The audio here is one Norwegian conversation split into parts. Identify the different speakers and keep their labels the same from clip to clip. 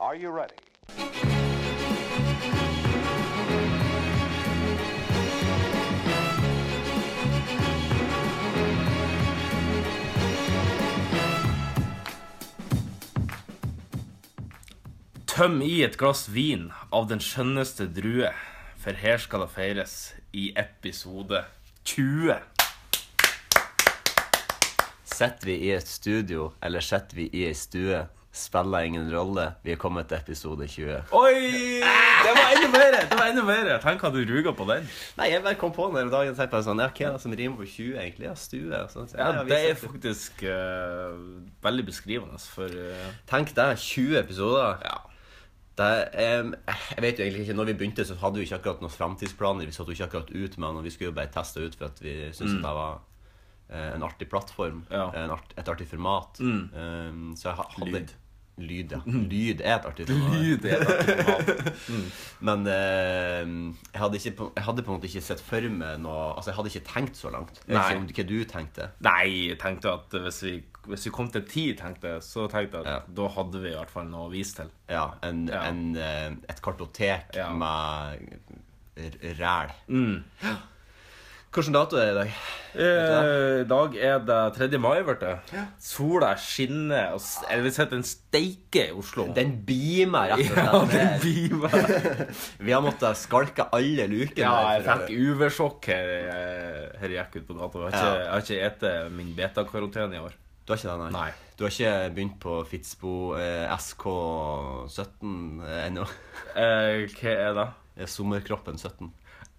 Speaker 1: Are you ready?
Speaker 2: Tøm i et glass vin av den skjønneste drue, for her skal det feires i episode 20.
Speaker 3: Sitter vi i et studio, eller sitter vi i ei stue, spiller ingen rolle. Vi er kommet til episode 20.
Speaker 2: Oi! Det var enda mer! Det var enda mer. Tenk at du ruga på den.
Speaker 3: Nei, jeg bare kom på den her dagen og tenkte bare sånn, ja, hva er det som rimer på 20 egentlig? Ja, stue. og Sånn.
Speaker 2: Ja,
Speaker 3: vi
Speaker 2: Det er
Speaker 3: sitter-
Speaker 2: faktisk eh, veldig beskrivende for eh,
Speaker 3: Tenk deg, 20 episoder.
Speaker 2: Ja.
Speaker 3: Det er, em, jeg vet jo egentlig ikke, når vi begynte så hadde vi ikke akkurat noen fremtidsplaner. Vi satt jo ikke akkurat ut med den, og vi skulle jo bare teste ut for at vi syntes at det var eh, en artig plattform.
Speaker 2: Mm. Ja. Mm.
Speaker 3: En art, et artig format. Em, så jeg ha- hadde...
Speaker 2: Lyd. Mm.
Speaker 3: Lyd, ja. Lyd er et artig format. Mm.
Speaker 2: Lyd er et artig format.
Speaker 3: Men eh, jeg, hadde ikke, på- jeg hadde på en måte ikke sett for meg noe Altså, jeg hadde ikke tenkt så langt. Jeg vet
Speaker 2: Nei.
Speaker 3: ikke om hva du tenkte.
Speaker 2: Nei, jeg tenkte at hvis vi, hvis vi kom til ti, tenkte jeg, så tenkte jeg at
Speaker 3: Ja.
Speaker 2: da hadde vi i hvert fall noe å vise til.
Speaker 3: Ja, en,
Speaker 2: Ja.
Speaker 3: En, eh, et kartotek
Speaker 2: Ja. Mm.
Speaker 3: med r- ræl. Hvilken dato er det i dag?
Speaker 2: Eh, I dag er det 3. mai, vet du. Sola skinner. Og, s- eller vi sitter en steike i Oslo.
Speaker 3: Den beamer, rett og
Speaker 2: ja,
Speaker 3: slett.
Speaker 2: den blir meg.
Speaker 3: Vi har måttet skalke alle lukene.
Speaker 2: Ja,
Speaker 3: her
Speaker 2: jeg
Speaker 3: for å-
Speaker 2: fikk UV-sjokk her, eh, her jeg gikk ut på gata. Jeg har ikke, jeg har ikke ete min beta-karotene i år.
Speaker 3: Du har ikke det, nei?
Speaker 2: Nei.
Speaker 3: Du har ikke begynt på Fitzbo eh, SK17 eh, ennå?
Speaker 2: Eh, hva er det?
Speaker 3: Eh, Sommerkroppen 17.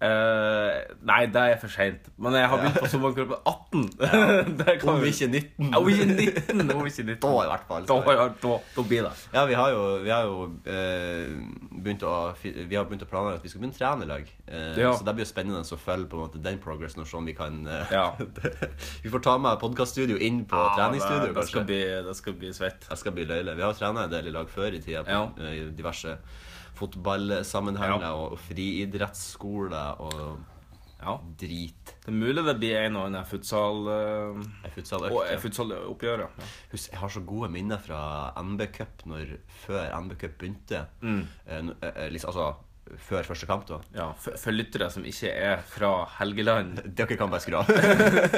Speaker 2: Eh, nei, det er for seint. Men jeg har begynt på sommerkroppen 18. det kan
Speaker 3: Om
Speaker 2: vi-
Speaker 3: ikke 19.
Speaker 2: Ja, Om ikke 19. Om ikke 19.
Speaker 3: Da i hvert fall.
Speaker 2: Da, ja, da, da blir det.
Speaker 3: Ja, vi har jo, vi har jo eh, begynt å fi- Vi har begynt å planlegge at vi skal begynne å trene i lag. Eh,
Speaker 2: Ja.
Speaker 3: Så det blir jo spennende å følge på en måte den progressen og se om vi kan eh,
Speaker 2: Ja.
Speaker 3: Vi får ta med podkaststudio inn på treningsstudio,
Speaker 2: det, det, skal
Speaker 3: kanskje.
Speaker 2: bli, det skal bli svett.
Speaker 3: Jeg skal bli løyle. Vi har jo trent en del i lag før i tida på
Speaker 2: Ja.
Speaker 3: eh, i diverse fotballsammenhenger
Speaker 2: Ja.
Speaker 3: og, og friidrettsskoler og
Speaker 2: Ja.
Speaker 3: drit.
Speaker 2: Det er mulig det blir en og annen futsal... eh,
Speaker 3: Jeg
Speaker 2: og
Speaker 3: futsaløkt, ja.
Speaker 2: futsaloppgjøret. Ja.
Speaker 3: Husk, jeg har så gode minner fra NB Cup når, før NB Cup begynte.
Speaker 2: Mm.
Speaker 3: Eh, n- eh, liksom, altså før første kamp, da.
Speaker 2: Ja, for, for lyttere som ikke er fra Helgeland
Speaker 3: Dere kan bare skru av.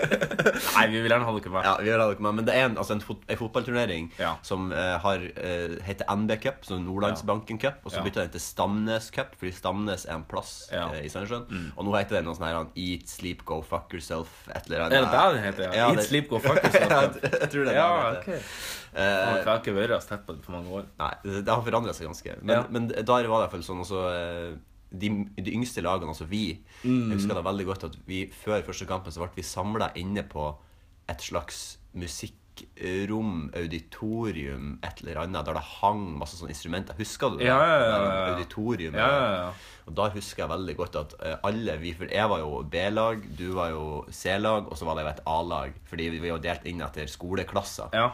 Speaker 2: Nei, vi vil gjerne ha dere med.
Speaker 3: ja, vi gjør det dere med, men det er en, altså en, fot, en fotballturnering
Speaker 2: Ja.
Speaker 3: som eh, har, eh, heter NB Cup, så Nordlandsbanken Cup, og så
Speaker 2: Ja.
Speaker 3: bytta den til Stamnes Cup, fordi Stamnes er en plass
Speaker 2: Ja. Mm.
Speaker 3: eh, i Sandnessjøen. Og nå heter den noe sånn her han, Eat, Sleep, Go, Fuck Yourself, et
Speaker 2: Er
Speaker 3: eller
Speaker 2: det
Speaker 3: annet.
Speaker 2: det den heter? Ja,
Speaker 3: Ja,
Speaker 2: Eat,
Speaker 3: det-
Speaker 2: sleep, go fuck yourself.
Speaker 3: jeg, jeg tror det er
Speaker 2: Ja,
Speaker 3: det.
Speaker 2: ok.
Speaker 3: den heter.
Speaker 2: Man
Speaker 3: Eh,
Speaker 2: kan ikke være stett på det på mange år.
Speaker 3: Nei, det det har forandra seg ganske. Men,
Speaker 2: Ja.
Speaker 3: men der var det i hvert fall sånn også, eh, de, de yngste lagene, altså vi
Speaker 2: Mm.
Speaker 3: Jeg husker det veldig godt at vi før første kampen så ble vi samla inne på et slags musikkrom, auditorium, et eller annet, der det hang masse sånne instrumenter. Husker du det?
Speaker 2: Ja, ja, ja, ja, ja.
Speaker 3: Auditorium. eh,
Speaker 2: Ja, ja, ja.
Speaker 3: Og da husker jeg veldig godt at eh, alle vi For jeg var jo B-lag, du var jo C-lag, og så var det jo et A-lag. Fordi vi var jo delt inn etter skoleklasser.
Speaker 2: Ja.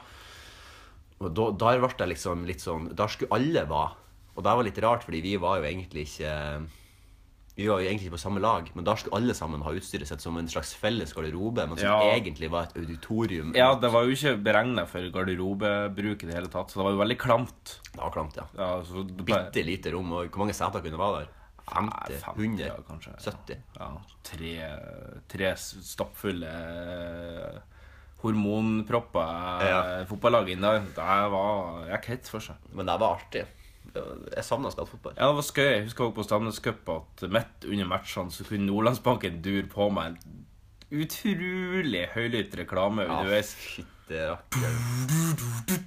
Speaker 3: Og da, der ble det liksom litt sånn Der skulle alle være. Og det var litt rart, fordi vi var jo egentlig ikke Vi var jo egentlig ikke på samme lag, men da skulle alle sammen ha utstyret sitt som en slags felles garderobe, men som
Speaker 2: Ja.
Speaker 3: egentlig var et auditorium.
Speaker 2: ja, det var jo ikke beregna for garderobebruk i det hele tatt, så det var jo veldig klamt.
Speaker 3: Det var klamt, ja.
Speaker 2: Ja, så det ble-
Speaker 3: Bitte lite rom. Og hvor mange seter kunne være der? 50?
Speaker 2: Nei, 50,
Speaker 3: 100?
Speaker 2: ja, kanskje, ja.
Speaker 3: 70?
Speaker 2: ja, tre, tre stappfulle eh, hormonpropper ja.
Speaker 3: Ja.
Speaker 2: fotballag inni der. Det var Jeg gikk helt for seg.
Speaker 3: Men det var artig. Jeg savna å spille fotball.
Speaker 2: Ja, det var skøy. Jeg husker også på Stamnes Cup at midt under matchene så kunne Nordlandsbanken dure på meg en utrolig høylytt reklame underveis.
Speaker 3: Ah, Fytte rakker.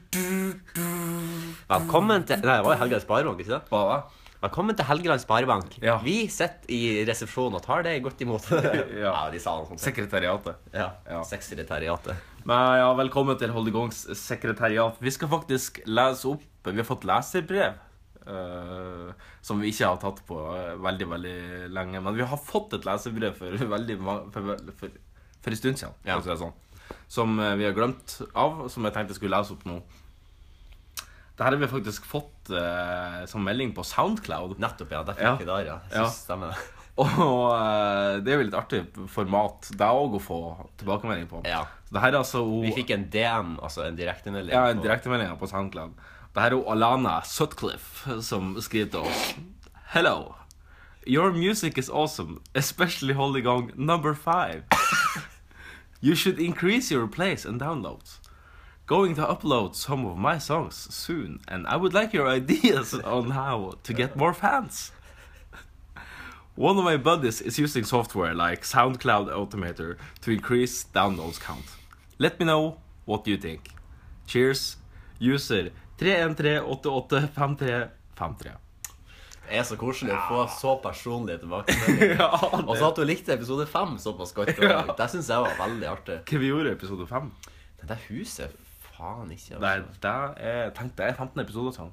Speaker 3: Velkommen til Nei, det var jo Helga Sparebank, ikke sant?
Speaker 2: Hva var det?
Speaker 3: Velkommen til Helgeland Sparebank.
Speaker 2: Ja.
Speaker 3: Vi sitter i resepsjonen og tar det godt imot. ja. de sa noe sånt.
Speaker 2: Sekretariatet.
Speaker 3: ja.
Speaker 2: Ja.
Speaker 3: Sekretariatet.
Speaker 2: Men ja, velkommen til Holdegongs sekretariat. Vi skal faktisk lese opp Vi har fått leserbrev. eh, som vi ikke har tatt på eh, veldig veldig lenge. Men vi har fått et leserbrev for, veldig, ma- for, for, for en stund siden. for
Speaker 3: Ja.
Speaker 2: å si det Sånn, som eh, vi har glemt av, som jeg tenkte jeg skulle lese opp nå. Dette har vi faktisk fått eh, som melding på Soundcloud.
Speaker 3: Nettopp, ja. Der fikk
Speaker 2: Ja.
Speaker 3: vi der, ja.
Speaker 2: Ja.
Speaker 3: Så stemmer det.
Speaker 2: Og eh, det er jo litt artig format. Det er òg å få tilbakemelding på.
Speaker 3: Ja.
Speaker 2: Så det her er altså
Speaker 3: Vi fikk en DM, altså en direktemelding.
Speaker 2: Ja, en
Speaker 3: på-
Speaker 2: direktemelding på SoundCloud. Det her er jo Alana Sutcliffe som skriver til oss. Hello. Your music is awesome, especially Holy Gong number five. you should increase your plays and downloads. Going to upload some of my songs soon, and I would like your ideas on how to get more fans. One of my buddies is using software like SoundCloud Automator to increase downloads count. Let me know what you think. Cheers. User 313885353.
Speaker 3: Det er så koselig å få så personlige tilbakemeldinger.
Speaker 2: Ja,
Speaker 3: Og så at du likte episode fem såpass godt.
Speaker 2: Ja.
Speaker 3: Det syns jeg var veldig artig.
Speaker 2: Hva vi gjorde i episode 5?
Speaker 3: Det der huset Faen ikke.
Speaker 2: Nei,
Speaker 3: Altså.
Speaker 2: det er, tenk, det er 15 episoder sånn.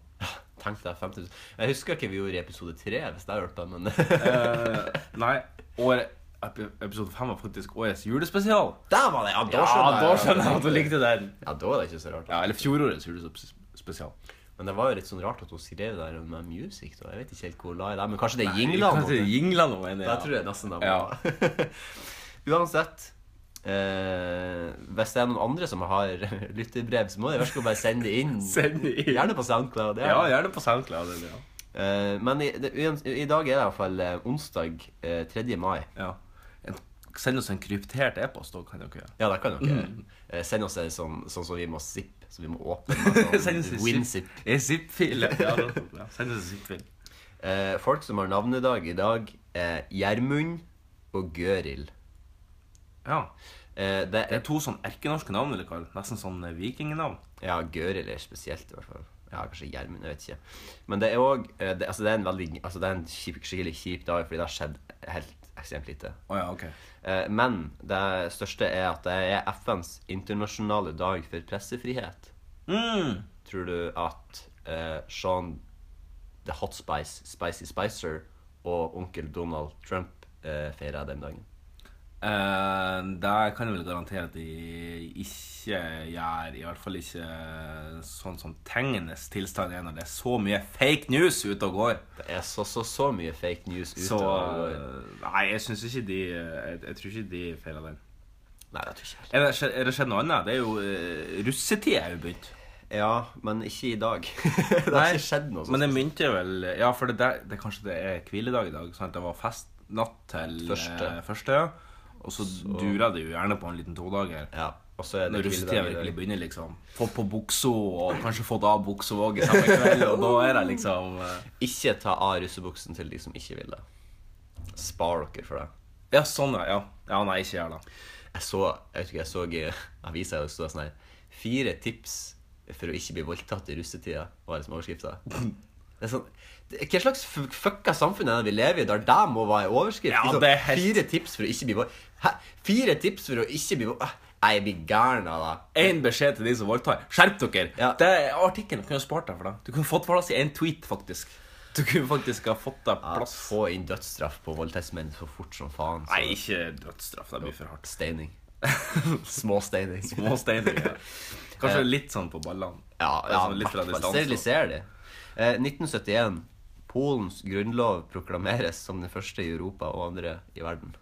Speaker 3: Tenk deg 50 000. Jeg husker ikke hva vi gjorde i episode tre, hvis det hjelper, men Der
Speaker 2: Nei, år, epi- episode 5 var faktisk årets julespesial.
Speaker 3: var det! Ja,
Speaker 2: Ja,
Speaker 3: da skjønner jeg.
Speaker 2: da skjønner jeg at du likte den.
Speaker 3: Ja, da er det ikke så rart.
Speaker 2: Ja, eller fjorårets julespesial.
Speaker 3: Men det var jo litt sånn rart at hun skrev det der med music, da. Jeg vet ikke helt hvor la jeg det, men kanskje det er jinglene?
Speaker 2: Kanskje jingla noe, mener
Speaker 3: Da
Speaker 2: jeg.
Speaker 3: tror jeg nesten det
Speaker 2: Ja.
Speaker 3: var Uansett eh, Hvis det er noen andre som har lyttebrev, så må jeg verst bare sende det inn.
Speaker 2: Send det inn.
Speaker 3: Gjerne på SoundCloud.
Speaker 2: Ja, gjerne på SoundCloud. eller, Ja.
Speaker 3: Eh, men i, det, uans- i dag er det i hvert fall eh, onsdag eh, 3. mai.
Speaker 2: Ja. En, send oss en kryptert e-post, da kan dere gjøre.
Speaker 3: Ja, det kan dere gjøre.
Speaker 2: Mm.
Speaker 3: Eh, send oss en sånn, sånn som vi må zippe, som vi må åpne. med
Speaker 2: Send oss
Speaker 3: Sånn,
Speaker 2: en
Speaker 3: WinZip.
Speaker 2: zip- En zip-fil. Ja, det er sant, ja. send oss en zip-fil.
Speaker 3: Eh, folk som har navnedag i dag, er Gjermund og Gøril.
Speaker 2: Ja.
Speaker 3: Eh, det
Speaker 2: Det er to sånn erkenorske navn, eller hva? Nesten sånn eh, vikingnavn.
Speaker 3: Ja, Gøril er spesielt, i hvert fall. Ja, kanskje Gjermund, jeg vet ikke. Men det er òg det, altså det er en, veldig, altså det er en kjip, skikkelig kjip dag, fordi det har skjedd helt ekstremt lite.
Speaker 2: Å ja, OK.
Speaker 3: Eh, Men det største er at det er FNs internasjonale dag for pressefrihet.
Speaker 2: Mm.
Speaker 3: Tror du at eh, Sean The Hot Spice, Spicy Spicer og onkel Donald Trump eh, feirer den dagen?
Speaker 2: Eh, det kan jeg vel garantere at de ikke gjør. I hvert fall ikke sånn som tingenes tilstand er når det er så mye fake news ute og går.
Speaker 3: Det er så, så, så mye fake news ute.
Speaker 2: Så
Speaker 3: og,
Speaker 2: eh, Nei, jeg syns ikke de eh, jeg, jeg tror ikke de feiler den.
Speaker 3: nei, jeg tror ikke helt.
Speaker 2: Er det, skje- er det skjedd noe annet? Det er jo uh, russetid er jo begynt.
Speaker 3: Ja, men ikke i dag. det har ikke skjedd noe. sånt
Speaker 2: Men det begynte vel Ja, for det, der, det kanskje det er hviledag i dag. Sant? Det var fest natt til eh,
Speaker 3: Første.
Speaker 2: første ja. Og så, durer det jo gjerne på en liten todager.
Speaker 3: Ja, og så er det
Speaker 2: Når russetida
Speaker 3: hviledag i dag.
Speaker 2: virkelig begynner, liksom. Få på buksa, og kanskje fått av buksa òg i samme kveld. Og da er det liksom eh,
Speaker 3: Ikke ta av russebuksen til de som ikke vil det. Spar dere for det.
Speaker 2: Ja, sånn, ja. ja. Ja, nei, ikke gjør det.
Speaker 3: Jeg så jeg vet ikke, jeg så i avisa det stod sånn her Fire tips for å ikke bli voldtatt i russetida, var det som overskrifta. Det er sånn, det- hva slags f- fucka samfunn er det vi lever i, der det må være en overskrift?
Speaker 2: Ja,
Speaker 3: Liksom,
Speaker 2: det er helt-
Speaker 3: Fire tips for å ikke bli voldtatt Fire tips for å ikke bli voldtatt Nei, Jeg blir gæren av det.
Speaker 2: Én beskjed til de som voldtar. Skjerp dere!
Speaker 3: Ja.
Speaker 2: Det er Artikkelen kunne spart deg for det. Du kunne fått plass i én tweet, faktisk. Du kunne faktisk ha fått deg
Speaker 3: Ja,
Speaker 2: plass.
Speaker 3: få inn dødsstraff på voldtektsmenn så fort som faen. Så.
Speaker 2: Nei, ikke dødsstraff. Det blir for hardt.
Speaker 3: Steining. Småsteining.
Speaker 2: Små steiner. Kanskje litt sånn på ballene.
Speaker 3: Ja,
Speaker 2: Det er
Speaker 3: ja
Speaker 2: sånn litt fra
Speaker 3: hvertfall
Speaker 2: distanse.
Speaker 3: steriliser de. Eh, 1971. Polens grunnlov proklameres som den første i Europa og andre i verden.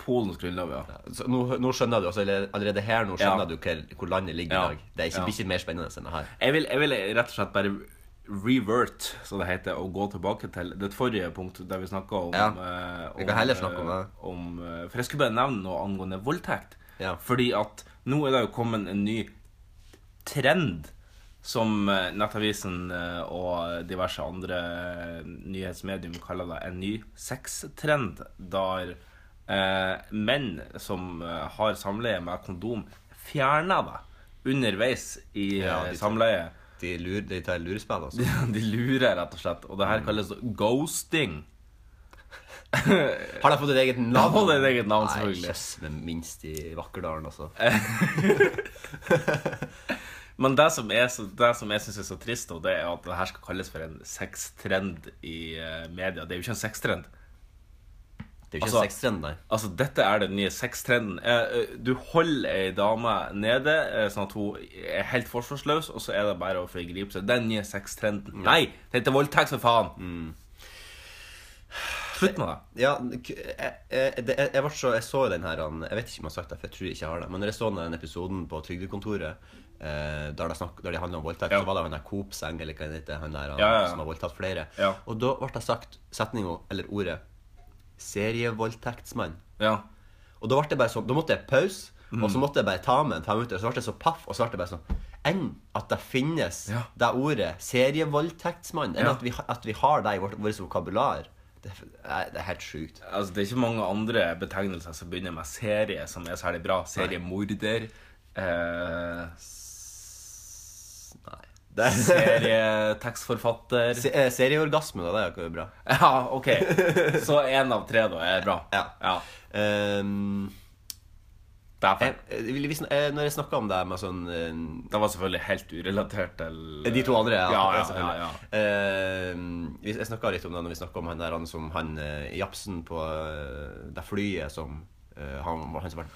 Speaker 2: Polens grunnlov, ja.
Speaker 3: Så nå, nå skjønner du, altså, eller- Allerede her nå skjønner
Speaker 2: Ja.
Speaker 3: du hvor, hvor landet ligger
Speaker 2: Ja.
Speaker 3: i dag. Det er ikke,
Speaker 2: Ja.
Speaker 3: blir ikke mer spennende enn det her.
Speaker 2: Jeg vil, jeg vil rett og slett bare revert, som det heter, og gå tilbake til det forrige punktet der vi snakka om
Speaker 3: Ja.
Speaker 2: eh,
Speaker 3: Vi kan
Speaker 2: om,
Speaker 3: heller snakke om
Speaker 2: eh,
Speaker 3: det.
Speaker 2: om, eh, For jeg skulle bare nevne noe angående voldtekt.
Speaker 3: Ja.
Speaker 2: Fordi at nå er det jo kommet en ny trend som eh, Nettavisen eh, og diverse andre eh, nyhetsmedium kaller det en ny sextrend, der eh, menn som eh, har samleie med kondom, fjerner det underveis i
Speaker 3: Ja,
Speaker 2: eh,
Speaker 3: de-
Speaker 2: samleie.
Speaker 3: De, lur, de tar lurespill, altså.
Speaker 2: De lurer, rett og slett. Og det
Speaker 3: Mm.
Speaker 2: her kalles ghosting.
Speaker 3: Har de fått et eget navn?
Speaker 2: har fått et eget navn,
Speaker 3: Nei,
Speaker 2: selvfølgelig.
Speaker 3: jøss, men minst i Vakkerdalen, altså.
Speaker 2: Men det som, er, så- det som jeg syns er så trist, og det er at det her skal kalles for en sextrend i eh, media. Det er jo ikke en sextrend.
Speaker 3: Det er jo ikke
Speaker 2: Altså-
Speaker 3: en sextrend, nei.
Speaker 2: Altså, dette er den nye sextrenden. Eh, eh, Du holder ei dame nede, eh, sånn at hun er helt forsvarsløs, og så er det bare å forgripe seg. Den nye sextrenden. Nei! Det heter voldtekt, for faen!
Speaker 3: Mm.
Speaker 2: Slutt med det.
Speaker 3: Ja, k- jeg, jeg, det- jeg, jeg, ble så, jeg så jo den her han- Jeg vet ikke om jeg har sagt det, for jeg tror ikke jeg har det. Men når jeg så den episoden på Trygdekontoret eh, der det, snakk, der det handler om voldtekt,
Speaker 2: Ja.
Speaker 3: så var det han der Coop-seng, eller hva det heter, han der han,
Speaker 2: Ja, ja, ja.
Speaker 3: som har voldtatt flere.
Speaker 2: Ja.
Speaker 3: Og da ble det sagt setninga, eller ordet, serievoldtektsmann.
Speaker 2: Ja.
Speaker 3: Og da ble det bare sånn, da måtte jeg pause, og
Speaker 2: Mm.
Speaker 3: så måtte jeg bare ta med en fem minutter, og så ble det så paff, og så ble det bare sånn, enn at det finnes
Speaker 2: Ja.
Speaker 3: det ordet, serievoldtektsmann, enn
Speaker 2: Ja.
Speaker 3: at, vi, ha- at vi har det i vårt, vårt vokabular, det, er f- nei, det er helt sjukt.
Speaker 2: Altså, det er ikke mange andre betegnelser som begynner med serie som er særlig bra. Seriemorder. Eh, s-
Speaker 3: Nei. Det er,
Speaker 2: Serietekstforfatter.
Speaker 3: Se- eh, serieorgasme, da, det er jo ikke bra.
Speaker 2: Ja, OK. Så én av tre, da, er bra.
Speaker 3: Ja.
Speaker 2: ja.
Speaker 3: Ehm,
Speaker 2: Det er
Speaker 3: jeg,
Speaker 2: feil.
Speaker 3: jeg, vil- hvis, eh, når jeg snakket om det med sånn eh,
Speaker 2: Det var selvfølgelig helt urelatert til
Speaker 3: De to andre, ja.
Speaker 2: Ja, ja, ja,
Speaker 3: selvfølgelig.
Speaker 2: ja.
Speaker 3: Eh, vi- jeg snakka litt om det når vi snakka om han der han som han eh, japsen på eh, det flyet som eh, Han var han som var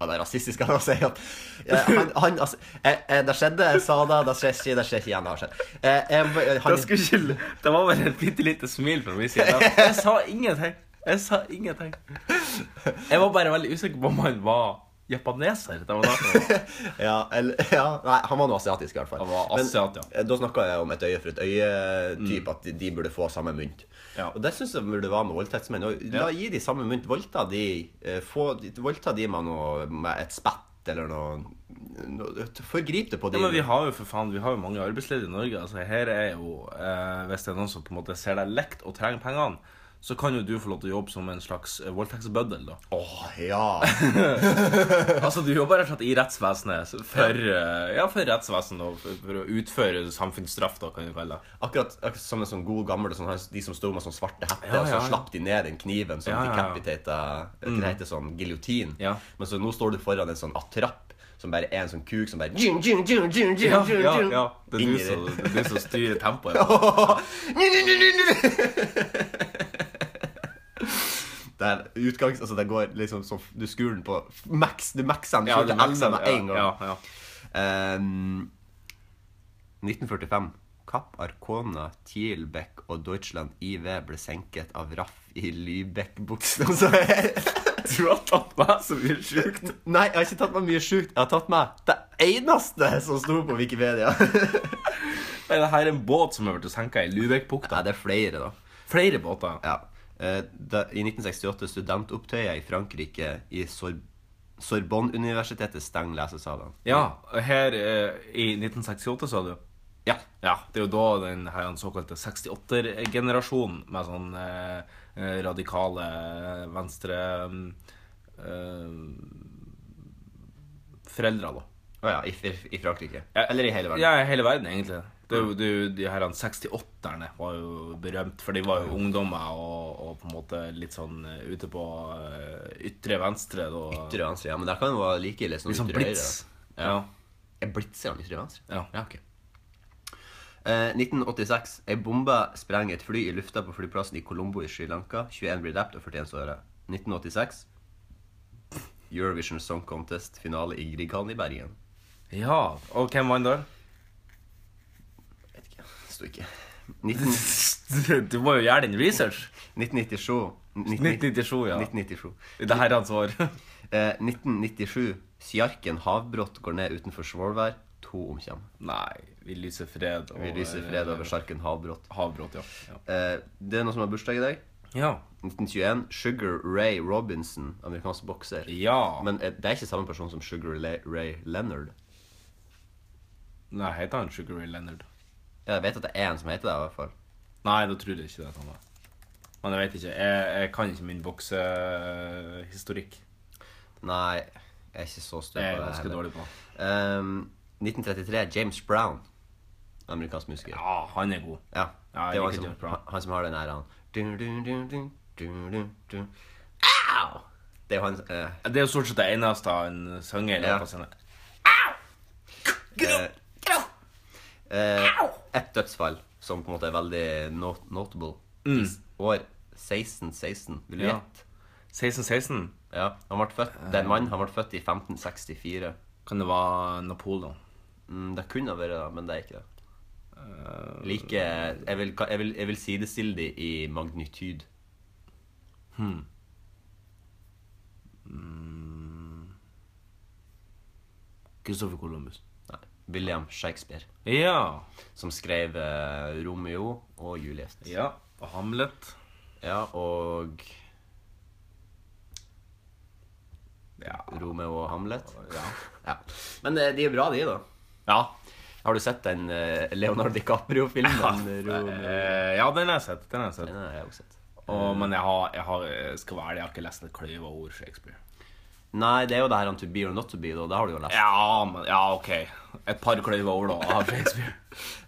Speaker 3: ja, Det er rasistisk han å si at eh, han, han, altså, eh, eh, Det skjedde, jeg sa det, det skjer ikke, det skjer ikke igjen. Det har skjedd. Eh, jeg må- eh,
Speaker 2: Det,
Speaker 3: han,
Speaker 2: skulle ikke, det var bare et bitte lite smil fra min side. Jeg sa ingenting. Jeg sa ingenting. Jeg var bare veldig usikker på om han var japaneser. Det var derfor.
Speaker 3: ja, eller, ja, nei, han var noe asiatisk, i hvert fall.
Speaker 2: Han var
Speaker 3: Men,
Speaker 2: asiat, ja.
Speaker 3: eh, da snakka jeg om et øye for et øye-type,
Speaker 2: Mm.
Speaker 3: at de, de burde få samme mynt.
Speaker 2: Ja.
Speaker 3: Og det syns jeg burde være med voldtektsmenn. Og la, Gi de samme mynt. Voldta de, eh, få, de- voldta de med, noe, med et spett eller noe, noe Forgrip det på
Speaker 2: Ja,
Speaker 3: de.
Speaker 2: men vi har jo for faen, vi har jo mange arbeidsledige i Norge. Altså, her er jo, eh, Hvis det er noen som på en måte ser deg lekt og trenger pengene, så kan jo du få lov til å jobbe som en slags eh, voldtektsbøddel. da.
Speaker 3: Åh, ja.
Speaker 2: Altså, Du jobber rett og slett i rettsvesenet for, eh, ja, for rettsvesenet og for, for å utføre samfunnsstraff, da, kan du kalle det.
Speaker 3: Akkurat, akkurat som en sånn god gammel sånn, her- De som sto med sånn svarte hette,
Speaker 2: Ja,
Speaker 3: og så
Speaker 2: ja, ja.
Speaker 3: slapp de ned den kniven som
Speaker 2: Ja, ja, ja.
Speaker 3: decapitata Det heter sånn giljotin.
Speaker 2: Ja.
Speaker 3: Men så nå står du foran en sånn attrapp som bare er en sånn kuk som bare jing, jing, jing, jing, jing,
Speaker 2: Ja,
Speaker 3: jing,
Speaker 2: ja,
Speaker 3: jing.
Speaker 2: ja. Det er du
Speaker 3: Inn i
Speaker 2: som,
Speaker 3: det.
Speaker 2: det er du som styrer tempoet.
Speaker 3: Det er utgangs... Altså, det går liksom som Du skrur den på max, Du maxer den
Speaker 2: Ja,
Speaker 3: ja,
Speaker 2: det
Speaker 3: til
Speaker 2: merker
Speaker 3: elleve
Speaker 2: seg,
Speaker 3: med en gang.
Speaker 2: Ja, ja, ja.
Speaker 3: Ehm, 1945. Kapp Arkona, Kielbeck og Deutschland IV ble senket av raff i Lübeck-buksene. Så jeg-
Speaker 2: Du har tatt meg så mye sjukt.
Speaker 3: Nei, jeg har ikke tatt meg mye sjukt. Jeg har tatt meg det eneste som sto på Wikipedia.
Speaker 2: Er det her en båt som har blitt senka i Lubekbukta?
Speaker 3: Nei, det er flere, da.
Speaker 2: Flere båter.
Speaker 3: Ja. Eh, da, I 1968 studentopptøyer i Frankrike i Sor Sorbonne-universitetet stenger lesesalene.
Speaker 2: Ja, og her eh, i 1968, sa du?
Speaker 3: Ja.
Speaker 2: Ja, det er jo da den her såkalte 68-generasjonen med sånn eh, eh, radikale eh, venstre mm, eh, Foreldre, da.
Speaker 3: Å ja, i, i, i Frankrike.
Speaker 2: Ja.
Speaker 3: Eller i hele verden.
Speaker 2: Ja, hele verden, egentlig. Det, er jo- det, er jo- de her 68-erne var jo berømt, for de var jo ungdommer og, og på en måte litt sånn eh, ute på eh, ytre venstre. Da.
Speaker 3: Ytre venstre, ja, men det kan jo være like ille som
Speaker 2: Litt sånn
Speaker 3: ytre høyre.
Speaker 2: blitz.
Speaker 3: da.
Speaker 2: Ja.
Speaker 3: Er blitz er han ytre venstre?
Speaker 2: Ja.
Speaker 3: ok. Eh, 1986. Ei bombe sprenger et fly i lufta på flyplassen i Colombo i Sri Lanka. 21 blir drept og 41 såret. 1986. Eurovision Song Contest finale i Grieghallen i Bergen.
Speaker 2: ja. Og hvem vant der?
Speaker 3: Vet ikke. Sto ikke. 19,
Speaker 2: Du må jo gjøre din research.
Speaker 3: 1997.
Speaker 2: 1997, ja.
Speaker 3: 1997.
Speaker 2: Det her er hans år.
Speaker 3: Eh, 1997. Sjarken Havbrott går ned utenfor Svolvær. To omkommer.
Speaker 2: Nei, vi lyser fred.
Speaker 3: Vi lyser fred over sjarken Havbrott.
Speaker 2: Havbråt, ja. ja.
Speaker 3: Eh, det er noen som har bursdag i dag.
Speaker 2: Ja.
Speaker 3: 1921. Sugar Ray Robinson, amerikansk bokser.
Speaker 2: ja.
Speaker 3: Men eh, det er ikke samme person som Sugar Le Ray Leonard.
Speaker 2: Nei, heter han Sugar Ray Leonard?
Speaker 3: Jeg vet at det er en som heter det, i hvert fall.
Speaker 2: Nei, da tror jeg ikke det. er han da. Men jeg vet ikke. Jeg, jeg kan ikke min boksehistorikk.
Speaker 3: Nei, jeg er ikke så støt på
Speaker 2: Jeg
Speaker 3: det.
Speaker 2: er ganske
Speaker 3: heller.
Speaker 2: dårlig på.
Speaker 3: Ehm, 1933. James Brown, amerikansk musiker. Ja.
Speaker 2: Ja, han er god. Ja, jeg
Speaker 3: det var
Speaker 2: liker
Speaker 3: han som,
Speaker 2: James Brown.
Speaker 3: han- han som har den her han du, du, du, du, du, du, du. Au! Det er jo han eh,
Speaker 2: Det er jo stort sett det eneste han synger i
Speaker 3: Ja.
Speaker 2: låta sine.
Speaker 3: eh, eh, Et dødsfall som på en måte er veldig not notable. I s- år 1616. Vil du
Speaker 2: Mm. Ja. Eh.
Speaker 3: gjette?
Speaker 2: 1616.
Speaker 3: Ja. Han ble født, det er en mann. Han ble født i 1564.
Speaker 2: Kan det være Napoleon?
Speaker 3: Mm, det kunne ha vært det, men det er ikke det.
Speaker 2: Eh.
Speaker 3: Like Jeg vil, ka- jeg vil, jeg vil sidestille de i magnityd.
Speaker 2: Christopher Columbus.
Speaker 3: Nei. William Shakespeare,
Speaker 2: Ja.
Speaker 3: som skrev eh, Romeo og Juliet.
Speaker 2: ja. Og Hamlet.
Speaker 3: Ja, og
Speaker 2: Ja.
Speaker 3: Romeo og Hamlet.
Speaker 2: Ja.
Speaker 3: Ja. Men eh, de er bra, de, da.
Speaker 2: ja.
Speaker 3: Har du sett den eh, Leonardo DiCaprio-filmen? Romeo?
Speaker 2: Eh, ja, den har jeg sett. Den har jeg
Speaker 3: Den
Speaker 2: sett.
Speaker 3: har jeg også sett.
Speaker 2: Og, men jeg har, jeg har eh, skal være det, jeg har ikke lest et kløyv av ord Shakespeare.
Speaker 3: Nei, det er jo det her om To be or not to be, da. Det har du jo lest.
Speaker 2: Ja, men, ja, ok. Et par kløyv av ord da, av Shakespeare.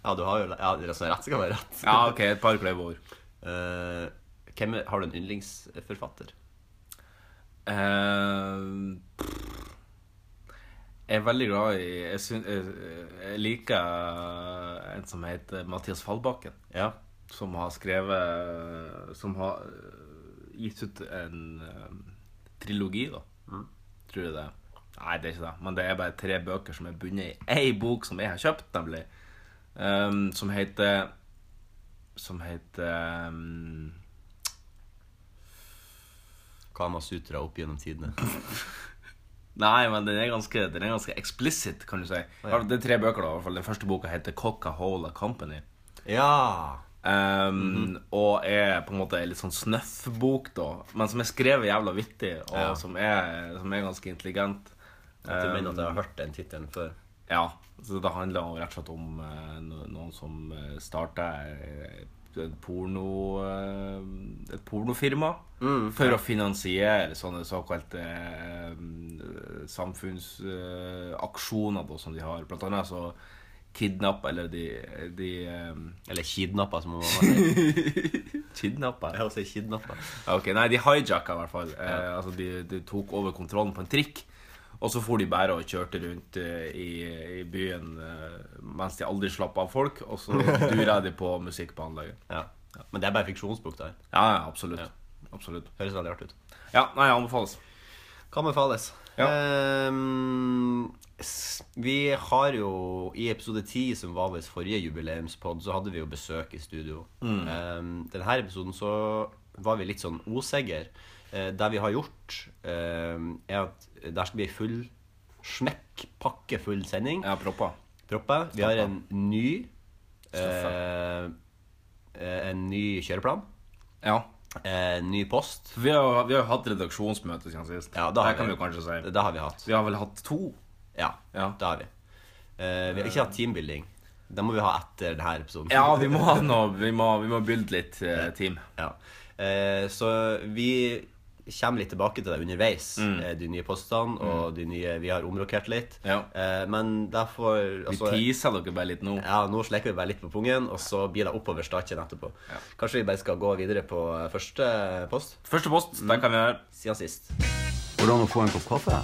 Speaker 3: Ja, du har jo le- ja, det er sånn rett skal være rett.
Speaker 2: Ja, ok, et par kløyv av ord.
Speaker 3: Eh, hvem er, har du en yndlingsforfatter?
Speaker 2: Eh, jeg er veldig glad i jeg, syn, jeg, jeg liker en som heter Mathias Fallbakken.
Speaker 3: Ja.
Speaker 2: Som har skrevet eh, Som har øh, gitt ut en øh, trilogi, da. Tror jeg det. er. Nei, det er ikke det. Men det er bare tre bøker som er bundet i ei bok som jeg har kjøpt, nemlig. Ehm, som heter Som heter ehm,
Speaker 3: Kama Sutra opp gjennom tidene.
Speaker 2: Nei, men den er ganske, den er ganske explicit, kan du si.
Speaker 3: ja.
Speaker 2: Det er tre bøker, da. i hvert fall. Den første boka heter Coca-Hola Company.
Speaker 3: Ja!
Speaker 2: Ehm, Og er på en måte en litt sånn snøffbok, da. Men som er skrevet jævla vittig, og
Speaker 3: Ja.
Speaker 2: som, er, som er ganske intelligent.
Speaker 3: At du
Speaker 2: Ehm,
Speaker 3: mener at jeg har hørt den tittelen før.
Speaker 2: ja, så Det handler om, rett og slett om eh, no- noen som eh, starter eh, et, porno, eh, et pornofirma for å finansiere sånne såkalte eh, samfunnsaksjoner som de har. Blant annet så kidnapper eller de, de eh,
Speaker 3: Eller kidnappa, som mamma sier.
Speaker 2: altså, Kidnappa?
Speaker 3: Jeg også kidnappa.
Speaker 2: Ok, nei, de hijacka i hvert fall. Eh, altså, de, de tok over kontrollen på en trikk. Og så for de bare og kjørte rundt eh, i, i byen eh, mens de aldri slapp av folk. Og så dura de på musikk på anlegget.
Speaker 3: Ja. Men det er bare fiksjonsbok. der.
Speaker 2: Ja, ja, absolutt. Absolutt.
Speaker 3: Høres veldig artig ut.
Speaker 2: Ja, nei, anbefales.
Speaker 3: Hva med Fales?
Speaker 2: Ja.
Speaker 3: Ehm, s- vi har jo i episode 10, som var vår forrige jubileumspod, så hadde vi jo besøk i studio. Ehm, denne episoden så var vi litt sånn osikre. Eh, det vi har gjort, ehm, er at der skal bli full smekk, pakke full sending.
Speaker 2: Jeg har propper.
Speaker 3: Propper. Vi har en ny eh,
Speaker 2: Stoffer.
Speaker 3: eh, En ny kjøreplan.
Speaker 2: Eh, Ja.
Speaker 3: En ny post.
Speaker 2: Vi har vi har jo hatt redaksjonsmøte siden sist.
Speaker 3: Ja, det
Speaker 2: det
Speaker 3: har
Speaker 2: kan
Speaker 3: vi.
Speaker 2: vi jo kanskje si.
Speaker 3: Det har vi hatt.
Speaker 2: Vi har vel hatt to?
Speaker 3: Ja,
Speaker 2: Ja.
Speaker 3: det har vi. Eh, vi har ikke hatt teambuilding. Det må vi ha etter denne episoden.
Speaker 2: Ja, vi må ha noe. Vi må, vi må bylde litt eh, team.
Speaker 3: Ja. Eh, så vi kommer litt tilbake til det underveis.
Speaker 2: Mm.
Speaker 3: eh, De nye postene og de nye Vi har omrokert litt.
Speaker 2: Ja.
Speaker 3: Eh, men derfor
Speaker 2: Vi
Speaker 3: altså,
Speaker 2: teaser dere bare litt nå.
Speaker 3: ja, nå sleker vi bare litt på pungen, og så blir det oppover staken etterpå. Kanskje vi bare skal gå videre på eh, første post
Speaker 2: Første post, den kan vi gjøre.
Speaker 3: siden sist.
Speaker 1: Hvordan å få en kopp kaffe?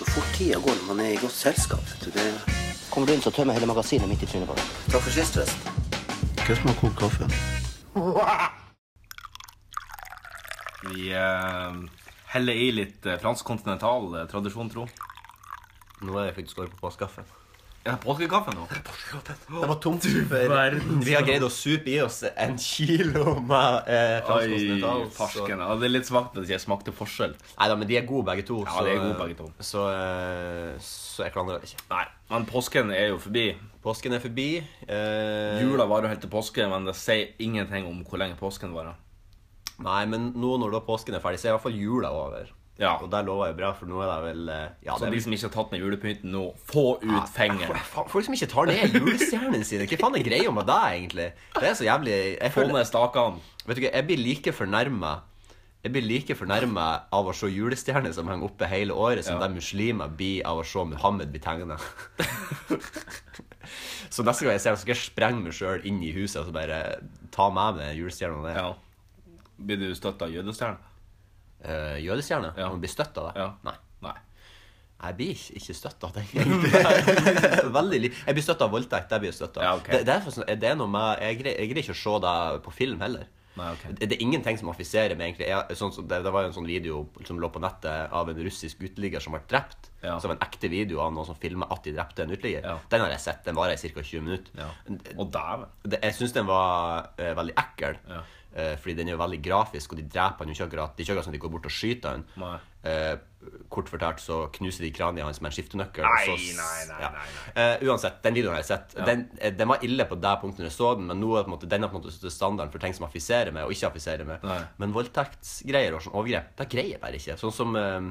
Speaker 4: Så fort tida går når man er i godt selskap. vet du, Det
Speaker 1: Kommer du inn, så tømmer jeg hele magasinet midt i trynet på deg.
Speaker 4: straffer sist, forresten.
Speaker 1: Hva som har kokt kaffe?
Speaker 2: Vi eh, heller i litt eh, fransk kontinental eh, tradisjon, tro.
Speaker 3: Nå er jeg faktisk over på påskekaffe.
Speaker 2: Er det påskekaffe nå?
Speaker 3: Det var tomt for
Speaker 2: verden.
Speaker 3: Vi har greid å supe i oss en kilo med eh, fransk
Speaker 2: Oi,
Speaker 3: kontinental. så-
Speaker 2: farsken. Ja, det er litt svakt at jeg ikke smakte forskjell.
Speaker 3: Neida, men de er gode begge to.
Speaker 2: Ja, de er gode begge to.
Speaker 3: Så, eh, så jeg klandrer det ikke.
Speaker 2: Nei, men påsken er jo forbi.
Speaker 3: Påsken er forbi. eh,
Speaker 2: Jula varer jo helt til påske, men det sier ingenting om hvor lenge påsken varer.
Speaker 3: Nei, men nå når da påsken er ferdig, så er i hvert fall jula over.
Speaker 2: Ja.
Speaker 3: Og der lover jeg bra, for nå er det vel eh, ja,
Speaker 2: Så
Speaker 3: det er Ah.
Speaker 2: de
Speaker 3: vel-
Speaker 2: som ikke har tatt ned julepynten nå, få
Speaker 3: Ja,
Speaker 2: ut fingeren.
Speaker 3: fa- Folk som ikke tar ned julestjernene sine. Hva faen er greia med deg, egentlig? Det er så jævlig jeg
Speaker 2: Få
Speaker 3: føler-
Speaker 2: ned stakene.
Speaker 3: Vet du hva, jeg blir like fornærma Jeg blir like fornærma av å se julestjerner som henger oppe hele året, som
Speaker 2: Ja.
Speaker 3: de muslimer blir av å se Muhammed bli tegna. så neste gang jeg ser det, så skal jeg sprenge meg sjøl inn i huset og så bare ta med meg julestjerna ned.
Speaker 2: Ja. Blir du støtt av jødestjernen?
Speaker 3: Eh, jødestjerne?
Speaker 2: Ja.
Speaker 3: Må bli støtt av det?
Speaker 2: Ja.
Speaker 3: Nei.
Speaker 2: Nei.
Speaker 3: Jeg blir ikke, ikke støtt av det. egentlig. Veldig li Jeg blir støtt av voldtekt. Det blir jeg støtt av.
Speaker 2: Ja, ok.
Speaker 3: det, det, er forresten- det er noe med Jeg greier, jeg greier ikke å se det på film heller.
Speaker 2: Nei, ok.
Speaker 3: det, det er ingenting som affiserer meg, egentlig. Jeg, sånn, som- det, det var jo en sånn video som lå på nettet av en russisk uteligger som ble drept.
Speaker 2: Ja.
Speaker 3: Som en ekte video av noen som filmer at de drepte en uteligger.
Speaker 2: Ja.
Speaker 3: Den har jeg sett. Den varer i ca. 20 minutter.
Speaker 2: Ja. Og dæven.
Speaker 3: Det, jeg syns den var eh, veldig ekkel.
Speaker 2: Ja.
Speaker 3: eh, fordi den er jo veldig grafisk, og de dreper han jo ikke akkurat. Det er ikke akkurat som de går bort og skyter han.
Speaker 2: Nei.
Speaker 3: Eh, kort fortalt så knuser de kraniet hans med en skiftenøkkel. og
Speaker 2: Nei,
Speaker 3: så-
Speaker 2: nei, nei, nei,
Speaker 3: Eh, uansett, den videoen har jeg sett. Den, eh, den var ille på det punktet når jeg så den, men nå er det på en måte, den er på en måte satt standarden for ting som affiserer meg og ikke affiserer meg.
Speaker 2: Nei.
Speaker 3: Men voldtektsgreier og sånn overgrep, det greier jeg bare ikke. Sånn som eh,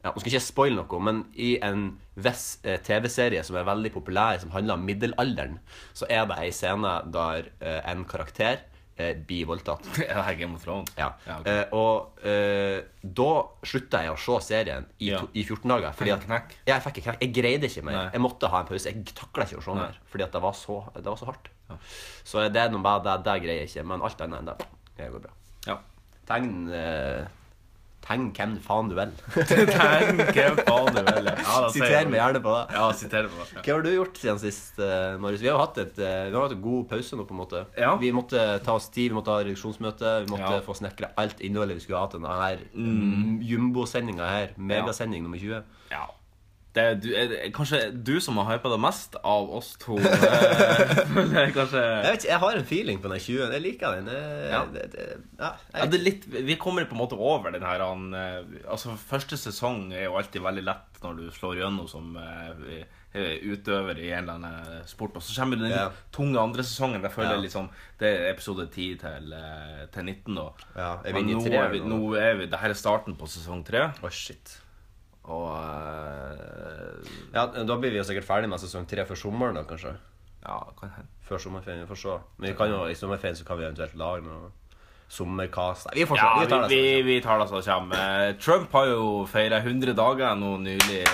Speaker 3: ja, Nå skal ikke jeg spoile noe, men i en viss eh, TV-serie som er veldig populær, som handler om middelalderen, så er det ei scene der eh, en karakter eh, blir voldtatt.
Speaker 2: Er det her Game of Thrones?
Speaker 3: Ja.
Speaker 2: ok.
Speaker 3: Eh, og eh, da slutta jeg å se serien i,
Speaker 2: Ja.
Speaker 3: to, i 14 dager.
Speaker 2: Fikk
Speaker 3: Fordi at,
Speaker 2: en knekk?
Speaker 3: Ja, jeg fikk en knekk. Jeg greide ikke mer.
Speaker 2: Nei.
Speaker 3: Jeg måtte ha en pause. Jeg takla ikke å se mer. Fordi at det var så, det var så hardt. Så det er noe med det, det greier jeg ikke. Men alt annet enn det, det går bra.
Speaker 2: ja.
Speaker 3: Tegn eh, Tegn hvem faen du vil.
Speaker 2: Tenk hva faen du vil. Ja, da sier jeg
Speaker 3: Siter meg
Speaker 2: det.
Speaker 3: gjerne på det.
Speaker 2: Ja, siter meg. Ja.
Speaker 3: Hva har du gjort siden sist, eh, Marius? Vi har jo hatt, et, eh, vi har hatt en god pause nå, på en måte.
Speaker 2: Ja.
Speaker 3: Vi måtte ta oss tid, vi måtte ha redaksjonsmøte, vi måtte
Speaker 2: Ja.
Speaker 3: få snekra alt innholdet vi skulle ha til denne her mm. jumbosendinga her. Megasending nummer 20.
Speaker 2: Ja. Det er du, er, det- kanskje du som har hypa det mest av oss to. eh, føler jeg kanskje
Speaker 3: Jeg vet ikke, jeg har en feeling på den 20. Jeg liker den. Jeg,
Speaker 2: Ja.
Speaker 3: det, det, ja, jeg
Speaker 2: ja,
Speaker 3: vet
Speaker 2: det er
Speaker 3: ikke.
Speaker 2: litt, Vi kommer på en måte over den her han, eh, Altså, Første sesong er jo alltid veldig lett når du slår gjennom som eh, eh, utøver i en eller annen sport. Og så kommer den
Speaker 3: Ja.
Speaker 2: tunge andre sesongen. Jeg føler
Speaker 3: Ja.
Speaker 2: liksom, Det er episode 10 til, eh, til 19. da.
Speaker 3: Ja, er vi
Speaker 2: Men
Speaker 3: inne i
Speaker 2: nå
Speaker 3: treeren
Speaker 2: er vi,
Speaker 3: nå?
Speaker 2: nå er vi, det her er starten på sesong tre.
Speaker 3: Å, shit.
Speaker 2: Og eh,
Speaker 3: Ja, Da blir vi jo sikkert ferdig med sesong tre før sommeren, da, kanskje.
Speaker 2: Ja, kan hende.
Speaker 3: Før sommerferien. Vi får se. Men vi kan jo, i sommerferien så kan vi eventuelt lage noe sommercast Nei, Vi får se.
Speaker 2: Ja,
Speaker 3: vi tar det.
Speaker 2: vi, vi tar det som kommer. Eh, Trump har jo feira 100 dager nå nylig.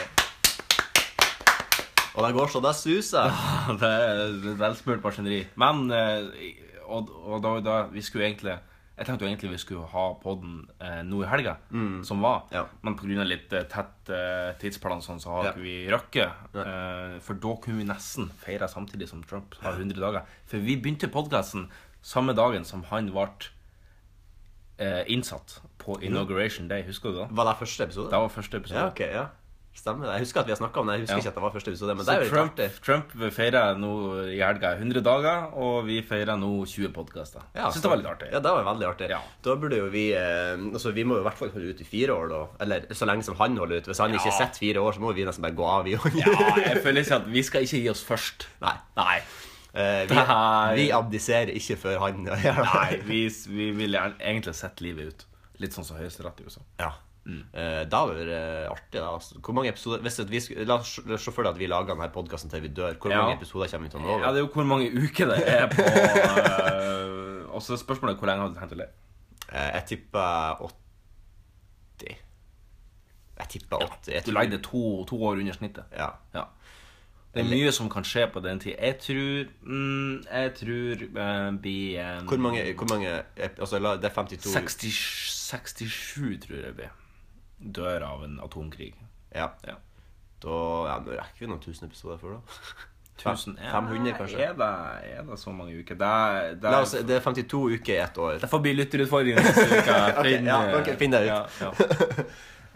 Speaker 3: Og det går så det suser.
Speaker 2: Det er et velsmurt maskineri. Men eh, og, og da, da vi skulle egentlig Jeg tenkte jo egentlig vi skulle ha podden eh, nå i helga, som var.
Speaker 3: Ja.
Speaker 2: Men pga. litt eh, tett eh, tidsplan og sånn, så har
Speaker 3: Ja.
Speaker 2: ikke vi røkket. Eh, for da kunne vi nesten feire samtidig som Trump har 100 dager. For vi begynte podkasten samme dagen som han ble eh, innsatt på inauguration day. Husker du det?
Speaker 3: Var det første episode?
Speaker 2: Det var første episode.
Speaker 3: Ja, ok, ja. Stemmer det. Jeg husker at vi har snakka om det. Jeg husker
Speaker 2: Ja.
Speaker 3: ikke at det var første episode. Men det
Speaker 2: Så
Speaker 3: er jo litt
Speaker 2: Trump,
Speaker 3: artig.
Speaker 2: Trump feirer nå i helga 100 dager, og vi feirer nå 20 podkaster.
Speaker 3: Ja,
Speaker 2: Syns det var litt artig.
Speaker 3: Ja, det var veldig artig.
Speaker 2: Ja.
Speaker 3: Da burde jo vi eh, Altså, vi må jo i hvert fall holde ut i fire år, da. Eller så lenge som han holder ut. Hvis han ikke sitter fire år, så må vi nesten bare gå av, vi òg.
Speaker 2: Ja, Ah, jeg føler ikke at vi skal ikke gi oss først.
Speaker 3: Nei.
Speaker 2: Nei.
Speaker 3: Eh, vi,
Speaker 2: Nei.
Speaker 3: vi abdiserer ikke før han gjør det.
Speaker 2: Nei, vi, vi vil gjerne egentlig sette livet ut. Litt sånn som Høyesterett i USA.
Speaker 3: Ja.
Speaker 2: Mm.
Speaker 3: Eh, det hadde vært eh, artig. da altså. Hvor mange episoder hvis at vi, sk- La oss se for deg at vi lager denne podkasten til vi dør. Hvor
Speaker 2: Ja.
Speaker 3: mange episoder kommer vi til å nå?
Speaker 2: Ja, det er jo hvor mange uker det er på øh, Og så er spørsmålet hvor lenge har du tenkt å leve.
Speaker 3: Eh, jeg tipper 80. Jeg tipper 80. Jeg
Speaker 2: Du
Speaker 3: tipper-
Speaker 2: lagde to, to år under snittet.
Speaker 3: Ja.
Speaker 2: Ja. Det er mye som kan skje på den tid. Jeg tror mm, Jeg tror uh, blir eh,
Speaker 3: Hvor mange, hvor mange ep- Altså, la- det er 52
Speaker 2: 60, 67 tror jeg det blir. Dør av en atomkrig.
Speaker 3: Ja.
Speaker 2: Ja.
Speaker 3: Da ja, nå rekker vi noen tusen episoder før, da.
Speaker 2: Tusen-
Speaker 3: Fem- 500,
Speaker 2: Ja,
Speaker 3: kanskje.
Speaker 2: Er det, er det så mange uker? Det, er- det, er-
Speaker 3: La oss, det er 52 uker i ett år.
Speaker 2: det får bli lytterutfordring neste uke. Finn,
Speaker 3: ja, ok,
Speaker 2: eh,
Speaker 3: finn deg ut.
Speaker 2: Ja, ja.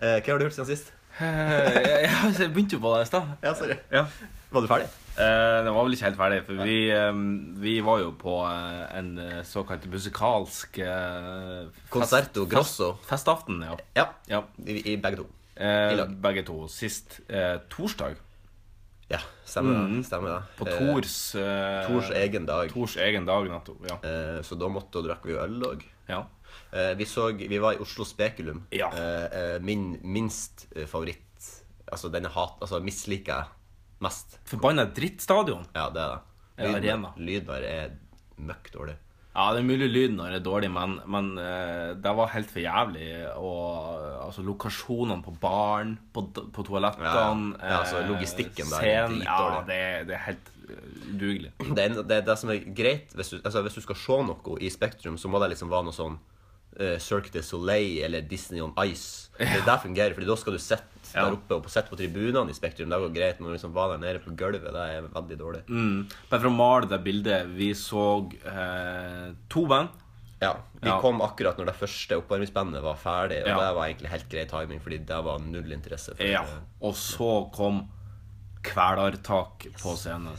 Speaker 3: Eh, hva har du gjort siden sist?
Speaker 2: Eh, jeg, jeg, jeg begynte jo på det i stad.
Speaker 3: Ja, sorry.
Speaker 2: Ja.
Speaker 3: Var du ferdig?
Speaker 2: Eh, det var vel ikke helt ferdig, for vi, eh, vi var jo på eh, en eh, såkalt musikalsk eh, fest-
Speaker 3: Concerto Grosso.
Speaker 2: Fest, festaften, ja.
Speaker 3: Ja.
Speaker 2: ja.
Speaker 3: I, i begge to. I
Speaker 2: Eh,
Speaker 3: lag.
Speaker 2: begge to. Sist eh, torsdag.
Speaker 3: Ja, stemmer det. Stemmer det.
Speaker 2: På
Speaker 3: Eh,
Speaker 2: Tors eh,
Speaker 3: Tors egen dag.
Speaker 2: Tors egen dag, nettopp. Ja.
Speaker 3: Eh, så da måtte og drakk vi jo øl òg.
Speaker 2: ja.
Speaker 3: Eh, vi, så, vi var i Oslo Spekulum.
Speaker 2: Ja.
Speaker 3: Eh, eh, min minst eh, favoritt Altså denne hat... Altså misliker jeg mest.
Speaker 2: Forbanna drittstadion.
Speaker 3: Ja, det er det.
Speaker 2: Ja,
Speaker 3: Lyden-
Speaker 2: arena.
Speaker 3: Lyden der er møkk dårlig.
Speaker 2: Ja, det er mulig lyden når det er dårlig, men, men eh, det var helt for jævlig. Og eh, altså, lokasjonene på baren, på, d- på toalettene
Speaker 3: Ja, ja. Ja, altså,
Speaker 2: eh,
Speaker 3: logistikken der er
Speaker 2: scenen, Ja,
Speaker 3: dritdårlig.
Speaker 2: det, er- det er helt eh, udugelig.
Speaker 3: det, er, det, er det som er greit hvis du, altså, hvis du skal se noe i Spektrum, så må det liksom være noe sånn eh, Cirque de Soleil eller Disney on Ice. Det der fungerer, fordi da skal du sitte
Speaker 2: Ja.
Speaker 3: der oppe og sitte på tribunene i Spektrum. Det går greit, men å liksom være der nede på gulvet, det er veldig dårlig.
Speaker 2: Mm. Bare for å male det bildet, vi så eh, to band.
Speaker 3: Ja, Vi
Speaker 2: Ja.
Speaker 3: kom akkurat når det første oppvarmingsbandet var ferdig, og
Speaker 2: Ja.
Speaker 3: det var egentlig helt grei timing, fordi det var null interesse. For, eh,
Speaker 2: Ja. Og så kom Kvelertak på scenen.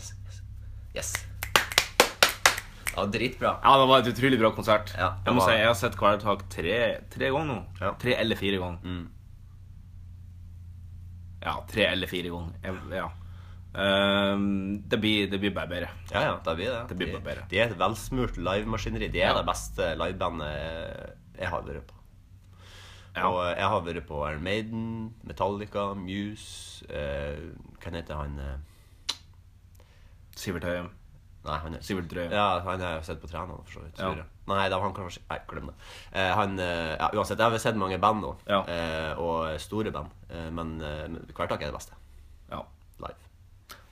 Speaker 3: Yes. Ja, dritbra.
Speaker 2: Ja, det var et utrolig bra konsert.
Speaker 3: Ja, det
Speaker 2: jeg må
Speaker 3: var-
Speaker 2: si, jeg har sett Kvelertak tre, tre ganger nå.
Speaker 3: Ja. Mm.
Speaker 2: Tre eller fire ganger. Ja, tre eller fire ganger. Jeg- Ja. Ehm, det, blir, det blir bare bedre.
Speaker 3: Ja, ja, det blir det.
Speaker 2: Det blir bare bedre.
Speaker 3: De, de er et velsmurt livemaskineri. De er
Speaker 2: Ja.
Speaker 3: det beste livebandet jeg har vært på.
Speaker 2: Ja.
Speaker 3: Og eh, jeg har vært på Iron Maiden, Metallica, Muse eh, Hva heter han eh,
Speaker 2: Sivert Høyem.
Speaker 3: Nei, han er
Speaker 2: Sivert Drøe.
Speaker 3: Ja, han har jeg sett på trenene, for så vidt.
Speaker 2: Ja.
Speaker 3: tror jeg. Nei, det var han kanskje Nei, glem det. Eh, han eh, Ja, uansett. Jeg har sett mange band nå,
Speaker 2: Ja.
Speaker 3: eh, og store band, eh, men eh, men Kvelertak er det beste.
Speaker 2: Ja.
Speaker 3: Live.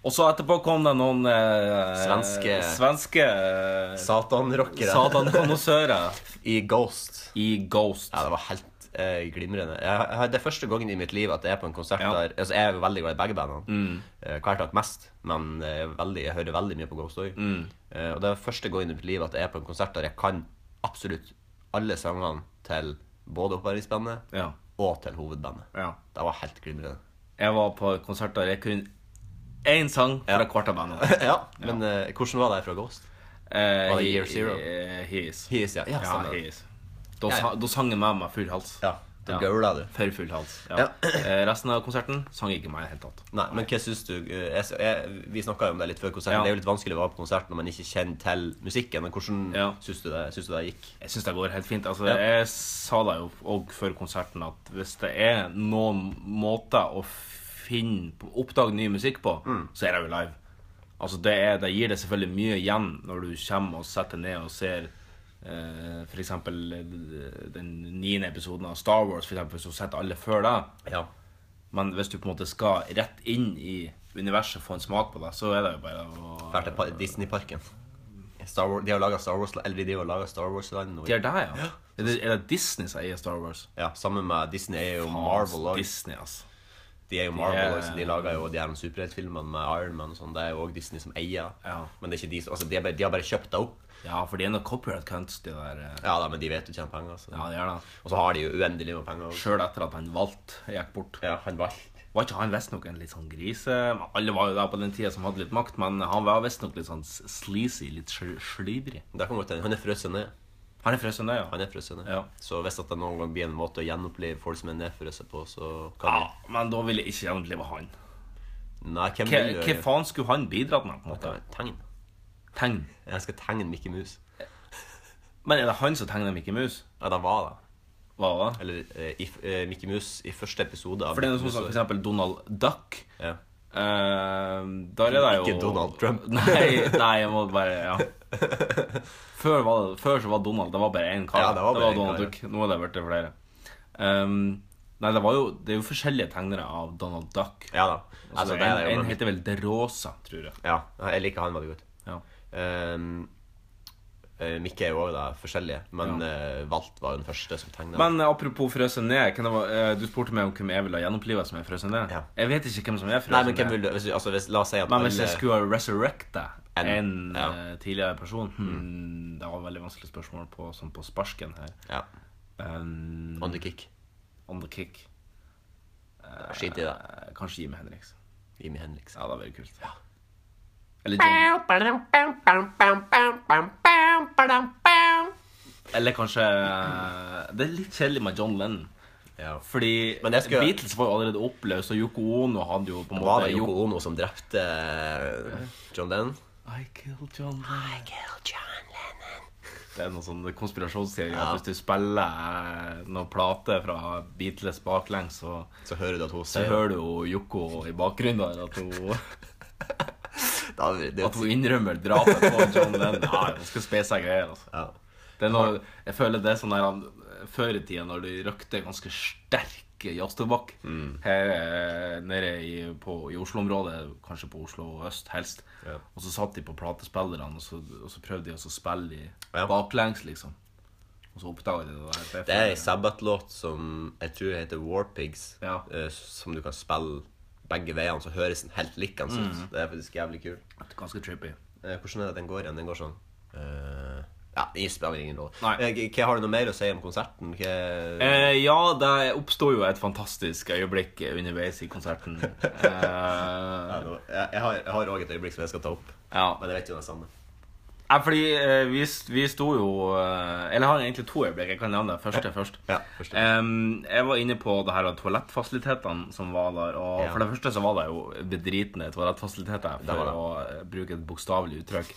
Speaker 2: Og så etterpå kom det noen eh,
Speaker 3: Svenske-
Speaker 2: svenske eh,
Speaker 3: Satan-rockere
Speaker 2: satankonnoissører
Speaker 3: i Ghost.
Speaker 2: i Ghost.
Speaker 3: Ja, det var helt eh, glimrende. Jeg, jeg, det er første gangen i mitt liv at jeg er på en konsert
Speaker 2: Ja. Mm.
Speaker 3: der Altså, jeg er jo veldig glad i begge bandene. Eh, Kvelertak mest, men jeg, er veldig, jeg hører veldig mye på Ghost Story.
Speaker 2: Mm.
Speaker 3: Eh, og det er første gangen i mitt liv at jeg er på en konsert der jeg kan absolutt alle sangene til både oppvarmingsbandet
Speaker 2: Ja.
Speaker 3: og til hovedbandet.
Speaker 2: Ja.
Speaker 3: Det var helt glimrende.
Speaker 2: Jeg var på et konsert der jeg kunne én sang fra hvert av bandene.
Speaker 3: ja, men eh, hvordan var det fra Ghost?
Speaker 2: Eh,
Speaker 3: Var det
Speaker 2: he-
Speaker 3: Year Zero?
Speaker 2: eh, He is.
Speaker 3: He is, ja. Ja,
Speaker 2: Ja,
Speaker 3: stemmer.
Speaker 2: he is. Da, sa, da sang jeg med meg full hals.
Speaker 3: Ja, da gaula du.
Speaker 2: For full hals. Ja.
Speaker 3: Ja.
Speaker 2: Eh, resten av konserten sang jeg ikke meg i det hele tatt.
Speaker 3: Nei, men hva syns du eh, jeg, jeg, Vi snakka jo om det litt før
Speaker 2: Ja.
Speaker 3: konserten. Det er jo litt vanskelig å være på konsert når man ikke kjenner til musikken. Men hvordan
Speaker 2: Ja.
Speaker 3: syns, du det, syns du det gikk?
Speaker 2: Jeg syns det går helt fint. Altså,
Speaker 3: Ja.
Speaker 2: Jeg sa det jo òg før konserten at hvis det er noen måter å finne på- oppdage ny musikk på,
Speaker 3: Mm.
Speaker 2: så er det jo live. Altså, det, er, det gir deg selvfølgelig mye igjen når du kommer og setter deg ned og ser eh, for eksempel eh, den niende episoden av Star Wars, for eksempel, så sitter alle før deg.
Speaker 3: Ja.
Speaker 2: Men hvis du på en måte skal rett inn i universet og få en smak på det, så er det jo bare å
Speaker 3: Drar til pa- Disneyparken. Star Wars, de har laga Star Wars Eller de driver og lager Star Wars-land nå.
Speaker 2: De er der, ja. Er det, er det Disney som eier Star Wars?
Speaker 3: Ja, sammen med Disney er jo Marvel også.
Speaker 2: Disney, altså.
Speaker 3: De er jo Marvel
Speaker 2: er-
Speaker 3: også, så De lager jo de her superheltfilmene med Iron Man og sånn. Det er jo òg Disney som eier.
Speaker 2: Ja.
Speaker 3: Men det er ikke de som altså, de, har bare, de har bare kjøpt det opp.
Speaker 2: Ja, for de er noe copyright cunts, de der. eh.
Speaker 3: Ja da, men de vet jo tjener penger. Så.
Speaker 2: Ja, de er det.
Speaker 3: Og så har de jo uendelig med penger. også.
Speaker 2: Sjøl etter at han valgte gikk bort.
Speaker 3: Ja, han valgte
Speaker 2: Var ikke han visstnok en litt sånn grise men Alle var jo der på den tida som hadde litt makt, men han var visstnok litt sånn s- sleazy, litt sl- slibrig.
Speaker 3: Det kan godt hende. Han er frosset ned.
Speaker 2: Han er fra Sønnøya.
Speaker 3: Han er frosset ned.
Speaker 2: Ja.
Speaker 3: Så hvis at det noen gang blir en måte å gjenopplive folk som er nedfrosset på, så kan
Speaker 2: Ja, men da vil jeg ikke gjenoppleve han.
Speaker 3: vi Nei, hvem
Speaker 2: Hva,
Speaker 3: vil
Speaker 2: hva faen skulle han bidratt med, på en måte?
Speaker 3: Tegn.
Speaker 2: Tegn.
Speaker 3: Jeg skal tegne Mikke Mus.
Speaker 2: Men er det han som tegner Mickey Mouse?
Speaker 3: Ja, det var det.
Speaker 2: Hva var det?
Speaker 3: Eller eh, i, f- eh, Mikke Mus i første episode av
Speaker 2: For det er
Speaker 3: Mikke
Speaker 2: noe sånn som for
Speaker 3: Mus.
Speaker 2: eksempel Donald Duck.
Speaker 3: Ja.
Speaker 2: Eh, der er det jo
Speaker 3: Ikke Donald Trump.
Speaker 2: Nei, nei, jeg må bare Ja. Før, var det, før så var Donald Det var bare én kar.
Speaker 3: Ja, det var bare en
Speaker 2: Donald
Speaker 3: kar, ja.
Speaker 2: Duck. Nå er det blitt flere. Ehm, nei, det, var jo, det er jo forskjellige tegnere av Donald Duck.
Speaker 3: ja da.
Speaker 2: Altså,
Speaker 3: Altså, det
Speaker 2: en,
Speaker 3: er det jo
Speaker 2: en
Speaker 3: men-
Speaker 2: heter vel De Rosa, tror jeg.
Speaker 3: Ja, jeg liker han veldig godt.
Speaker 2: Ja.
Speaker 3: Ehm, eh, Mikke er jo også da forskjellige, men
Speaker 2: Ja.
Speaker 3: eh, Valt var den første som tegna.
Speaker 2: Men eh, apropos frøsen ned. Kan det, va- eh, du spurte meg om hvem jeg ville ha gjenopplivet som er frøsen ned.
Speaker 3: Ja.
Speaker 2: Jeg vet ikke hvem som er frøsen
Speaker 3: Nei, men hvem
Speaker 2: ned.
Speaker 3: vil du hvis, du- altså, hvis, La oss si at
Speaker 2: Men hvis jeg
Speaker 3: alle-
Speaker 2: skulle ha resurrecta en,
Speaker 3: En- ja.
Speaker 2: eh, tidligere person hmm, Det var et veldig vanskelig spørsmål på, sånn på sparken her.
Speaker 3: Ja.
Speaker 2: Um,
Speaker 3: On the kick.
Speaker 2: on the kick.
Speaker 3: Skit i det.
Speaker 2: Eh, kanskje Jimmy Henriks.
Speaker 3: Jimmy Henriks.
Speaker 2: Ja, det hadde vært kult. Eller, John, eller kanskje eh, Det er litt kjedelig med John Lennon.
Speaker 3: Ja.
Speaker 2: Fordi
Speaker 3: Men jeg skulle-
Speaker 2: Beatles var jo allerede oppløst, og Yoko Ono hadde jo på en
Speaker 3: Var
Speaker 2: måte
Speaker 3: det Yoko
Speaker 2: gjort-
Speaker 3: Ono som drepte eh, John Lennon?
Speaker 2: I killed John Lennon. Det er noen sånne konspirasjonsteorier. at Hvis du spiller eh, noen plater fra Beatles baklengs, så,
Speaker 3: Så hører du at hun
Speaker 2: så
Speaker 3: sier
Speaker 2: hører du jo Yoko i bakgrunnen der at hun,
Speaker 3: Da er vi- det er
Speaker 2: at hun innrømmer drapet på John Lennon. Ja, hun skal spe seg greier, altså.
Speaker 3: Ja.
Speaker 2: Det er noe, jeg føler det er sånn der han- før i tida når du røkte ganske sterk jazztobakk
Speaker 3: Mm.
Speaker 2: her eh, nede i, på- i Oslo-området, kanskje på Oslo øst helst,
Speaker 3: Ja.
Speaker 2: og så satt de på platespillerne, og så, og så prøvde de også å spille i
Speaker 3: Ja.
Speaker 2: baklengs, liksom. Og så oppdaga de det der. for jeg
Speaker 3: Det er ei
Speaker 2: føler-
Speaker 3: Sabbath-låt som jeg tror heter War Pigs,
Speaker 2: Ja.
Speaker 3: eh, som du kan spille begge veiene, så høres den helt likende ut. Det er faktisk jævlig kult.
Speaker 2: ganske trippy.
Speaker 3: Eh, Hvordan er det den går igjen? Den går sånn eh, Ja, det spiller ingen rolle.
Speaker 2: Nei.
Speaker 3: Eh, Hva har du noe mer å si om konserten? Hva
Speaker 2: Eh, ja, det oppsto jo et fantastisk øyeblikk underveis i konserten. Eh,
Speaker 3: Ja, nå- Jeg jeg har- jeg har òg et øyeblikk som jeg skal ta opp,
Speaker 2: ja.
Speaker 3: men jeg vet jo det er samme.
Speaker 2: Ja, fordi eh, vi, st- vi sto jo eh, Eller jeg har egentlig to øyeblikk. Jeg kan nevne det første først.
Speaker 3: Ja, første.
Speaker 2: Em, jeg var inne på det her av toalettfasilitetene som var der. Og
Speaker 3: Ja.
Speaker 2: For det første så var det jo bedritne toalettfasiliteter,
Speaker 3: Det
Speaker 2: for
Speaker 3: var det.
Speaker 2: å eh, bruke et bokstavelig uttrykk.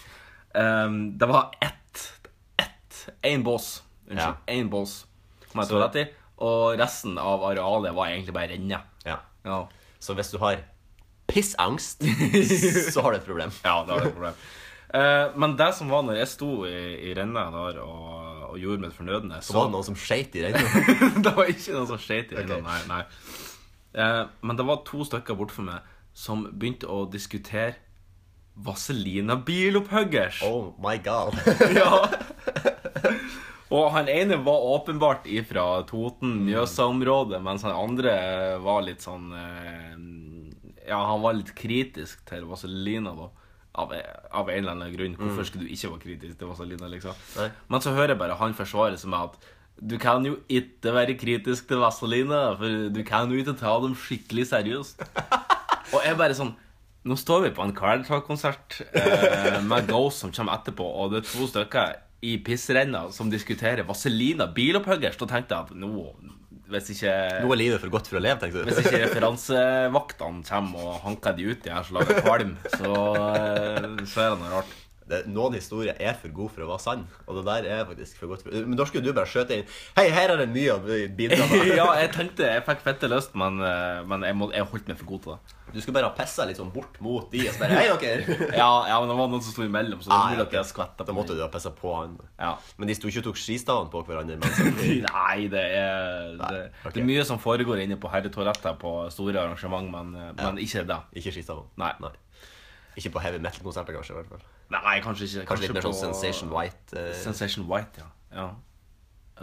Speaker 2: Em, det var ett ett Én bås.
Speaker 3: Ja.
Speaker 2: Unnskyld. Én bås med
Speaker 3: Så-
Speaker 2: toalett i. Og resten av arealet var egentlig bare renner.
Speaker 3: Ja.
Speaker 2: Ja.
Speaker 3: Så hvis du har pissangst, så har du et problem.
Speaker 2: Ja, det var et problem. Eh, men det som var når jeg sto i, i renna der og, og gjorde mitt fornødne
Speaker 3: Så
Speaker 2: så
Speaker 3: var det noen som skeit i regnet.
Speaker 2: det var ikke noe som skjøt i renna,
Speaker 3: Ok.
Speaker 2: nei. nei. Eh, men det var to stykker bortfor meg som begynte å diskutere Vaselina bilopphuggers.
Speaker 3: Oh my god.
Speaker 2: Ja. Og han ene var åpenbart ifra Toten-Mjøsa-området, mens han andre var litt sånn eh, Ja, han var litt kritisk til Vazelina, da. Av, av en eller annen grunn. Hvorfor skulle du ikke være kritisk til Vazelina, liksom?
Speaker 3: Nei.
Speaker 2: Men så hører jeg bare han forsvare seg med at du kan jo ikke være kritisk til Vazelina, for du kan jo ikke ta dem skikkelig seriøst. Og jeg bare sånn Nå står vi på en Carl Talk-konsert eh, med Ghost som kommer etterpå, og det er to stykker i pissrenna som diskuterer Vaselina bilopphuggers. Da tenkte jeg at nå Hvis ikke,
Speaker 3: Nå er livet for godt for å leve, tenkte
Speaker 2: hvis
Speaker 3: du.
Speaker 2: ikke referansevaktene kommer og hanker de uti her som lager kvalm, så, eh, så er det noe rart.
Speaker 3: Det, noen historier er for gode for å være sann, og det der er faktisk for godt for Men da skulle du bare skjøte inn Hei, her er det mye å bidra med.
Speaker 2: ja, jeg tenkte jeg fikk fette lyst, men, eh, men jeg, må, jeg holdt meg for god til det.
Speaker 3: Du skulle bare ha pissa litt sånn bort mot de og så bare Hei, dere!
Speaker 2: Ja, ja, men det var noen som sto imellom, så det er
Speaker 3: Ah, ja,
Speaker 2: mulig at jeg skvetta
Speaker 3: Da
Speaker 2: på
Speaker 3: måtte
Speaker 2: meg.
Speaker 3: du ha pissa på han.
Speaker 2: Ja.
Speaker 3: Men de sto ikke og tok skistavene på hverandre. Men
Speaker 2: Nei, det er, det,
Speaker 3: Nei, ok.
Speaker 2: det er mye som foregår inne på herretoaletter på store arrangement, men, eh, men ikke det.
Speaker 3: ikke skistavene.
Speaker 2: Nei.
Speaker 3: Ikke på heavy metal-konserter, kanskje. i hvert fall
Speaker 2: Nei, kanskje ikke.
Speaker 3: Kanskje litt mer sånn
Speaker 2: på-
Speaker 3: Sensation White. eh.
Speaker 2: Sensation White, ja. ja.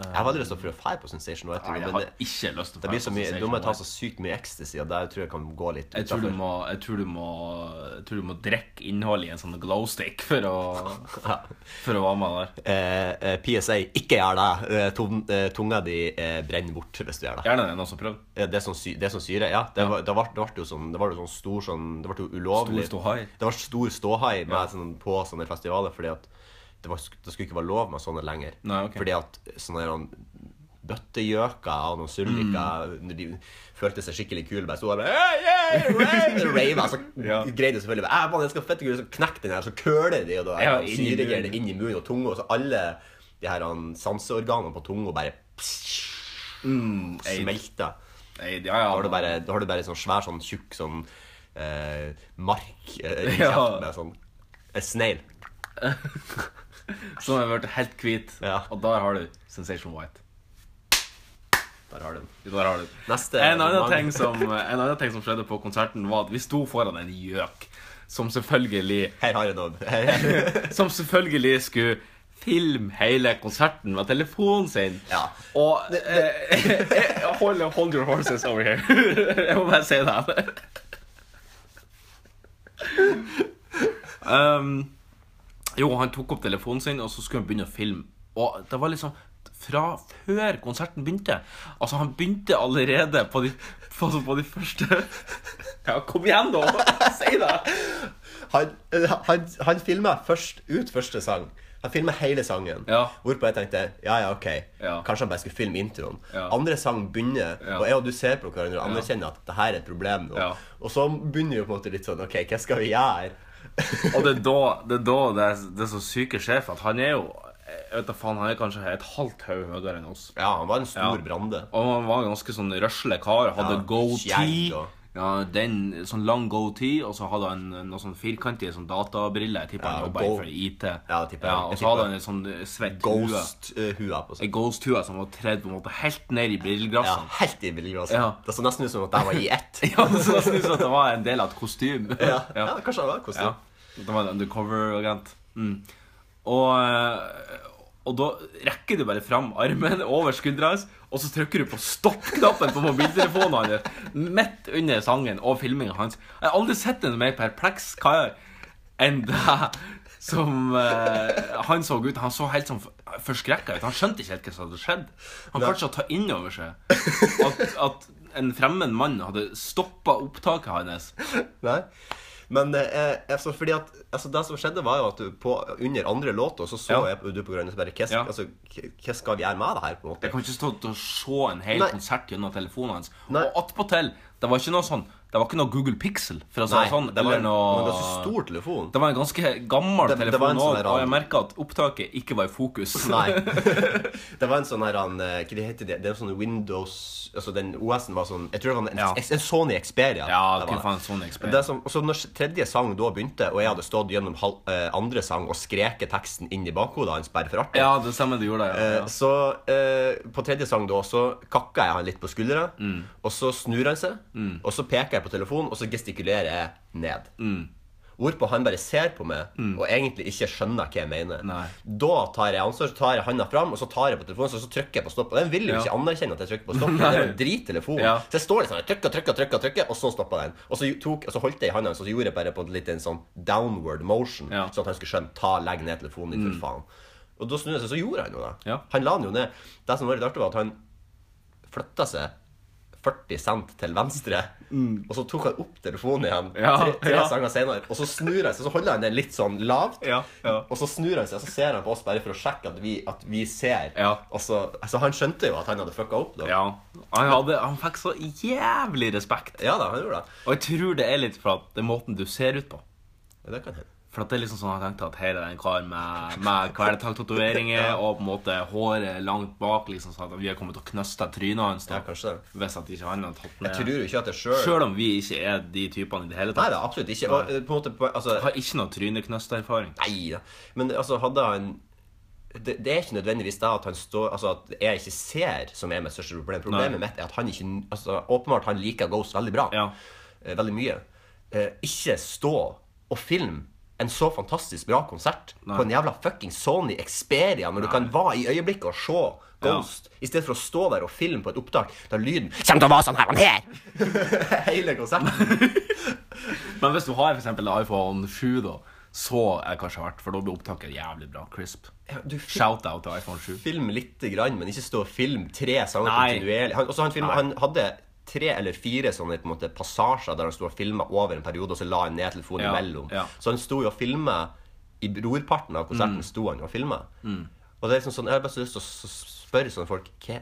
Speaker 3: Jeg har veldig lyst til å dra på Sensation White,
Speaker 2: Nei, jeg
Speaker 3: men
Speaker 2: har
Speaker 3: det,
Speaker 2: ikke lyst til å
Speaker 3: det blir så mye,
Speaker 2: Sensation
Speaker 3: da må jeg ta
Speaker 2: White.
Speaker 3: så sykt mye ecstasy, og der tror jeg kan gå litt
Speaker 2: jeg tror, du
Speaker 3: utenfor.
Speaker 2: må, jeg, tror du må, jeg tror du må drikke innholdet i en sånn glowstick for å,
Speaker 3: Ja.
Speaker 2: for å være med der.
Speaker 3: Eh, eh, PSA, ikke gjør det! Eh, tung- eh, tunga di eh, brenner bort hvis du gjør det.
Speaker 2: Gjerne det, noen som prøver.
Speaker 3: Eh, Det som, sy det som syre, ja. Det var, det var, det var jo sånn, det var jo sånn stor sånn Det ble jo ulovlig.
Speaker 2: Stor ståhai.
Speaker 3: Det var stor ståhai med, sånn, på sånne festivaler fordi at det, var, det skulle ikke være lov med sånne lenger.
Speaker 2: Nei, ok.
Speaker 3: Fordi at sånne her, bøttegjøker og noen sulliker
Speaker 2: Mm.
Speaker 3: Når de følte seg skikkelig kule, bare sto der og hey, hey, rave, rave, så
Speaker 2: Ja.
Speaker 3: altså, greide de selvfølgelig «Æ, mann, jeg skal fette, så knekk den her, så køler de, og da
Speaker 2: Ja,
Speaker 3: ja,
Speaker 2: inn i
Speaker 3: syregreier
Speaker 2: munnen.
Speaker 3: inn i munnen og tunga, og så alle de her han, sanseorganene på tunga bare
Speaker 2: ei.
Speaker 3: smelter.
Speaker 2: Nei, ja, ja,
Speaker 3: Da har du bare, da har du bare sånn svær, sånn tjukk sånn eh, mark eh, i
Speaker 2: Ja.
Speaker 3: kjeften med sånn en snegl.
Speaker 2: Som har blitt helt hvit.
Speaker 3: Ja.
Speaker 2: Og der har du Sensation White.
Speaker 3: Der har du den.
Speaker 2: Der har du den.
Speaker 3: Neste
Speaker 2: En annen,
Speaker 3: mange-
Speaker 2: ting som, en annen ting som skjedde på konserten, var at vi sto foran en gjøk som selvfølgelig
Speaker 3: Her har jeg noen. Her- her-
Speaker 2: Som selvfølgelig skulle filme hele konserten med telefonen sin.
Speaker 3: Ja.
Speaker 2: Og eh, hold, hold your horses over here. jeg må bare si det. um, jo, han tok opp telefonen sin, og så skulle han begynne å filme. Og det var liksom fra før konserten begynte. Altså, han begynte allerede på de, på, på de første Ja, kom igjen, da! Si det!
Speaker 3: Han, eh, han, han filma først, ut første sang. Han filma hele sangen.
Speaker 2: Ja.
Speaker 3: Hvorpå jeg tenkte ja, ja, ok,
Speaker 2: Ja.
Speaker 3: kanskje han bare skulle filme introen.
Speaker 2: Ja.
Speaker 3: Andre sang begynner,
Speaker 2: Ja.
Speaker 3: og jeg og du ser på hverandre og anerkjenner at det her er et problem nå.
Speaker 2: Ja.
Speaker 3: Og så begynner vi på en måte litt sånn OK, hva skal vi gjøre?
Speaker 2: Og det er da det er, da det er, det er så syke sjef at han er jo jeg vet da faen, Han er kanskje et halvt hode høyere enn oss.
Speaker 3: ja, han var en stor
Speaker 2: Ja.
Speaker 3: brande.
Speaker 2: Og han var en ganske sånn røsle kar. Hadde
Speaker 3: Ja, skjegg
Speaker 2: goatee.
Speaker 3: og-
Speaker 2: Ja, den, sånn lang goatee, og så hadde han noen sånn firkantige sånn databriller. Jeg tipper
Speaker 3: Ja,
Speaker 2: han jobba
Speaker 3: go-
Speaker 2: innenfor IT.
Speaker 3: Ja, det tipper jeg. Jeg
Speaker 2: og så hadde
Speaker 3: tipper-
Speaker 2: han en sånn svett hue.
Speaker 3: Ghost-hua eh, på seg.
Speaker 2: Ei ghost-hue som var tredd på en måte helt ned i
Speaker 3: Ja,
Speaker 2: brilleglassene.
Speaker 3: Altså, helt i billiglasset.
Speaker 2: Ja.
Speaker 3: Det så nesten ut som at jeg var i ett.
Speaker 2: Ja. så jeg synes at det var en del av et kostyme.
Speaker 3: ja. ja, kanskje det var kostyme.
Speaker 2: Ja. Det var en undercover-agent. Mm. Og, eh, og da rekker du bare fram armen over skuldra hans, og så trykker du på stopp-knappen på mobiltelefonen hans midt under sangen og filminga hans. Jeg har aldri sett en mer perpleks kar enn det som eh, han så ut. Han så helt sånn forskrekka ut. Han skjønte ikke helt hva som hadde skjedd. Han klarte ikke å ta inn over seg at, at en fremmed mann hadde stoppa opptaket hans.
Speaker 3: Nei. Men eh, altså, fordi at, altså, det som skjedde, var jo at du på, under andre låta så så
Speaker 2: Ja.
Speaker 3: jeg på- du på Grønne Sperre
Speaker 2: Ja.
Speaker 3: altså, k- Hva skal vi gjøre med det her? på en måte?
Speaker 2: Jeg kan ikke stå til å se en hel
Speaker 3: Nei.
Speaker 2: konsert gjennom telefonen hans.
Speaker 3: Nei.
Speaker 2: Og attpåtil, det var ikke noe sånn Det var ikke noe Google Pixel. For å si
Speaker 3: Nei,
Speaker 2: det sånn,
Speaker 3: det var
Speaker 2: eller
Speaker 3: en
Speaker 2: noe-
Speaker 3: men det var så stor telefon.
Speaker 2: Det var en ganske gammel
Speaker 3: Det- det var
Speaker 2: telefon
Speaker 3: en
Speaker 2: òg,
Speaker 3: sånn
Speaker 2: og
Speaker 3: der rar-
Speaker 2: jeg merka at opptaket ikke var i fokus.
Speaker 3: Nei. det var en sånn her han, eh, Hva det heter det? Det er en sånn Windows Altså den OS-en var sånn Jeg tror det var en,
Speaker 2: Ja.
Speaker 3: en, en Sony Xperia.
Speaker 2: Ja, det
Speaker 3: det var
Speaker 2: kunne faen sånn Sony Xperia.
Speaker 3: Det som, og så når tredje sang da begynte, og jeg hadde stått gjennom hal, eh, andre sang og skreket teksten inn i bakhodet hans bare for artig
Speaker 2: Ja, det stemmer, det gjorde det.
Speaker 3: Eh,
Speaker 2: Ja.
Speaker 3: Så eh, på tredje sang da Så kakka jeg han litt på skuldra
Speaker 2: Mm.
Speaker 3: Og så snur han seg Og så peker jeg på telefonen Og så gestikulerer jeg ned
Speaker 2: Mm.
Speaker 3: Hvorpå han bare ser på meg Og egentlig ikke skjønner hva jeg mener
Speaker 2: Nei.
Speaker 3: Da tar jeg ansvar Så tar jeg handa fram Og så tar jeg på telefonen Så, så trykker jeg på stopp Og den vil jo
Speaker 2: Ja.
Speaker 3: ikke anerkjenne at jeg trykker på stopp for Det er jo en drittelefon
Speaker 2: Ja.
Speaker 3: Så jeg står litt sånn Jeg trykker, trykker, trykker, trykker Og så stopper den Og så, tok, og så holdt jeg i handa hans, Og så gjorde jeg bare på en liten sånn Downward motion
Speaker 2: Ja.
Speaker 3: Sånn at han skulle skjønne Ta, legg ned telefonen din for faen Og da snur jeg seg Så gjorde han jo det
Speaker 2: Mm. Ja.
Speaker 3: han la den jo ned. Det som var litt artig, var at han flytta seg 40 cent til venstre. Og så tok han opp telefonen igjen
Speaker 2: Mm. Ja,
Speaker 3: tre, tre
Speaker 2: ja.
Speaker 3: sanger senere. Og så snur han seg, så holder han den litt sånn lavt.
Speaker 2: Ja, ja.
Speaker 3: Og så snur han seg, så ser han på oss bare for å sjekke at vi, at vi ser.
Speaker 2: Ja.
Speaker 3: Og så, altså, han skjønte jo at han hadde fucka opp. Da.
Speaker 2: ja. Han, hadde, han fikk så jævlig respekt.
Speaker 3: Ja da, han gjorde det.
Speaker 2: Og jeg tror det er litt fra at det er måten du ser ut på.
Speaker 3: Ja, Det kan hende.
Speaker 2: For at det er liksom sånn at jeg tenkte at her er det en kar med, med kvelertak-tatoveringer og på en måte håret langt bak, liksom, sånn at vi har kommet til å knøste trynet hans. da.
Speaker 3: Ja, kanskje det.
Speaker 2: Hvis at ikke han hadde tatt
Speaker 3: Jeg
Speaker 2: ned
Speaker 3: tror jo ikke at det sjøl
Speaker 2: Selv om vi ikke er de typene i det hele
Speaker 3: Nei
Speaker 2: tatt.
Speaker 3: da, absolutt ikke. Og, eh, på en måte, på, altså,
Speaker 2: Jeg har ikke noe tryneknøsterfaring.
Speaker 3: Nei da. Men altså, hadde han det, det er ikke nødvendigvis det at han står Altså at jeg ikke ser, som er mitt største problem. Problemet
Speaker 2: Nei.
Speaker 3: mitt er at han ikke altså, Åpenbart han liker Ghost veldig bra.
Speaker 2: Ja.
Speaker 3: Eh, veldig mye. Eh, ikke stå og film en så fantastisk bra konsert på en jævla fucking Sony Xperia, når du kan være i øyeblikket og se Ghost, i stedet for å stå der og filme på et opptak der lyden kommer til å være sånn her og her! Hele konserten.
Speaker 2: Men hvis du har for eksempel iPhone 7, da, så er det kanskje verdt, for da blir opptaket jævlig bra. Crisp.
Speaker 3: Ja, du fil-
Speaker 2: Shout-out til iPhone 7.
Speaker 3: Film lite grann, men ikke stå og film tre sanger
Speaker 2: Nei.
Speaker 3: kontinuerlig. Han, også han, film,
Speaker 2: Nei.
Speaker 3: han hadde tre eller fire sånne på en måte, passasjer der han sto og filma over en periode, og så la han ned telefonen
Speaker 2: Ja,
Speaker 3: imellom.
Speaker 2: ja.
Speaker 3: Så han sto jo og filma i brorparten av konserten.
Speaker 2: Mm.
Speaker 3: sto han og filmet. Og det er liksom sånn, Jeg har bare så lyst til å s- s- spørre sånne folk hva,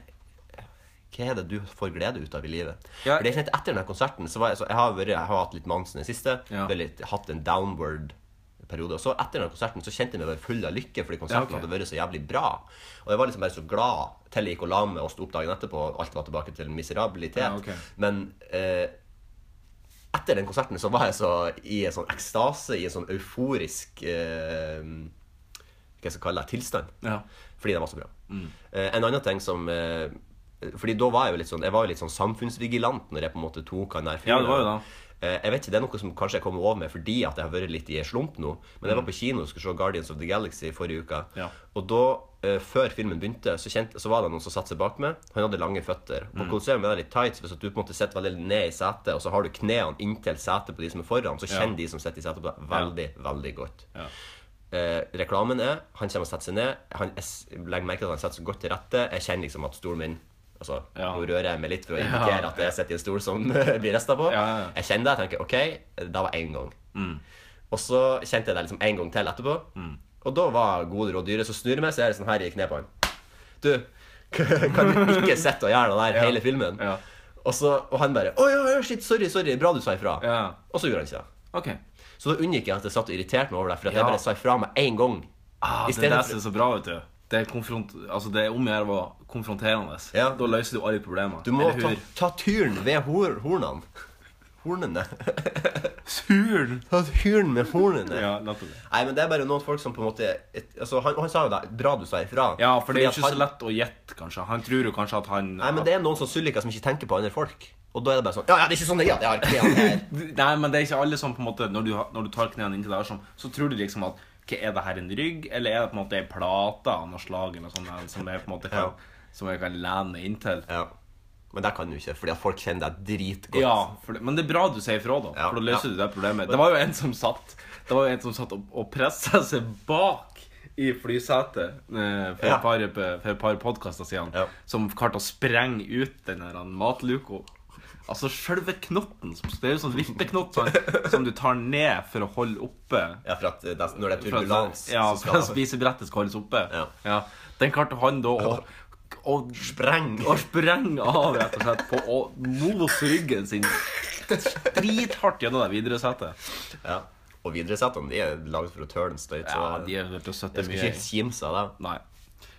Speaker 3: hva er det du får glede ut av i livet?
Speaker 2: Ja.
Speaker 3: For det er sånn at Etter denne konserten så var jeg, så jeg, har vært, jeg har hatt litt Mansen i det siste.
Speaker 2: Ja.
Speaker 3: Det er litt, hatt en downward periode. Og så etter denne konserten så kjente jeg meg bare full av lykke, fordi konserten
Speaker 2: Ja, ok.
Speaker 3: hadde vært så jævlig bra. Og jeg var liksom bare så glad til jeg gikk og la meg og sto opp dagen etterpå, og alt var tilbake til miserabilitet.
Speaker 2: Ja, ok.
Speaker 3: Men eh, etter den konserten så var jeg så i en sånn ekstase, i en sånn euforisk eh, Hva skal jeg kalle det? Tilstand.
Speaker 2: Ja. Mm.
Speaker 3: Fordi det var så bra. Eh, en annen ting som eh, Fordi da var jeg jo litt sånn Jeg var jo litt sånn samfunnsvigilant når jeg på en måte tok han der
Speaker 2: Ja, det var jo det.
Speaker 3: Eh, jeg vet ikke, Det er noe som kanskje jeg kommer over med fordi at jeg har vært litt i en slump nå. Men jeg var på kino og skulle se Guardians of the Galaxy forrige uke.
Speaker 2: Mm. Ja.
Speaker 3: Og da, eh, før filmen begynte, så, kjente, så var det noen som satte seg bak meg. Han hadde lange føtter. På
Speaker 2: Mm.
Speaker 3: Colosseum er det litt tight, så hvis at du på en måte sitter veldig ned i setet, og så har du knærne inntil setet på de som er foran, så
Speaker 2: Ja.
Speaker 3: kjenner de som sitter i setet på deg, veldig, veldig godt.
Speaker 2: Ja.
Speaker 3: Eh, reklamen er Han kommer og setter seg ned. Han, jeg s- legger merke til at han setter seg godt til rette. Jeg kjenner liksom at stolen min Altså,
Speaker 2: Ja.
Speaker 3: Nå rører jeg meg litt for å indikere at jeg sitter i en stol som blir rista på.
Speaker 2: Ja, Mm. ja, ja.
Speaker 3: Jeg kjenner det. Jeg tenker OK, det var én gang. Og så kjente jeg det liksom en gang til etterpå.
Speaker 2: Mm.
Speaker 3: Og da var gode råd dyre. Så snur jeg meg, så er det sånn her i kneet på han. Du, kan du ikke sitte og gjøre det der hele filmen?
Speaker 2: Ja.
Speaker 3: Og, så, og han bare Å ja, ja, shit, sorry, sorry. Bra du sa ifra.
Speaker 2: Ja.
Speaker 3: Og så gjorde han ikke det.
Speaker 2: OK.
Speaker 3: Så da unngikk jeg at jeg satt og irriterte meg over det, for at
Speaker 2: Ja.
Speaker 3: jeg bare sa ifra med en gang.
Speaker 2: Ah,
Speaker 3: I
Speaker 2: det
Speaker 3: stedet
Speaker 2: der
Speaker 3: for-
Speaker 2: ser så bra ut, du. Det er, konfront, altså det er om å gjøre å være konfronterende.
Speaker 3: Ja.
Speaker 2: Da løser du alle problemer.
Speaker 3: Du må
Speaker 2: Eller
Speaker 3: ta,
Speaker 2: hur?
Speaker 3: ta turen ved hor hornene. Hornene.
Speaker 2: Turen!
Speaker 3: Ta turen med hornene.
Speaker 2: Ja, nettopp.
Speaker 3: Nei, men det er bare noen folk som på en måte et, altså, han, han sa jo det. Bra du sa ifra.
Speaker 2: Ja, for det er
Speaker 3: Fordi
Speaker 2: jo ikke
Speaker 3: at
Speaker 2: så
Speaker 3: han-
Speaker 2: lett å gjette, kanskje. Han tror jo kanskje at han
Speaker 3: Nei, men det er noen som Sulika som ikke tenker på andre folk. Og da er det bare sånn Ja, ja, det er ikke sånn det er. Det er ikke det her.
Speaker 2: Nei, men det er ikke alle som på en måte Når du, har- når du tar knærne inntil der, sånn, så tror du liksom at «Ok, Er det her en rygg, eller er det på en måte ei plate av noe slag eller noe sånt der, som jeg på en måte kan,
Speaker 3: Ja.
Speaker 2: som jeg kan lene meg inntil?
Speaker 3: Ja. Men det kan du ikke, fordi at folk kjenner deg dritgodt.
Speaker 2: Ja, for det, men det er bra du sier ifra, da.
Speaker 3: Ja,
Speaker 2: For da løser
Speaker 3: ja.
Speaker 2: du det problemet. Det var jo en som satt Det var jo en som satt og, og pressa seg bak i flysetet eh, for,
Speaker 3: Ja.
Speaker 2: et par, for et par podkaster siden,
Speaker 3: Ja.
Speaker 2: som klarte å sprenge ut den der matluka. Altså selve knotten. som- Det er jo sånn vippeknott sånn, som du tar ned for å holde oppe
Speaker 3: Ja, for at eh, det, når det er
Speaker 2: for at-
Speaker 3: turbulens,
Speaker 2: Ja,
Speaker 3: så
Speaker 2: for at
Speaker 3: skal det
Speaker 2: spisebrettet skal holdes oppe.
Speaker 3: Ja.
Speaker 2: Den klarte han da å å
Speaker 3: spreng.
Speaker 2: og sprang av rett og slett på å mot ryggen sin drithardt gjennom det videre setet.
Speaker 3: Ja. Og videresettene de er laget for å turn straight,
Speaker 2: Ja,
Speaker 3: så
Speaker 2: de er nødt til å støtte
Speaker 3: jeg skal
Speaker 2: mye.
Speaker 3: ikke kimse av det.
Speaker 2: Nei.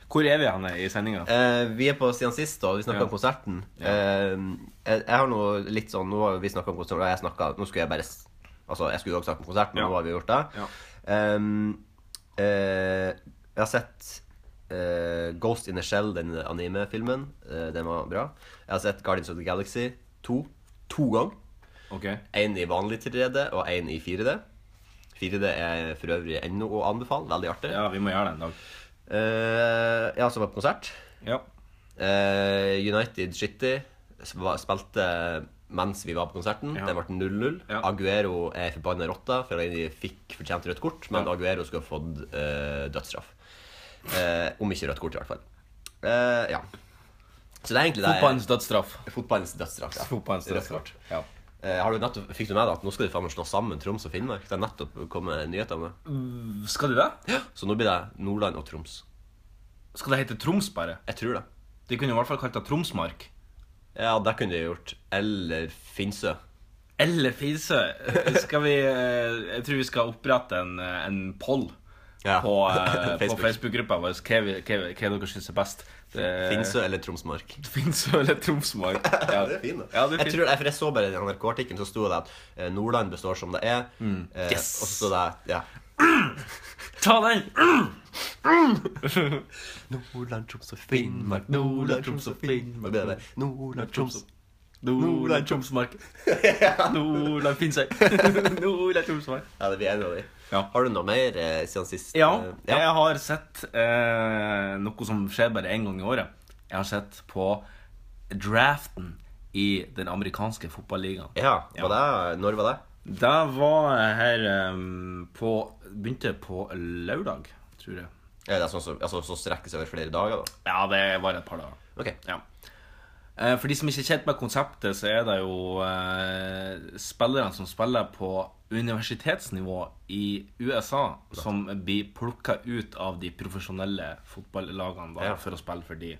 Speaker 2: Hvor er vi hen i sendinga?
Speaker 3: Eh, vi er på siden sist, og vi snakker
Speaker 2: Ja.
Speaker 3: om konserten. Eh, jeg, jeg har noe litt sånn, Nå har vi snakket om konserten, og jeg snakket, nå skulle jeg bare s- Altså, jeg skulle jo også snakke om konserten, men
Speaker 2: Ja.
Speaker 3: nå har vi gjort det.
Speaker 2: Ja.
Speaker 3: Eh, eh, jeg har sett eh, Ghost in the Shell, den anime-filmen. Eh, den var bra. Jeg har sett Guardians of the Galaxy 2 to ganger.
Speaker 2: Ok.
Speaker 3: Én i vanlig 3D og én i 4D. 4D er for øvrig ennå å anbefale. Veldig artig.
Speaker 2: Ja, vi må gjøre det en dag.
Speaker 3: Eh, jeg har også vært på konsert.
Speaker 2: Ja.
Speaker 3: Eh, United Shitty sp- spilte mens vi var på konserten.
Speaker 2: Ja.
Speaker 3: Det ble 0-0.
Speaker 2: Ja.
Speaker 3: Aguero er forbanna rotta, for han fikk fortjent rødt kort, men
Speaker 2: Ja.
Speaker 3: Aguero skulle ha fått eh, dødsstraff. Eh, om ikke rødt kort, i hvert fall. Eh, ja. Så det er egentlig det
Speaker 2: Fotballens dødsstraff.
Speaker 3: Fotballens dødsstraff. Ja.
Speaker 2: Fotballens
Speaker 3: Rødt
Speaker 2: dødsstraff.
Speaker 3: kort.
Speaker 2: Ja.
Speaker 3: Eh, har du nettopp, fikk du med deg at nå skal de faen meg slå sammen Troms og Finnmark? Det er nettopp kommet nyheter om det.
Speaker 2: Skal du det?
Speaker 3: Så nå blir det Nordland og Troms.
Speaker 2: Skal det hete Troms bare?
Speaker 3: Jeg tror det.
Speaker 2: De kunne i hvert fall kalt det Tromsmark.
Speaker 3: Ja, det kunne de gjort. Eller Finnsø.
Speaker 2: Eller Finnsø. Skal vi eh, Jeg tror vi skal opprette en, eh, en poll
Speaker 3: Ja.
Speaker 2: på, eh, på
Speaker 3: Facebook.
Speaker 2: Facebook-gruppa vår. Hva, vi- hva, vi- hva dere syns er best. Det-
Speaker 3: Finnsø eller Tromsmark.
Speaker 2: Finnsø eller Tromsmark. Ja, Ja, det er
Speaker 3: jeg,
Speaker 2: fint.
Speaker 3: tror, jeg, for jeg så bare i NRK-artikkelen så sto det at eh, Nordland består som det er. Eh,
Speaker 2: Mm. Yes!
Speaker 3: Og så sto det ja.
Speaker 2: Ta den!
Speaker 3: Nordland, Troms og Finnmark, Nordland, Troms og Finnmark Det er det. Nordland, Troms
Speaker 2: Nordland, Tromsmark. Nordland, Finnsøy. Nordland, Tromsmark.
Speaker 3: Ja, det blir en av de.
Speaker 2: Ja.
Speaker 3: Har du noe mer eh, siden sist?
Speaker 2: Ja,
Speaker 3: Eh,
Speaker 2: jeg har sett eh, noe som skjer bare én gang i året. Jeg har sett på draften i den amerikanske fotballigaen.
Speaker 3: ja. Var det, når var det?
Speaker 2: Det var her eh, på Begynte på lørdag, tror jeg.
Speaker 3: Er det sånn som altså, så strekker seg over flere dager, da?
Speaker 2: Ja, det var et par dager.
Speaker 3: Ok.
Speaker 2: Ja. Eh, For de som ikke er kjent med konseptet, så er det jo eh, spillere som spiller på universitetsnivå i USA, som blir plukka ut av de profesjonelle fotballagene da,
Speaker 3: Ja.
Speaker 2: for å spille for de.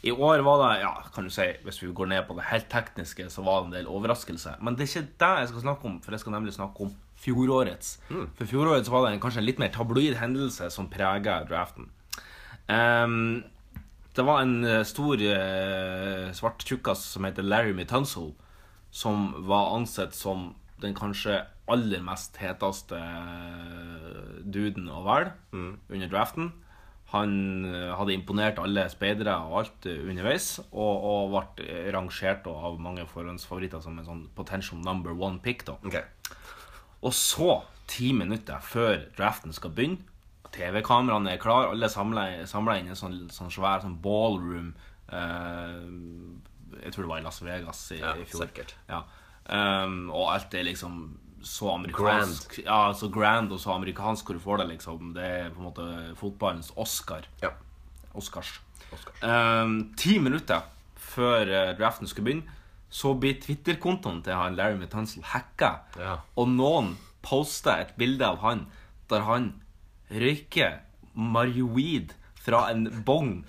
Speaker 2: I år var det, ja, kan du si, hvis vi går ned på det helt tekniske, så var det en del overraskelse. Men det er ikke det jeg skal snakke om, for jeg skal nemlig snakke om fjorårets. For fjorårets var det en, kanskje en litt mer tabloid hendelse som prega draften. Ehm, det var en eh, stor eh, svart tjukkas som heter Larry Mitunzel, som var ansett som den kanskje aller mest heteste eh, duden å velge under draften. Han eh, hadde imponert alle speidere og alt eh, underveis, og, og ble eh, rangert da av mange forhåndsfavoritter som en sånn potential number one pick. da.
Speaker 3: Ok.
Speaker 2: Og så, ti minutter før draften skal begynne, TV-kameraene er klar, alle samler samler inn i en sånn, sånn svær sånn ballroom eh, Jeg tror det var i Las Vegas i,
Speaker 3: Ja,
Speaker 2: i fjor.
Speaker 3: sikkert.
Speaker 2: Ja. Ehm, og alt er liksom så amerikansk Ja, så grand og så amerikansk hvor du får det, liksom. Det er på en måte fotballens Oscar.
Speaker 3: Ja.
Speaker 2: Eh, Oscars.
Speaker 3: Oscars.
Speaker 2: Ehm, ti minutter før eh, draften skulle begynne, så blir Twitter-kontoen til han Larry Mutansel hacka.
Speaker 3: Ja.
Speaker 2: Og noen poster et bilde av han der han røyker marioweed fra en bong.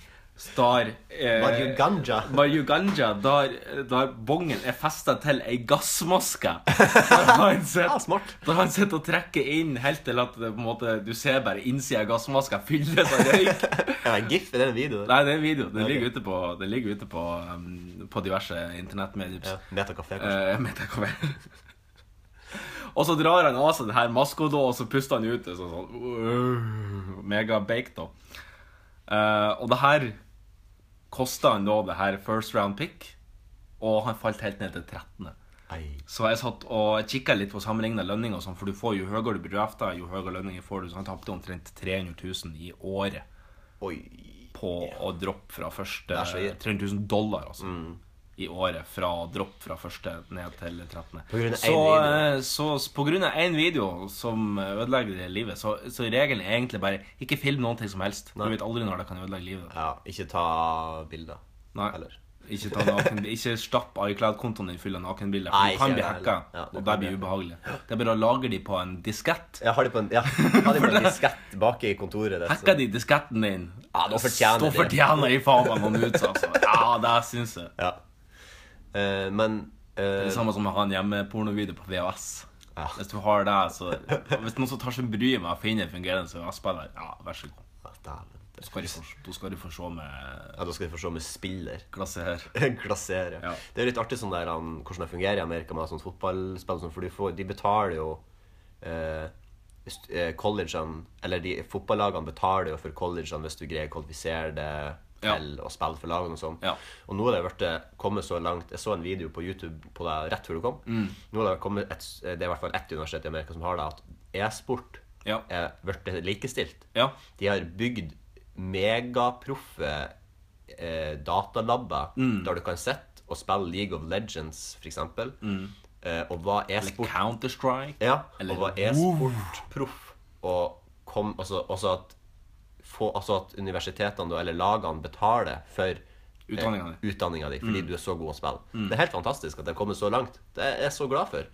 Speaker 2: Der eh,
Speaker 3: Mario Ganja.
Speaker 2: Mario Ganja, der, der bongen er festa til ei gassmaske. Der han
Speaker 3: Ja,
Speaker 2: sitter
Speaker 3: smart.
Speaker 2: der han sitter og trekker inn helt til at det, på en måte, du ser bare innsida av gassmaska fylles av røyk.
Speaker 3: Er det en gif? Er det en video?
Speaker 2: Nei, det er en video. Den
Speaker 3: Ok.
Speaker 2: ligger ute på, den ligger ute på, um, på diverse internettmedier.
Speaker 3: Ja. Metakafé, kanskje.
Speaker 2: Eh, men det kommer. og så drar han av seg den her maska, da, og så puster han ut det sånn, sånn uh, Mega baked, da. Eh, og det her kosta han da det her first round pick, og han falt helt ned til 13.
Speaker 3: Ei.
Speaker 2: Så jeg satt og kikka litt på sammenligna lønninger, og sånn, for du får jo høyere du blir drafta, jo høyere lønninger får du. Så han tapte omtrent 300 000 i året
Speaker 3: Oi.
Speaker 2: på å droppe fra første
Speaker 3: er så Mm. ille.
Speaker 2: 300 000 dollar, altså. I året fra å droppe fra første ned til 13.
Speaker 3: På grunn av
Speaker 2: så,
Speaker 3: en video.
Speaker 2: eh, så s- på grunn av én video som ødelegger det livet, så, så regelen er egentlig bare ikke film noen ting som helst. Du vet aldri når det kan ødelegge livet.
Speaker 3: Ja, ikke ta bilder.
Speaker 2: Nei.
Speaker 3: Eller.
Speaker 2: Ikke, ta naken, ikke stapp iCloud-kontoen din full av nakenbilder.
Speaker 3: Nei,
Speaker 2: For du kan
Speaker 3: ikke
Speaker 2: bli
Speaker 3: jeg
Speaker 2: hacka,
Speaker 3: heller. Ja, du
Speaker 2: og
Speaker 3: kan
Speaker 2: det blir
Speaker 3: bli-
Speaker 2: ubehagelig. Det er bare å lagre de på en diskett.
Speaker 3: Jeg har de på en, ja, jeg har de på en diskett bak i kontoret. ditt, så-
Speaker 2: Hacka de disketten din.
Speaker 3: Ja, da fortjener
Speaker 2: da
Speaker 3: de.
Speaker 2: fortjener de faen meg noen ut, altså. Ja, det syns jeg.
Speaker 3: Ja. Eh, men
Speaker 2: Det
Speaker 3: eh,
Speaker 2: er det samme som å ha en hjemmepornovideo på VHS.
Speaker 3: Ja.
Speaker 2: Hvis du har det, så Hvis noen som tar seg bryet med å finne en fungerende VHS-spiller, ja, vær så god.
Speaker 3: ja, Ah, dæven.
Speaker 2: Da skal de få, da skal de få se med
Speaker 3: Ja, da skal vi få se med spiller.
Speaker 2: glasset her.
Speaker 3: Glasere.
Speaker 2: Ja.
Speaker 3: Det er jo litt artig sånn der, um, hvordan det fungerer i Amerika med sånn fotballspill, og sånn, for du får, de betaler jo eh, st- eh, collegene Eller de fotballagene betaler jo for collegene hvis du greier å kvalifisere det
Speaker 2: Ja.
Speaker 3: til å spille for lagene og sånn.
Speaker 2: Ja.
Speaker 3: Og nå har det vært eh, kommet så langt Jeg så en video på YouTube på deg rett før du kom.
Speaker 2: Mm.
Speaker 3: Nå har det kommet et, eh, Det er i hvert fall ett universitet i Amerika som har det, at e-sport
Speaker 2: Ja.
Speaker 3: er blitt likestilt.
Speaker 2: Ja.
Speaker 3: De har bygd megaproffe eh, datalabber
Speaker 2: Mm.
Speaker 3: der du kan sitte og spille League of Legends, f.eks. eksempel Eh, og
Speaker 2: Mm.
Speaker 3: hva
Speaker 2: Eller
Speaker 3: e-sport
Speaker 2: Counter-Strike.
Speaker 3: ja,
Speaker 2: eller
Speaker 3: og hva e-sport-proff og kom Altså, altså at få, altså at universitetene da, eller lagene betaler for eh,
Speaker 2: Utdanninga di.
Speaker 3: utdanninga di
Speaker 2: Mm.
Speaker 3: fordi du er så god å spille. Det er helt fantastisk at det har kommet så langt. Det er jeg så glad for.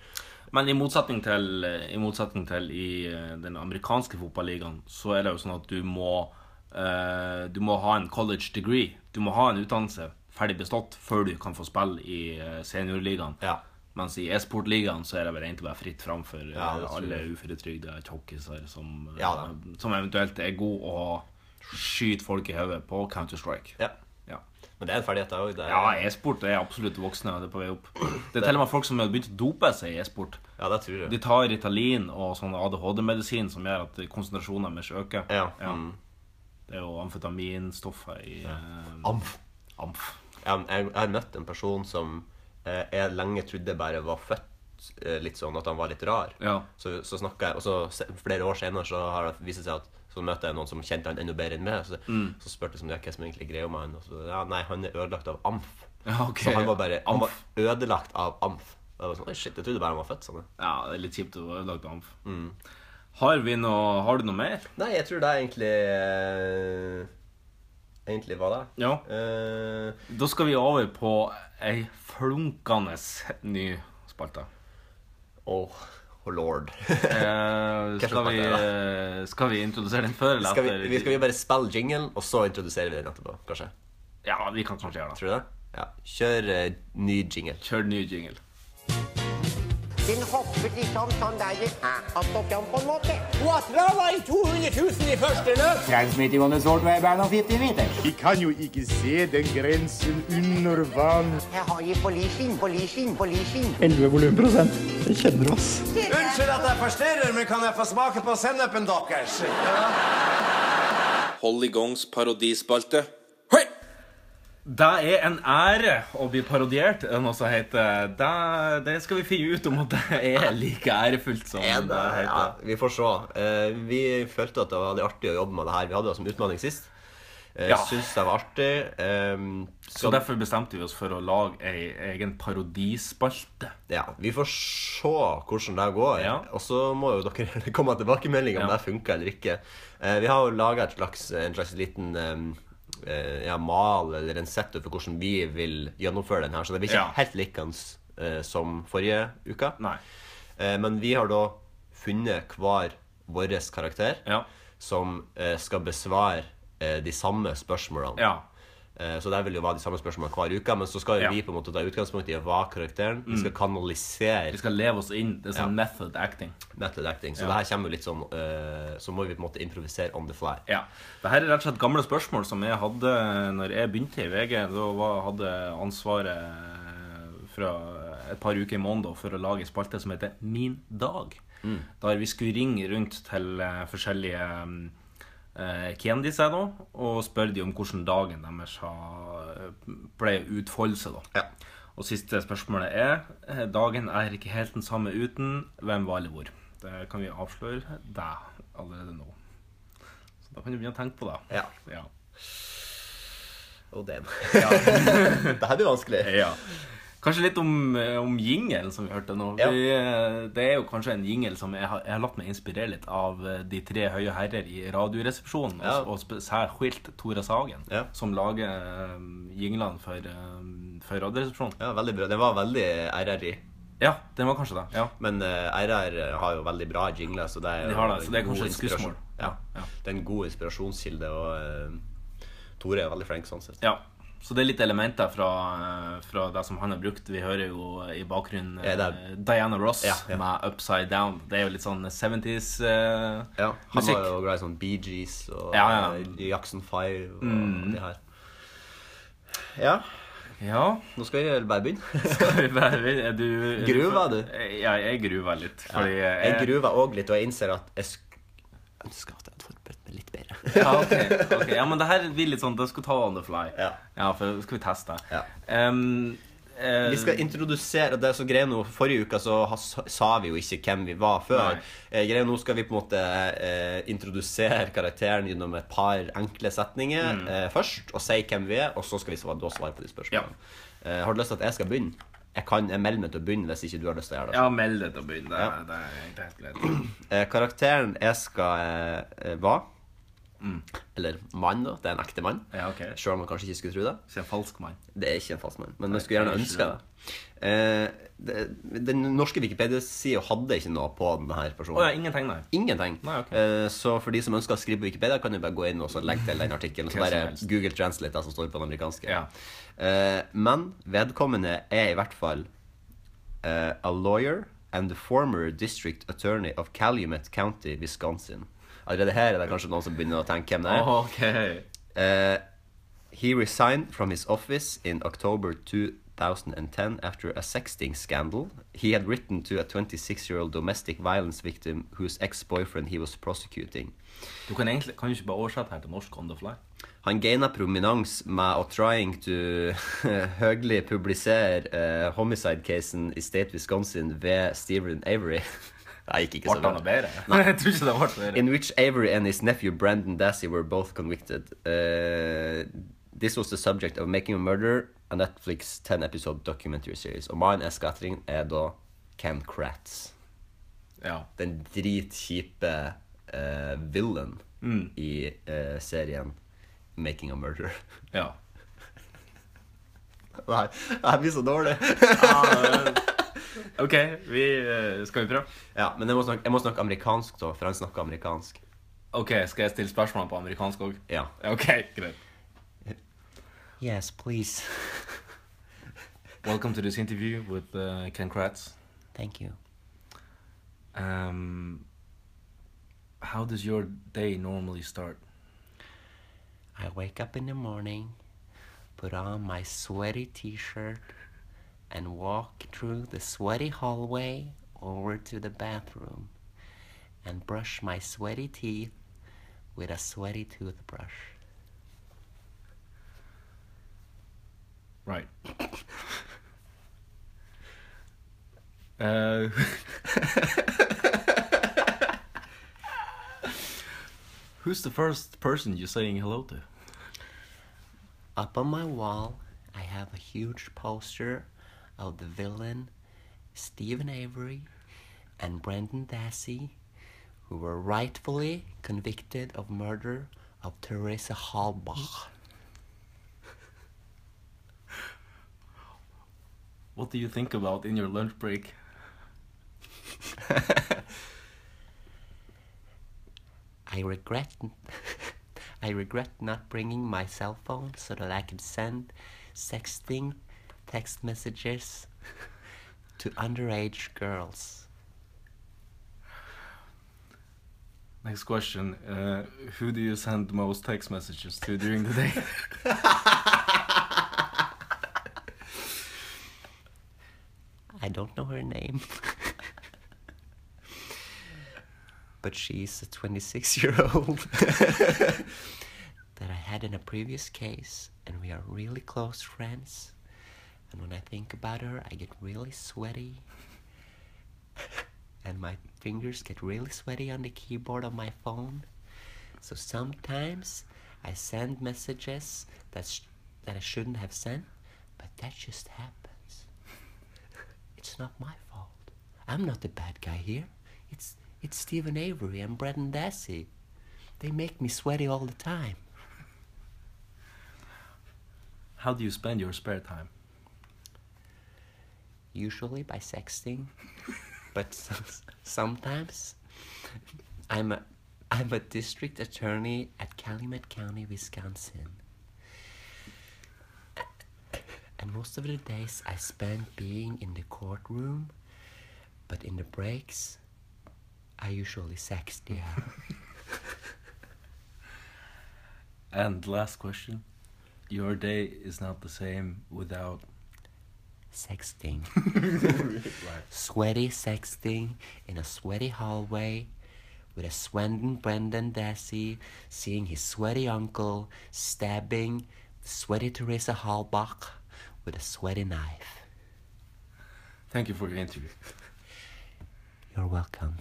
Speaker 2: Men i motsetning til i, motsetning til i eh, den amerikanske fotballigaen, så er det jo sånn at du må eh, Du må ha en college degree. Du må ha en utdannelse ferdig bestått før du kan få spille i eh, seniorligaen.
Speaker 3: Ja.
Speaker 2: Mens i e-sportligaen så er det vel egentlig bare fritt fram for eh,
Speaker 3: Ja, det tror
Speaker 2: alle
Speaker 3: jeg.
Speaker 2: uføretrygda tjokkiser som, eh,
Speaker 3: Ja da.
Speaker 2: som eventuelt er gode å skyte folk i hodet på Counter-Strike.
Speaker 3: ja.
Speaker 2: Ja.
Speaker 3: Men det er en ferdighet, det òg. Det, er-
Speaker 2: Ja, e-sport er absolutt voksne. og Det er på vei opp. Det er til og med folk som har begynt å dope seg i e-sport.
Speaker 3: ja, det tror jeg.
Speaker 2: De tar Ritalin og sånn ADHD-medisin som gjør at konsentrasjonen deres øker.
Speaker 3: Ja, mm.
Speaker 2: Det er jo amfetaminstoffer i eh,
Speaker 3: Amf.
Speaker 2: amf.
Speaker 3: jeg, jeg, jeg har møtt en person som eh, jeg lenge trodde bare var født eh, litt sånn at han var litt rar.
Speaker 2: Ja.
Speaker 3: Så, så snakket jeg, og så se- flere år senere så har det vist seg at så møtte jeg noen som kjente han enda bedre enn meg. Så,
Speaker 2: Mm.
Speaker 3: så spurte jeg som, ja, hva som egentlig greier med han. Og så, ja, nei, han er ødelagt av amf.
Speaker 2: Ja, ok.
Speaker 3: Så han var bare han
Speaker 2: Amf.
Speaker 3: var ødelagt av amf. Og Jeg var sånn, Oi, shit, jeg trodde bare han var født sånn. jeg.
Speaker 2: Ja, det er litt kjipt å ha ødelagt amf.
Speaker 3: Mm.
Speaker 2: Har, vi noe, har du noe mer?
Speaker 3: Nei, jeg tror det er egentlig eh, Egentlig var det.
Speaker 2: Ja.
Speaker 3: Eh,
Speaker 2: Da skal vi over på ei flunkende ny spalte.
Speaker 3: oh, oh lord.
Speaker 2: Eh, skal,
Speaker 3: slags
Speaker 2: vi, eh,
Speaker 3: spalte
Speaker 2: skal vi introdusere den før eller
Speaker 3: Skal vi,
Speaker 2: etter?
Speaker 3: vi- skal vi bare spille jinglen, og så introduserer vi den etterpå? kanskje?
Speaker 2: Ja, vi kan kanskje gjøre det.
Speaker 3: Tror du det? Ja. Kjør eh, ny jingle.
Speaker 2: Kjør ny jingle.
Speaker 5: Den hopper liksom sånn der i hæt opp igjen på en måte. Watra var i 200 000 i første løp.
Speaker 6: Transmitting on the short wave band of 50 meters.
Speaker 7: Vi kan jo ikke se den grensen under vann.
Speaker 5: Jeg har gitt på leasing, på leasing, på leasing.
Speaker 8: Unnskyld at jeg forstyrrer, men kan jeg få smake på sennepen deres?
Speaker 2: Hollygongs parodispalte. Hei! Det er en ære å bli parodiert. Det er noe som heter Det, det skal vi finne ut om at det er like ærefullt som det
Speaker 3: ja,
Speaker 2: heter.
Speaker 3: vi får se. Eh, vi følte at det var litt artig å jobbe med det her. Vi hadde det som utfordring sist. Uh,
Speaker 2: Ja.
Speaker 3: Syns det var artig. eh,
Speaker 2: Så derfor bestemte vi oss for å lage ei egen parodispalte.
Speaker 3: ja, Vi får se hvordan det går.
Speaker 2: Ja.
Speaker 3: Og så må jo dere komme med tilbakemelding om
Speaker 2: Ja.
Speaker 3: det funker eller ikke. Eh, vi har jo laga et slags, en slags liten eh, eh, ja, mal eller en setup for hvordan vi vil gjennomføre den her. Så det blir ikke
Speaker 2: Ja.
Speaker 3: helt likende som forrige uke.
Speaker 2: Nei.
Speaker 3: Eh, Men vi har da funnet hver vår karakter
Speaker 2: Ja.
Speaker 3: som eh, skal besvare eh, de samme spørsmålene.
Speaker 2: Ja.
Speaker 3: Eh, Så det vil jo være de samme spørsmålene hver uke, men så skal jo
Speaker 2: Ja. Mm.
Speaker 3: vi på en måte ta utgangspunkt i hva karakteren Vi skal kanalisere
Speaker 2: Vi skal leve oss inn. Det er sånn
Speaker 3: Ja.
Speaker 2: method acting.
Speaker 3: method acting.
Speaker 2: Ja.
Speaker 3: Så det her kommer jo litt sånn eh, Så må vi på en måte improvisere on the fly.
Speaker 2: Ja. Dette er rett og slett gamle spørsmål som jeg hadde når jeg begynte i VG. Da var, hadde jeg ansvaret fra et par uker i måneden for å lage en spalte som heter Min dag. Der vi skulle ringe rundt til eh, forskjellige eh, kjendiser da, og spørre dem om hvordan dagen deres har pleier å utfolde seg. da. Og siste spørsmålet er eh, Dagen er ikke helt den samme uten hvem var eller hvor. Det kan vi avsløre deg allerede nå. Så da kan du begynne å tenke på det.
Speaker 3: Ja.
Speaker 2: Ja.
Speaker 3: Oh, damn. det her blir vanskelig.
Speaker 2: ja. Kanskje litt om, eh, om jingle, som vi hørte nå. Vi, eh, det er jo kanskje en jingle som jeg har, jeg har latt meg inspirere litt av eh, de tre høye herrer i Radioresepsjonen,
Speaker 3: Ja.
Speaker 2: og, og spe- særskilt Tore Sagen,
Speaker 3: Ja.
Speaker 2: som lager eh, jinglene for, eh, for Radioresepsjonen.
Speaker 3: Ja, veldig bra. Det var veldig RRI.
Speaker 2: Ja, den var kanskje det. Ja.
Speaker 3: Men eh, RR har jo veldig bra jingler, så det er, jo
Speaker 2: De har det, så det er
Speaker 3: en god
Speaker 2: kanskje et
Speaker 3: inspirasjon.
Speaker 2: skussmål.
Speaker 3: Ja.
Speaker 2: Ja, ja.
Speaker 3: Det er en god inspirasjonskilde, og eh, Tore er veldig flink sånn sett.
Speaker 2: ja. Så det er litt elementer fra, eh, fra det som han har brukt. Vi hører jo eh, i bakgrunnen eh,
Speaker 3: Ja, det
Speaker 2: Diana Ross
Speaker 3: Ja, ja.
Speaker 2: med 'Upside Down'. Det er jo litt sånn 70s eh,
Speaker 3: Ja, han
Speaker 2: musikk.
Speaker 3: var jo glad i sånn Bee Gees og
Speaker 2: Ja, Mm. ja.
Speaker 3: eh, Jackson 5 og de her. Ja,
Speaker 2: Ja.
Speaker 3: nå skal jeg bare begynne.
Speaker 2: Skal vi bare er du, er
Speaker 3: Gruver du?
Speaker 2: Ja, jeg gruver litt. Fordi
Speaker 3: Jeg gruver òg litt, og jeg innser at jeg sk- ønsker at jeg hadde forberedt meg litt bedre.
Speaker 2: Ja, ok, ok. ja, men det her blir litt sånn Det skal ta on the fly.
Speaker 3: Ja.
Speaker 2: for skal vi teste.
Speaker 3: Ja.
Speaker 2: Em, eh,
Speaker 3: Vi skal introdusere det som greier nå Forrige uke så ha- sa vi jo ikke hvem vi var før.
Speaker 2: Nei.
Speaker 3: Eh, Greier nå skal vi på en måte eh, introdusere karakteren gjennom et par enkle setninger eh, først, og si hvem vi er, og så skal vi svare, da svare på de spørsmålene. Eh, har du lyst til at jeg skal begynne? Jeg kan jeg melder meg til å begynne hvis ikke du har lyst til å gjøre det.
Speaker 2: Ja, meld deg til å begynne. Det,
Speaker 3: Ja.
Speaker 2: det er egentlig helt greit.
Speaker 3: Eh, karakteren jeg skal eh, eh, være Mm. Eller mann, da. Det er en ekte mann.
Speaker 2: Ja, ok.
Speaker 3: Selv om man kanskje ikke skulle tro det.
Speaker 2: Ikke en falsk mann.
Speaker 3: Det er ikke en fast mann, men jeg skulle
Speaker 2: det
Speaker 3: gjerne
Speaker 2: er
Speaker 3: ønske
Speaker 2: ikke
Speaker 3: det. Eh, det- Den norske Wikipedia-sida hadde ikke noe på denne personen.
Speaker 2: Å ja, ingenting, nei.
Speaker 3: Ingenting.
Speaker 2: Nei, ok.
Speaker 3: Eh, Så for de som ønsker å skrive på Wikipedia, kan jo bare gå inn og så legge til den artikkelen. og Så
Speaker 2: Hva som
Speaker 3: bare
Speaker 2: helst.
Speaker 3: Google translate det som står på den amerikanske.
Speaker 2: Ja.
Speaker 3: Eh, Men vedkommende er i hvert fall eh, a lawyer and the former district attorney of Calumet County, Wisconsin. Allerede her er det kanskje noen som begynner å tenke hvem det er.
Speaker 2: Ok.
Speaker 3: Uh, he resigned from his office in October 2010 after a sexting scandal. He had written to a 26 year old domestic violence victim whose ex boyfriend he was prosecuting.
Speaker 2: Du kan egentlig kan du ikke bare oversette her til norsk on the fly?
Speaker 3: Han gaina prominens med å trying to høylig publisere eh, homicide-casen i State Wisconsin ved Steven Avery. Det gikk ikke
Speaker 2: Ble
Speaker 3: så
Speaker 2: det
Speaker 3: bra.
Speaker 2: noe bedre? Nei, jeg tror ikke det ble bedre.
Speaker 3: in which Avery and his nephew Brandon Dassey were both convicted. Uh, this was the subject of Making a Murder, a Netflix 10-episode documentary series. Og mine er skattering er da Ken Kratz.
Speaker 2: Ja.
Speaker 3: Den dritkjipe eh, villain i eh, serien Making a Murder.
Speaker 2: ja.
Speaker 3: Nei, jeg blir så dårlig.
Speaker 2: OK, vi eh, Skal vi prøve?
Speaker 3: ja, men jeg må, snakke, jeg må snakke amerikansk, da, for han snakker amerikansk.
Speaker 2: OK, skal jeg stille spørsmål på amerikansk òg?
Speaker 3: Ja.
Speaker 2: OK, greit.
Speaker 3: Yes, please.
Speaker 2: Welcome to this interview with uh, Ken Kratz.
Speaker 3: Thank you.
Speaker 2: Um, how does your day normally start?
Speaker 3: I wake up in the morning, put on my sweaty t shirt, and walk through the sweaty hallway over to the bathroom and brush my sweaty teeth with a sweaty toothbrush.
Speaker 2: Right. uh, who's the first person you're saying hello to?
Speaker 3: Up on my wall, I have a huge poster of the villain Stephen Avery and Brandon Dassey, who were rightfully convicted of murder of Teresa Halbach.
Speaker 2: What do you think about in your lunch break?
Speaker 3: I regret I regret not bringing my cell phone so that I can send sexting text messages to underage girls.
Speaker 2: Next question. Uh, who do you send most text messages to during the day?
Speaker 3: I don't know her name. but she's a 26 year old that I had in a previous case, and we are really close friends. And when I think about her, I get really sweaty. and my fingers get really sweaty on the keyboard of my phone. So sometimes I send messages that, sh- that I shouldn't have sent, but that just happens.
Speaker 8: It's not my fault. I'm not the bad guy here. It's, it's Stephen Avery and Brendan Dassey. They make me sweaty all the time.
Speaker 2: How do you spend your spare time?
Speaker 8: usually by sexting, but some, sometimes I'm a, I'm a district attorney at Calumet County, Wisconsin. And most of the days I spend being in the courtroom, but in the breaks, I usually sext, yeah.
Speaker 2: And last question. Your day is not the same without
Speaker 8: sexting. Sweaty sexting in a sweaty hallway with a Swendon Brendan Dassey seeing his sweaty uncle stabbing sweaty Teresa Halbach with a sweaty knife.
Speaker 2: Thank you for your interview.
Speaker 8: You're welcome.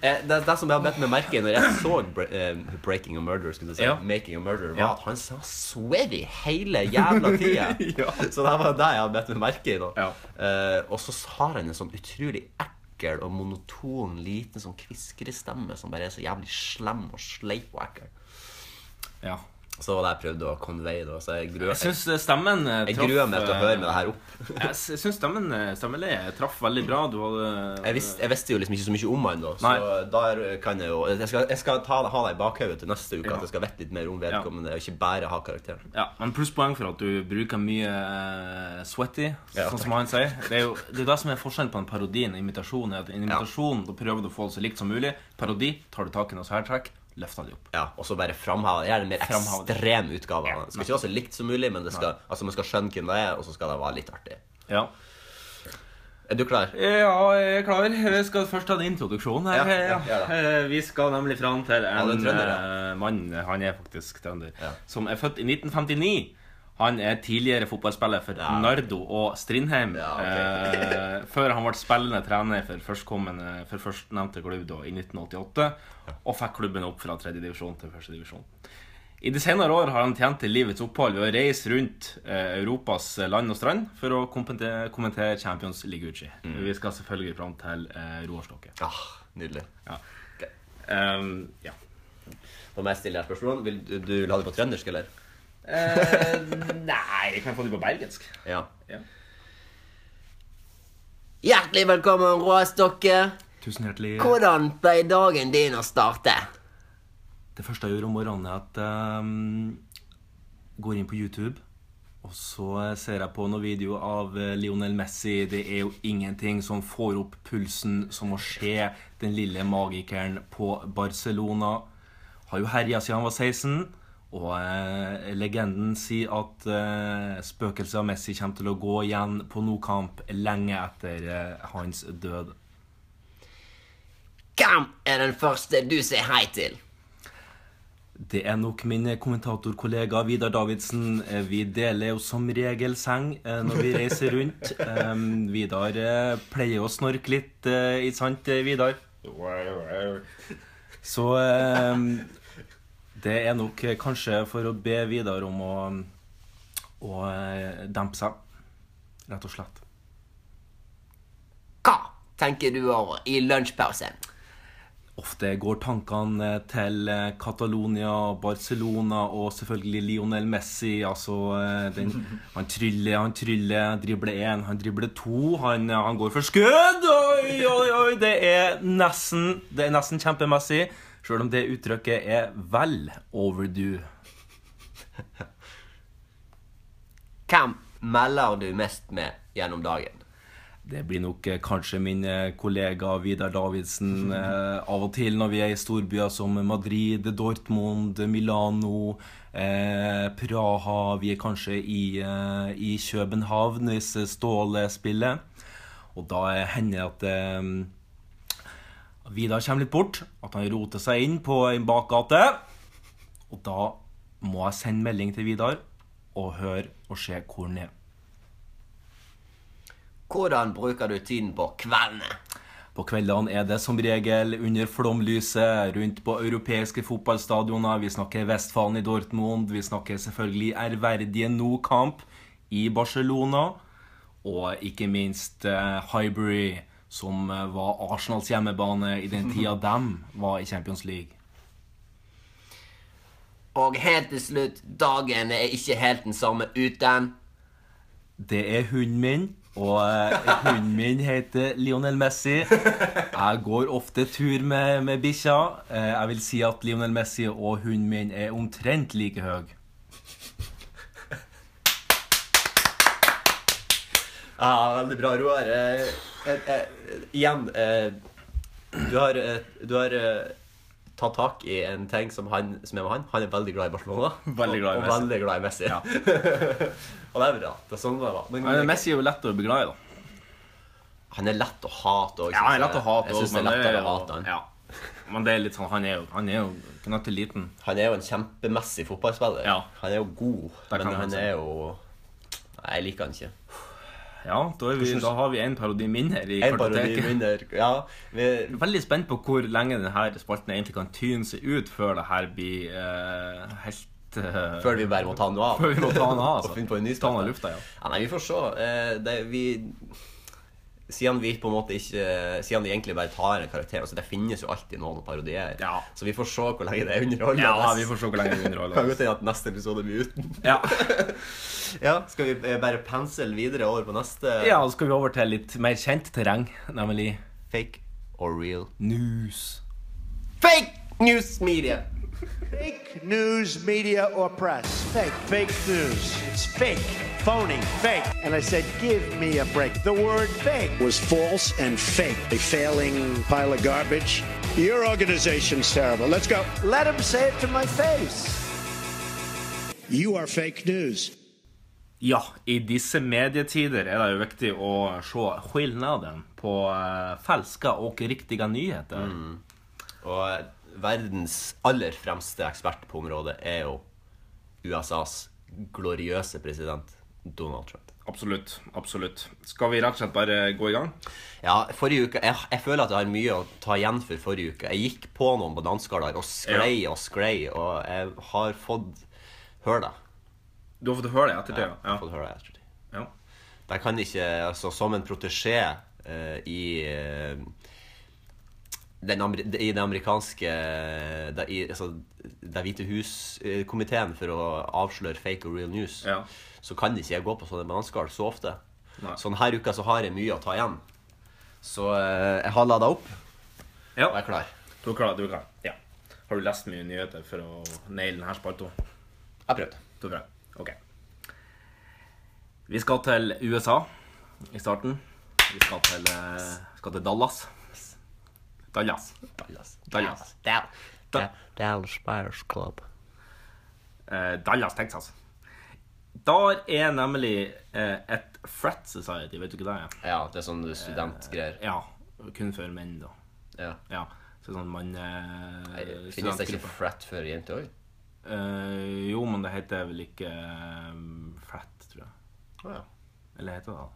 Speaker 8: Eh, det, det som jeg har bedt meg merke i når jeg så Bre- eh, 'Breaking a Murderer', skulle jeg si,
Speaker 2: Ja.
Speaker 8: 'Making a Murderer', var
Speaker 2: Ja.
Speaker 8: at han sa 'sweaty' hele jævla tida.
Speaker 2: Ja.
Speaker 8: Så det var det jeg har bedt meg merke i. da
Speaker 2: Ja.
Speaker 8: Eh, Og så har han en sånn utrolig ekkel og monoton liten sånn kviskrestemme som bare er så jævlig slem og sleip og ekkel.
Speaker 2: Ja.
Speaker 8: Så det var det jeg prøvde å convey. da Så jeg gruer,
Speaker 2: Jeg syns stemmen eh,
Speaker 8: jeg
Speaker 2: traff,
Speaker 8: gruer meg til å
Speaker 2: eh,
Speaker 8: høre med det her opp.
Speaker 2: Jeg s- jeg syns stemmen, eh, stemmeleiet traff veldig bra. Du hadde eh,
Speaker 8: Jeg visste, jeg visste jo liksom ikke så mye om han da, så
Speaker 2: Nei.
Speaker 8: der kan jeg jo Jeg skal, jeg skal ta, ha det i bakhodet til neste uke,
Speaker 2: Ja.
Speaker 8: at jeg skal vite litt mer om vedkommende, og ikke bare ha karakteren.
Speaker 2: Ja, men plusspoeng for at du bruker mye eh, sweaty,
Speaker 8: Ja,
Speaker 2: sånn som han sier. Det er jo det, er det som er forskjellen på en parodi og en imitasjon. er at En imitasjon, da prøver du å få det så likt som mulig. Parodi, tar du tak i noe særtrekk, løfter det opp.
Speaker 8: Ja, Og så bare framheve det. Gjerne en mer
Speaker 2: Framheve det.
Speaker 8: ekstrem utgave av det. Det Skal ikke være så likt som mulig, men det skal, altså, man skal skjønne hvem det er, og så skal det være litt artig.
Speaker 2: Ja.
Speaker 8: Er du klar?
Speaker 2: Ja, jeg er klar. Vi skal først ta en introduksjon her.
Speaker 8: Ja, ja,
Speaker 2: Ja.
Speaker 8: gjør det.
Speaker 2: Eh, Vi skal nemlig fram til en
Speaker 8: det er trønder,
Speaker 2: eh, mann, han er faktisk trønder,
Speaker 8: Ja.
Speaker 2: som er født i 1959. Han er tidligere fotballspiller for Nardo og Strindheim.
Speaker 8: Ja, ok.
Speaker 2: eh, før han ble spillende trener for, førstkommende- for førstnevnte klubb da, i 1988. Og fikk klubben opp fra tredje divisjon til første divisjon. I de senere år har han tjent til livets opphold ved å reise rundt eh, Europas land og strand for å kommentere, kommentere Champions League-uchi. Vi skal selvfølgelig fram til eh, Roar Stokke.
Speaker 8: Ah, nydelig.
Speaker 2: Ja. Ehm, ja.
Speaker 8: Da må jeg stille deg et spørsmål. Vil du, du vil ha det på trøndersk, eller?
Speaker 2: nei, jeg kan få det på bergensk.
Speaker 8: Ja.
Speaker 2: Ja.
Speaker 8: Hjertelig velkommen, Råstokke.
Speaker 2: Tusen hjertelig.
Speaker 8: Hvordan ble dagen din å starte?
Speaker 2: Det første jeg gjør om morgenen, er at jeg går inn på YouTube. Og så ser jeg på noen video av eh, Lionel Messi. Det er jo ingenting som får opp pulsen som å se den lille magikeren på Barcelona. Har jo herja siden han var 16. Og eh, legenden sier at eh, spøkelset av Messi kommer til å gå igjen på noe kamp lenge etter eh, hans død.
Speaker 8: Hvem er den første du sier hei til?
Speaker 2: Det er nok min kommentatorkollega Vidar Davidsen. Eh, Vi deler jo som regel seng eh, når vi reiser rundt. Em, Vidar eh, pleier å snorke litt, eh, ikke sant, eh, Vidar? Så em, det er nok eh, kanskje for å be Vidar om å, å eh, dempe seg, rett og slett.
Speaker 8: Hva tenker du over i lunsjpausen?
Speaker 2: Ofte går tankene til eh, Catalonia, Barcelona og selvfølgelig Lionel Messi. Altså, eh, den, han tryller, han tryller, dribler én, han dribler to. Han, eh, han går for skudd! Oi, oi, oi! Det er nesten, det er nesten kjempemessig. Sjøl om det uttrykket er vel overdue.
Speaker 8: Hvem melder du mest med gjennom dagen?
Speaker 2: Det blir nok eh, kanskje min eh, kollega Vidar Davidsen eh, av og til når vi er i storbyer som Madrid, Dortmund, Milano, eh, Praha Vi er kanskje i, eh, i København hvis Ståle spiller. Og da eh, hender det at eh, Vidar kommer litt bort, at han roter seg inn på en bakgate. Og da må jeg sende melding til Vidar og høre og se hvor han er.
Speaker 8: Hvordan bruker du tiden på kveldene?
Speaker 2: På kveldene er det som regel under flomlyset, rundt på europeiske fotballstadioner. Vi snakker Vestfalen i Dortmund, vi snakker selvfølgelig ærverdige No-kamp i Barcelona. Og ikke minst eh, Highbury, som eh, var Arsenals hjemmebane i den tida dem var i Champions League.
Speaker 8: Og helt til slutt, dagen er ikke helt den samme uten
Speaker 2: Det er hunden min, og eh, hunden min heter Lionel Messi. Jeg går ofte tur med, med bikkja. Eh, Jeg vil si at Lionel Messi og hunden min er omtrent like høy.
Speaker 3: Ja, veldig bra, Roar. Eh, eh, eh, igjen eh, Du har, eh, du har eh, tatt tak i en ting som, han, som er med han. Han er veldig glad i Barcelona.
Speaker 2: Veldig glad i
Speaker 3: og, og
Speaker 2: Messi.
Speaker 3: veldig glad i Messi.
Speaker 2: Ja.
Speaker 3: og det er bra. Det er sånn det var. Men,
Speaker 2: Men Messi er jo lett å bli glad i, da.
Speaker 3: han er lett å hate òg.
Speaker 2: Ja, han er lett å hate.
Speaker 3: Jeg
Speaker 2: også,
Speaker 3: synes det er
Speaker 2: men
Speaker 3: lettere
Speaker 2: jo-
Speaker 3: å hate han.
Speaker 2: Ja. Men det er litt sånn, han er jo, han er jo knøttet liten.
Speaker 3: Han er jo en kjempemessig fotballspiller.
Speaker 2: Ja.
Speaker 3: Han er jo god,
Speaker 2: Det kan
Speaker 3: men
Speaker 2: man
Speaker 3: han
Speaker 2: si.
Speaker 3: er jo Nei, jeg liker han ikke.
Speaker 2: Ja, da, er vi, da har vi en parodi mindre i
Speaker 3: En parodi
Speaker 2: kartoteket.
Speaker 3: vinner Ja, vi,
Speaker 2: Jeg er Veldig spent på hvor lenge denne spalten egentlig kan tyne seg ut før det her blir eh, helt eh,
Speaker 3: før vi bare må ta han av.
Speaker 2: før vi må ta han av. altså.
Speaker 3: og finne på en ny
Speaker 2: ta han av
Speaker 3: spalte.
Speaker 2: lufta, ja.
Speaker 3: Ja, nei, vi får se. Eh, det, vi siden vi på en måte ikke Siden de egentlig bare tar en karakter altså Det finnes jo alltid noen å parodiere.
Speaker 2: Ja.
Speaker 3: Så vi får se hvor lenge det er underholdende.
Speaker 2: Ja, vi får se hvor lenge vi
Speaker 3: Kan
Speaker 2: underholder.
Speaker 3: godt hende at neste episode blir uten.
Speaker 2: Ja.
Speaker 3: Ja, Skal vi eh, bare pensle videre over på neste?
Speaker 2: ja, så skal vi over til litt mer kjent terreng, nemlig
Speaker 3: Fake or real?
Speaker 2: news.
Speaker 3: Fake news media!
Speaker 9: Fake news, media, or press. Fake. Fake news. It's fake. Phony. Fake. And I said, give me a break. The word fake was false and fake. A failing pile of garbage. Your organization's terrible. Let's go. Let him say it to my face. You are fake news.
Speaker 2: Ja, i disse medietider er det jo viktig å se skillnaden på eh, falske og riktige nyheter.
Speaker 3: Og eh, verdens aller fremste ekspert på området er jo USAs gloriøse president Donald Trump.
Speaker 2: Absolutt. absolutt. Skal vi rett og slett bare gå i gang?
Speaker 3: Ja, forrige uke, jeg, jeg føler at jeg har mye å ta igjen for forrige uke. Jeg gikk på noen bananskaller og sklei og sklei, og jeg har fått høre det.
Speaker 2: Du har fått høre det i ettertid?
Speaker 3: Jeg
Speaker 2: ja.
Speaker 3: har fått høre det, jeg tror.
Speaker 2: Ja.
Speaker 3: Jeg kan ikke, altså som en protesjé eh, i, eh, den, amer- i det amerikanske det, i, altså, det hvite hus-komiteen for å avsløre fake og real news,
Speaker 2: Ja.
Speaker 3: så kan ikke jeg gå på sånne bananskall så ofte.
Speaker 2: Nei.
Speaker 3: Så denne uka så har jeg mye å ta igjen. Så eh, jeg har lada opp,
Speaker 2: Ja.
Speaker 3: og jeg er klar.
Speaker 2: Du er klar? Du er klar. Ja. Har du lest mye nyheter for å naile denne spalta?
Speaker 3: Jeg prøvde.
Speaker 2: Du er bra. Ok. Vi skal til USA i starten. Vi skal til, eh, skal til Dallas. Dallas.
Speaker 8: Dallas.
Speaker 2: Dallas.
Speaker 8: Dal-
Speaker 2: Da-
Speaker 8: Dallas Buyers Club.
Speaker 2: eh, Dallas, Texas. Der er nemlig eh, et frat society, vet du ikke det? er?
Speaker 3: Ja, det er sånn studentgreier.
Speaker 2: Ja, kun for menn da.
Speaker 3: Ja.
Speaker 2: Ja, så sånn man... Eh,
Speaker 3: Finnes det
Speaker 2: studentgruppe.
Speaker 3: ikke frat for jenter òg?
Speaker 2: Eh, jo, men det heter vel ikke eh, frat, tror jeg.
Speaker 3: ja.
Speaker 2: Eller heter det da?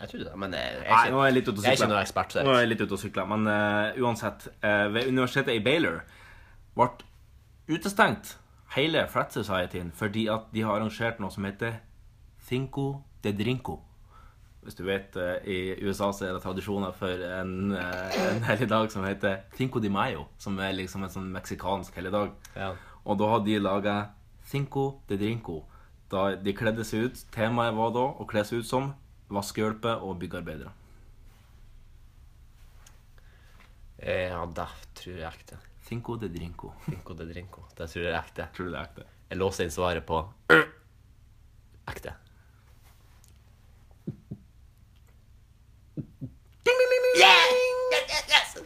Speaker 3: Jeg trodde det, men jeg, jeg,
Speaker 2: Nei, nå er jeg litt ute og
Speaker 3: jeg er ikke
Speaker 2: sykler.
Speaker 3: noen ekspert der.
Speaker 2: Nå er jeg litt ute og sykler, men eh, uansett. eh, ved universitetet i Baylor ble utestengt hele Frat Societyen fordi at de har arrangert noe som heter Thinko de Drinko. Hvis du vet, eh, i USA så er det tradisjoner for en, uh, en helligdag som heter Thinco de Mayo, som er liksom en sånn meksikansk helligdag.
Speaker 3: Ja.
Speaker 2: Og da har de laga Thinco de Drinco. Da de kledde seg ut. Temaet var da å kle seg ut som vaskehjelper og byggarbeidere.
Speaker 3: Eh, Ja, det tror jeg er ekte.
Speaker 2: Cinco de drinco.
Speaker 3: Finko de drinko. Det tror jeg er ekte.
Speaker 2: Tror du det er ekte?
Speaker 3: Jeg låser inn svaret på ekte.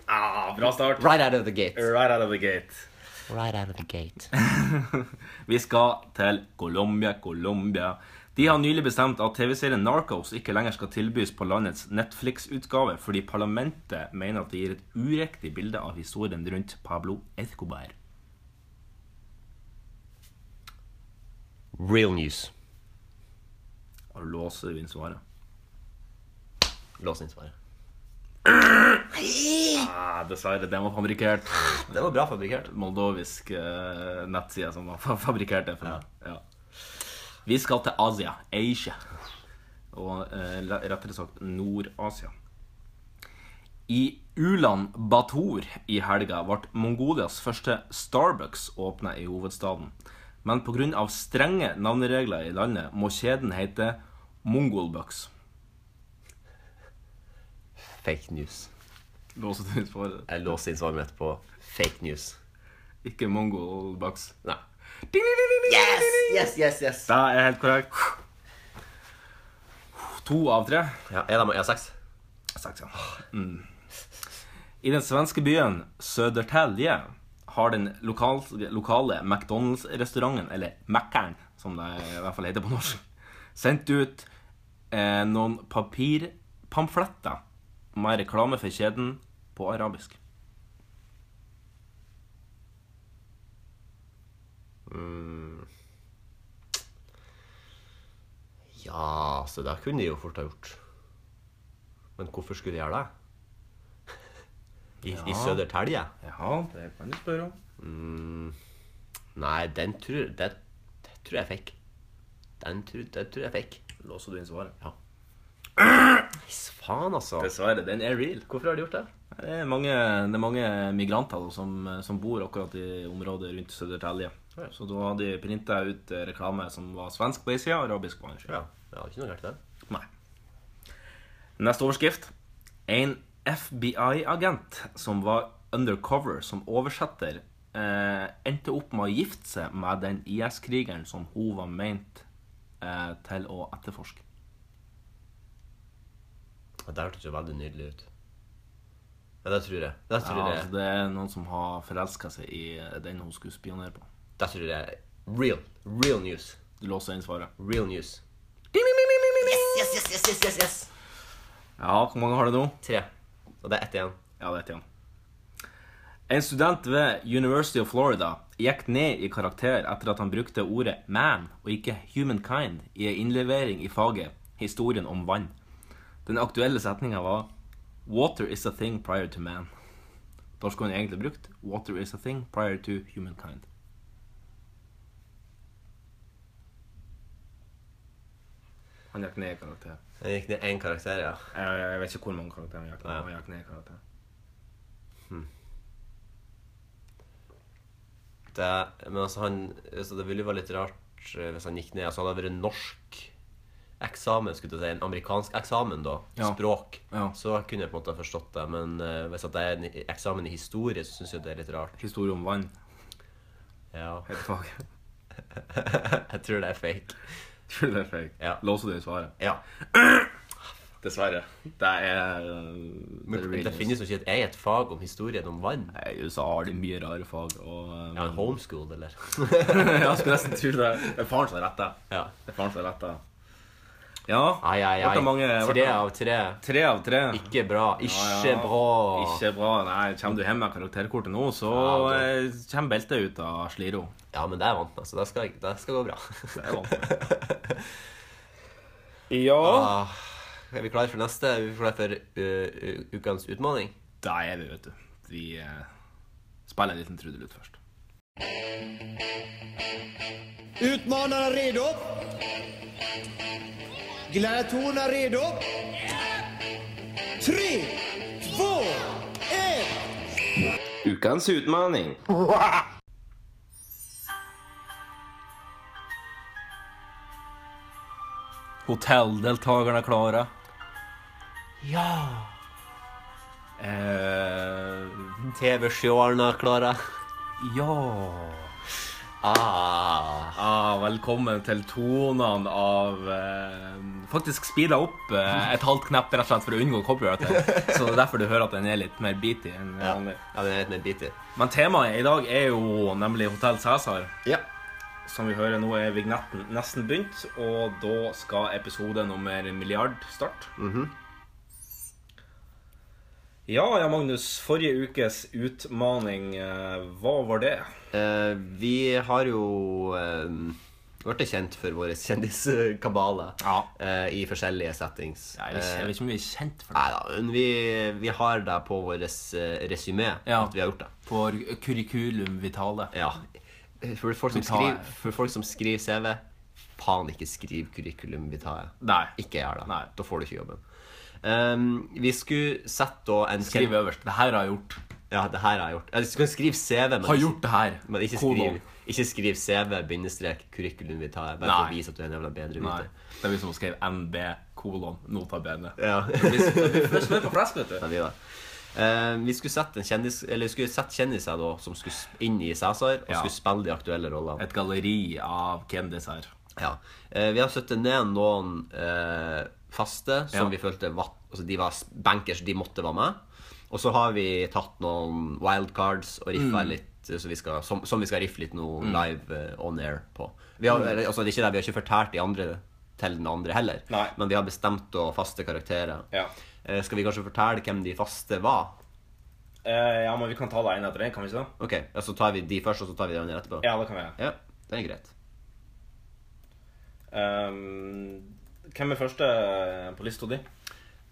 Speaker 2: Ah, bra start.
Speaker 3: Right out of the gate.
Speaker 2: Right out of the gate.
Speaker 8: Right out of the gate.
Speaker 2: Vi skal til Colombia, Colombia. De har nylig bestemt at TV-serien Narcos ikke lenger skal tilbys på landets Netflix-utgave fordi parlamentet mener at det gir et uriktig bilde av historien rundt Pablo Escobar.
Speaker 3: Real news.
Speaker 2: Og låser du inn svaret?
Speaker 3: Lås inn svaret.
Speaker 2: Ah, dessverre, den var fabrikkert.
Speaker 3: Det var bra fabrikkert.
Speaker 2: Moldovisk eh, nettside som var fa- fabrikkert det for meg. Ja. Vi skal til Asia. Asia. Og eh, la- rettere sagt Nord-Asia. I Ulan Bator i helga ble Mongolias første Starbucks åpna i hovedstaden. Men pga. strenge navneregler i landet må kjeden hete Mongolbucks.
Speaker 3: Fake news.
Speaker 2: Låser du ut for
Speaker 3: Jeg låser inn svaret mitt på fake news.
Speaker 2: ikke Mongolbucks?
Speaker 3: Nei. Yes! Yes, yes, yes.
Speaker 2: Det er helt korrekt. To av tre.
Speaker 3: Ja, er det, er det seks?
Speaker 2: Saks, ja. Mm. I den svenske byen Södertälje har den lokal, lokale McDonald's-restauranten, eller Mackern, som det i hvert fall heter på norsk, sendt ut eh, noen papirpamfletter med reklame for kjeden på arabisk.
Speaker 3: Ja, så det kunne de jo fort ha gjort. Men hvorfor skulle de gjøre det? I, i Södertälje?
Speaker 2: Ja, det kan du spørre om.
Speaker 3: Nei, den tror, det, det tror jeg fikk. Den tror, det tror jeg fikk.
Speaker 2: Låser du inn svaret?
Speaker 3: Hvis faen, altså.
Speaker 2: Dessverre, den er real.
Speaker 3: Hvorfor har de gjort det?
Speaker 2: Det er mange, det er mange migranter da, som, som bor akkurat i området rundt Södertälje. Så da hadde de printa ut eh, reklame som var svensk på ei side og arabisk på den andre.
Speaker 3: Ja, det var ikke noe galt i det.
Speaker 2: Nei. Neste overskrift. En FBI-agent som var undercover som oversetter, eh, endte opp med å gifte seg med den IS-krigeren som hun var meint eh, til å etterforske.
Speaker 3: Og det hørtes jo veldig nydelig ut. Ja, det tror jeg. Det tror
Speaker 2: Ja,
Speaker 3: jeg.
Speaker 2: altså, det er noen som har forelska seg i den hun skulle spionere på.
Speaker 3: Det tror jeg er real. Real news.
Speaker 2: Du låser inn svaret.
Speaker 3: Real news.
Speaker 8: Yes, yes, yes, yes, yes, yes.
Speaker 2: Ja, hvor mange har det nå?
Speaker 3: Tre. Og det er ett igjen.
Speaker 2: Ja, det vet jeg om. En student ved University of Florida gikk ned i karakter etter at han brukte ordet 'man' og ikke 'humankind' i en innlevering i faget Historien om vann. Den aktuelle setninga var 'Water is a thing prior to man'. Da skulle han egentlig brukt 'Water is a thing prior to humankind'. Han gikk ned i karakter.
Speaker 3: Den gikk ned én karakter, ja.
Speaker 2: Jeg, jeg vet ikke hvor mange karakterer han gikk ned.
Speaker 3: Nei.
Speaker 2: Han gikk ned i karakter.
Speaker 3: Det, men altså, han altså, Det ville jo være litt rart eh, hvis han gikk ned. Altså, han hadde vært norsk eksamen, skulle jeg til å si. En amerikansk eksamen, da.
Speaker 2: Ja.
Speaker 3: Språk.
Speaker 2: Ja.
Speaker 3: Så kunne jeg på en måte ha forstått det. Men eh, hvis at det er en i- eksamen i historie, så syns jeg det er litt rart.
Speaker 2: Historie om vann.
Speaker 3: Ja.
Speaker 2: Helt fag.
Speaker 3: jeg tror det er fake.
Speaker 2: Tror du det er fake?
Speaker 3: Ja.
Speaker 2: Låser du i svaret?
Speaker 3: Ja.
Speaker 2: Dessverre. Det er eh,
Speaker 3: Men det finnes jo ikke et eget fag om historien om vann.
Speaker 2: Nei, I USA har de mye rare fag. Og,
Speaker 3: Ja, en homeschool, eller?
Speaker 2: jeg skulle nesten tro det. Det er faren som har rett det.
Speaker 3: Ja.
Speaker 2: Det er faren som har rett det. Ja.
Speaker 3: Ai, ai,
Speaker 2: Ble
Speaker 3: ai.
Speaker 2: det mange, ble
Speaker 3: Tre
Speaker 2: det-
Speaker 3: av tre.
Speaker 2: Tre av tre.
Speaker 3: Ikke bra. Ikke
Speaker 2: Ja, ja.
Speaker 3: bra.
Speaker 2: Ikke bra. Nei, kommer du hjem med karakterkortet nå, så
Speaker 3: Ja,
Speaker 2: eh, kommer beltet ut av sliro.
Speaker 3: Ja, men det er vant, altså. Det skal, det skal gå bra.
Speaker 2: Det er vanskelig. Ja.
Speaker 3: Ah, er vi klare for neste? Er vi klare for uh, u- ukens utfordring?
Speaker 2: Da er vi, vet du. Vi eh, spiller en liten trudelutt først.
Speaker 5: Utmanarna redo? Gladiatorerna redo? Tre, två, ett!
Speaker 2: Ukens utmaning. Hotelldeltakerne er klare. Ja eh,
Speaker 3: TV-showerne, Klara.
Speaker 2: Ja
Speaker 3: Ah,
Speaker 2: ah, Velkommen til tonene av eh, Faktisk speeda opp eh, et halvt knepp rett og slett for å unngå copyright. Så det er derfor du hører at den er litt mer beaty enn vanlig.
Speaker 3: ja, den er litt mer bitig.
Speaker 2: Men temaet i dag er jo nemlig Hotell Cæsar.
Speaker 3: Ja.
Speaker 2: Som vi hører nå er vignetten nesten begynt, og da skal episode nummer milliard starte.
Speaker 3: Mhm.
Speaker 2: Ja, ja, Magnus. Forrige ukes utmaning, eh, hva var det?
Speaker 3: Eh, vi har jo eh, blitt kjent for våre kjendiskabaler
Speaker 2: Ja.
Speaker 3: eh, i forskjellige settings. Eh,
Speaker 2: ikke om vi er kjent for
Speaker 3: Nei da, men vi, vi har det på vårt resymé
Speaker 2: Ja.
Speaker 3: at vi har gjort det.
Speaker 2: For curriculum vitale.
Speaker 3: Ja. For folk som
Speaker 2: Vi tar-
Speaker 3: skriver, for folk som skriver CV, faen ikke skriv curriculum vitae.
Speaker 2: Nei.
Speaker 3: Ikke gjør det.
Speaker 2: Nei.
Speaker 3: Da får du ikke jobben. Ehm, vi skulle sette da en
Speaker 2: Skriv øverst. Det her har jeg gjort.
Speaker 3: Ja, det her har jeg gjort. Eller, du kan skrive CV, men
Speaker 2: Har gjort det her.
Speaker 3: Men ikke skriv,
Speaker 2: Kolon.
Speaker 3: ikke skriv CV, bindestrek, curriculum vitae. Bare for
Speaker 2: Nei.
Speaker 3: å vise at du er en jævla bedre
Speaker 2: Nei.
Speaker 3: viter.
Speaker 2: Det er vi som skrev NB, kolon, nota bene.
Speaker 3: Ja.
Speaker 2: Først med på press, vet du.
Speaker 3: Men vi, da. Eh, vi skulle sette, en kjendis, eller vi skulle sette kjendiser da, som skulle sp- inn i Cæsar, og
Speaker 2: Ja.
Speaker 3: skulle spille de aktuelle rollene.
Speaker 2: Et galleri av kjendiser.
Speaker 3: Ja. Eh, vi har satt ned noen eh, faste
Speaker 2: Ja.
Speaker 3: som vi følte var, altså de var s- bankers, de måtte være med. Og så har vi tatt noen wildcards og riffa
Speaker 2: Mm.
Speaker 3: litt, eh, så vi skal, som, som vi skal riffe litt nå live eh, on air på. Vi
Speaker 2: Mm.
Speaker 3: har, eller, altså, det er ikke det, vi har ikke fortalt de andre til den andre heller,
Speaker 2: Nei.
Speaker 3: men vi har bestemt å faste karakterer.
Speaker 2: Ja.
Speaker 3: Eh, skal vi kanskje fortelle hvem de faste var?
Speaker 2: Eh, ja, men vi kan ta det ene etter det, kan vi ikke det?
Speaker 3: Ok, ja, så tar vi de først, og så tar vi de andre etterpå?
Speaker 2: Ja, det kan vi gjøre.
Speaker 3: Ja, det er greit.
Speaker 2: Eh, hvem er første på lista di?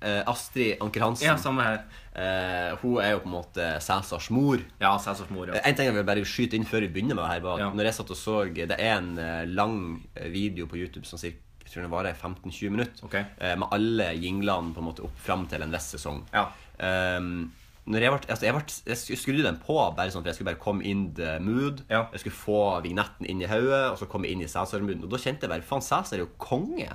Speaker 3: Eh, Astrid Anker Hansen,
Speaker 2: Ja, samme her.
Speaker 3: eh, hun er jo på en måte Cæsars mor.
Speaker 2: Ja, Cæsars mor, ja.
Speaker 3: Eh, En ting jeg vil bare skyte inn før vi begynner med det her, var at
Speaker 2: Ja.
Speaker 3: når jeg satt og så Det er en eh, lang eh, video på YouTube som cirka, jeg tror den varer 15-20 minutter,
Speaker 2: Ok.
Speaker 3: eh, med alle jinglene på en måte opp fram til en viss sesong.
Speaker 2: Ja.
Speaker 3: Ehm, når jeg, ble, altså jeg, ble, jeg sk- skrudde den på bare sånn for jeg skulle bare komme in the mood.
Speaker 2: Ja.
Speaker 3: Jeg skulle få vignetten inn i hodet, og så komme inn i Cæsar-mooden. Og da kjente jeg bare faen, Cæsar er jo konge.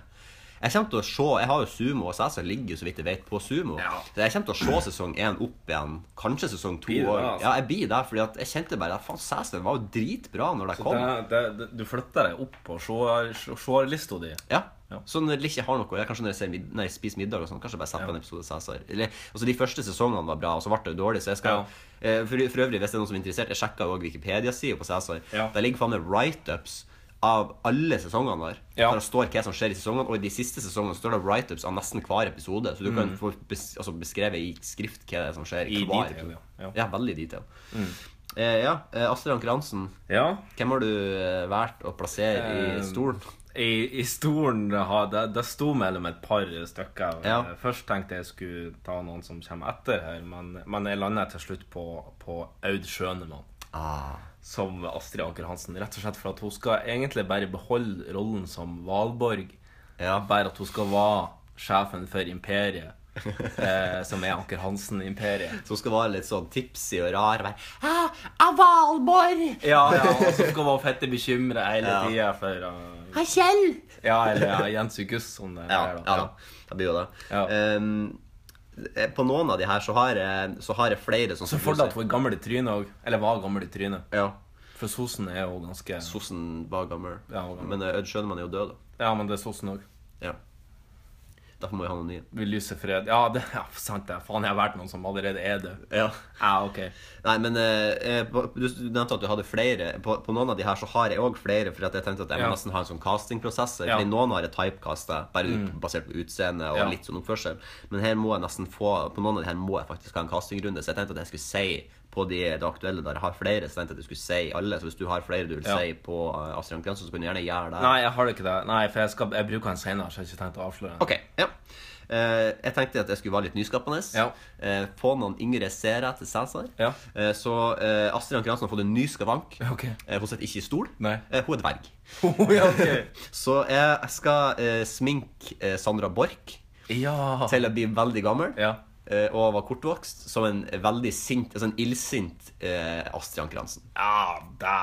Speaker 3: Jeg kommer til å se, jeg har jo Sumo, og Cæsar ligger jo så vidt jeg vet på Sumo.
Speaker 2: Ja.
Speaker 3: Så jeg kommer til å se sesong én opp igjen. Kanskje sesong to
Speaker 2: Blir du det,
Speaker 3: òg.
Speaker 2: altså?
Speaker 3: Ja, jeg blir der, fordi at jeg kjente bare at faen, Sæsar var jo dritbra når det kom.
Speaker 2: Det- det- det- du flytter deg opp på seer- se- seerlista di.
Speaker 3: Ja.
Speaker 2: Ja.
Speaker 3: Så når jeg ikke har noe jeg Kanskje når jeg, ser mid når jeg spiser middag, og sånn, kanskje jeg bare setter på en episode av Cæsar. Eller, Altså, de første sesongene var bra, og så ble det jo dårlig. Så jeg skal
Speaker 2: Ja.
Speaker 3: eh, for, for øvrig, hvis det er noen som er interessert, jeg sjekka òg Wikipedia-sida på Cæsar.
Speaker 2: Ja.
Speaker 3: Der ligger faen meg write-ups av alle sesongene der.
Speaker 2: Ja.
Speaker 3: Der står hva som skjer i sesongene, og i de siste sesongene står det write-ups av nesten hver episode. Så du kan få bes altså beskrevet i skrift hva det er som skjer
Speaker 2: Mm. I
Speaker 3: hver
Speaker 2: detail,
Speaker 3: episode.
Speaker 2: ja. Mm. Ja.
Speaker 3: ja. veldig i detail. Eh, ja, eh, Astrid Anker Hansen,
Speaker 2: Ja.
Speaker 3: hvem har du eh, valgt å plassere
Speaker 2: Eh,
Speaker 3: i stolen?
Speaker 2: I, i stolen har- det, det sto mellom et par stykker.
Speaker 3: Ja.
Speaker 2: Eh, Først tenkte jeg skulle ta noen som kommer etter her, men, men jeg landa til slutt på, på Aud Schønemann.
Speaker 3: ah,
Speaker 2: Som Astrid Anker Hansen. Rett og slett for at hun skal egentlig bare beholde rollen som Valborg.
Speaker 3: Ja.
Speaker 2: Bare at hun skal være sjefen for imperiet, eh, som er Anker Hansen-imperiet.
Speaker 3: Som skal være litt sånn tipsy og rar. Bare, ah, ah, Valborg!
Speaker 2: Ja, ja, og så skal hun være fette bekymra hele
Speaker 3: Ja.
Speaker 2: tida for eh,
Speaker 8: Hei, Kjell!
Speaker 2: Ja, eller ja, Jens Ugus, som det
Speaker 3: Ja,
Speaker 2: er,
Speaker 3: ja,
Speaker 2: da.
Speaker 3: da. det blir jo det.
Speaker 2: Ja.
Speaker 3: Ehm, eh, på noen av de her så har jeg, så har jeg flere sånn
Speaker 2: Så
Speaker 3: som
Speaker 2: for
Speaker 3: du
Speaker 2: deg at hun er gammel i trynet òg. Eller var gammel i trynet.
Speaker 3: sier. Ja.
Speaker 2: For sosen er jo ganske
Speaker 3: Sossen var gammel.
Speaker 2: Ja, var gammel.
Speaker 3: Men eh, Ødd Schønemann er jo død, da.
Speaker 2: Ja, men det er sosen òg.
Speaker 3: Ja. Derfor må vi ha noen nye.
Speaker 2: Vi lyser fred. Ja, det ja, sant det. Faen, jeg har vært noen som allerede er død.
Speaker 3: Ja.
Speaker 2: Ja, ok.
Speaker 3: Nei, men eh, eh, på- du du nevnte at du hadde flere. På, på noen av de her så har jeg òg flere, for at jeg tenkte at jeg
Speaker 2: Ja.
Speaker 3: må nesten ha en sånn castingprosess.
Speaker 2: Ja. Mm.
Speaker 3: Fordi noen har jeg typecasta bare ut- basert på utseende og
Speaker 2: Ja.
Speaker 3: litt sånn oppførsel. Men her må jeg nesten få på noen av de her må jeg faktisk ha en castingrunde. Så jeg tenkte at jeg skulle si på de det aktuelle der jeg har flere, så tenkte jeg at jeg skulle si alle. Så hvis du har flere du vil
Speaker 2: Ja.
Speaker 3: si på eh, Astrid Anker Hansen, så kan du gjerne gjøre det.
Speaker 2: Nei, jeg har ikke det. Nei, for jeg, skal, jeg bruker den senere, så jeg har ikke tenkt å avsløre den.
Speaker 3: Ok, ja. Eh, jeg tenkte at jeg skulle være litt nyskapende.
Speaker 2: Ja.
Speaker 3: Eh, få noen yngre seere til Cæsar.
Speaker 2: Ja.
Speaker 3: Eh, så eh, Astrid Anker Hansen har fått en ny skavank.
Speaker 2: Ok.
Speaker 3: Eh, hun sitter ikke i stol.
Speaker 2: Nei.
Speaker 3: Eh, hun er dverg. Oh,
Speaker 2: ja, ok.
Speaker 3: Så jeg skal eh, sminke eh, Sandra Borch
Speaker 2: Ja.
Speaker 3: til å bli veldig gammel.
Speaker 2: Ja.
Speaker 3: eh, Og var kortvokst som en veldig sint, altså en illsint eh, Astrid Anker Hansen.
Speaker 2: Ja, da.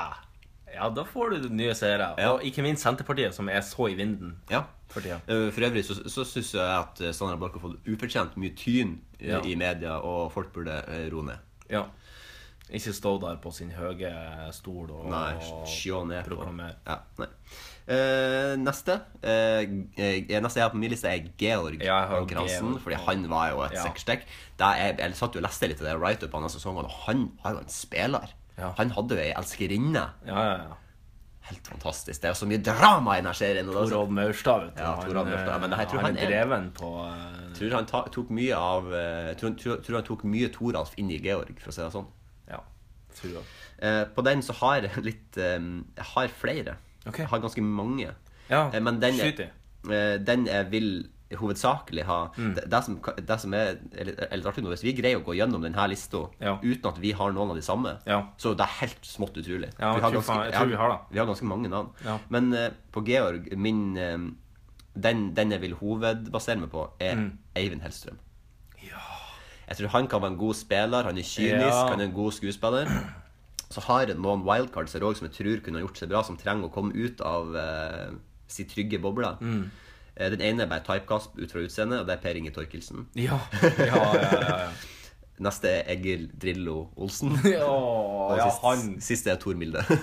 Speaker 2: Ja, da får du nye seere.
Speaker 3: Ja.
Speaker 2: Og ikke minst Senterpartiet, som er så i vinden
Speaker 3: Ja.
Speaker 2: for tida.
Speaker 3: Eh, For øvrig så, så syns jeg at eh, Sandra Borch har fått ufortjent mye tyn eh,
Speaker 2: Ja.
Speaker 3: i media, og folk burde eh, roe ned.
Speaker 2: Ja. Ikke stå der på sin høye stol og
Speaker 3: Nei, sjå ned på.
Speaker 2: proklamere.
Speaker 3: Ja, nei. Eh, neste eh, eh, Neste jeg har på min liste, er Georg
Speaker 2: Ja, jeg har
Speaker 3: Anker Hansen.
Speaker 2: Georg.
Speaker 3: Fordi han var jo et
Speaker 2: Ja.
Speaker 3: seksstikk. Da Jeg, jeg satt jo og leste litt av det write-upet hans sesongen, og han var jo en spiller.
Speaker 2: Ja.
Speaker 3: Han hadde jo ei elskerinne.
Speaker 2: Ja, ja, ja.
Speaker 3: Helt fantastisk. Det er jo så mye drama i denne serien. og det er så-
Speaker 2: Torald Maurstad, vet du.
Speaker 3: Altså- Ja, Torald
Speaker 2: eh,
Speaker 3: Maurstad. Men det her tror jeg
Speaker 2: han er
Speaker 3: han er-
Speaker 2: dreven på eh,
Speaker 3: Jeg tror han ta, tok mye av eh, tror, tror, tror han tok mye Toralf inn i Georg, for å si det sånn.
Speaker 2: Ja. Tror jeg.
Speaker 3: Eh, på den så har jeg litt eh, Jeg har flere.
Speaker 2: Ok.
Speaker 3: Jeg har ganske mange.
Speaker 2: Ja,
Speaker 3: Eh, men den
Speaker 2: skyt i.
Speaker 3: jeg, eh, den jeg vil hovedsakelig ha
Speaker 2: Mm.
Speaker 3: det, det, som, det som er eller, eller artig nå, Hvis vi greier å gå gjennom denne lista
Speaker 2: Ja.
Speaker 3: uten at vi har noen av de samme,
Speaker 2: Ja.
Speaker 3: så det er helt smått utrolig.
Speaker 2: Ja,
Speaker 3: vi har
Speaker 2: fy
Speaker 3: ganske,
Speaker 2: faen, jeg tror vi har det.
Speaker 3: vi har ganske mange navn.
Speaker 2: Ja.
Speaker 3: Men eh, på Georg, min eh, den, den jeg vil hovedbasere meg på, er
Speaker 2: Mm.
Speaker 3: Eivind Hellstrøm. Jeg tror han kan være en god spiller. Han er kynisk,
Speaker 2: Ja.
Speaker 3: han er en god skuespiller. Så har han noen wildcards her òg som jeg tror kunne ha gjort seg bra, som trenger å komme ut av eh, si trygge bobler.
Speaker 2: Mm.
Speaker 3: Eh, den ene er bare typecast ut fra utseendet, og det er Per Inge Torkelsen.
Speaker 2: Ja. ja, ja, ja, ja.
Speaker 3: Neste er Egil Drillo Olsen.
Speaker 2: Åh,
Speaker 3: Og
Speaker 2: ja,
Speaker 3: sist,
Speaker 2: han.
Speaker 3: siste er Tor Milde.
Speaker 2: Ja,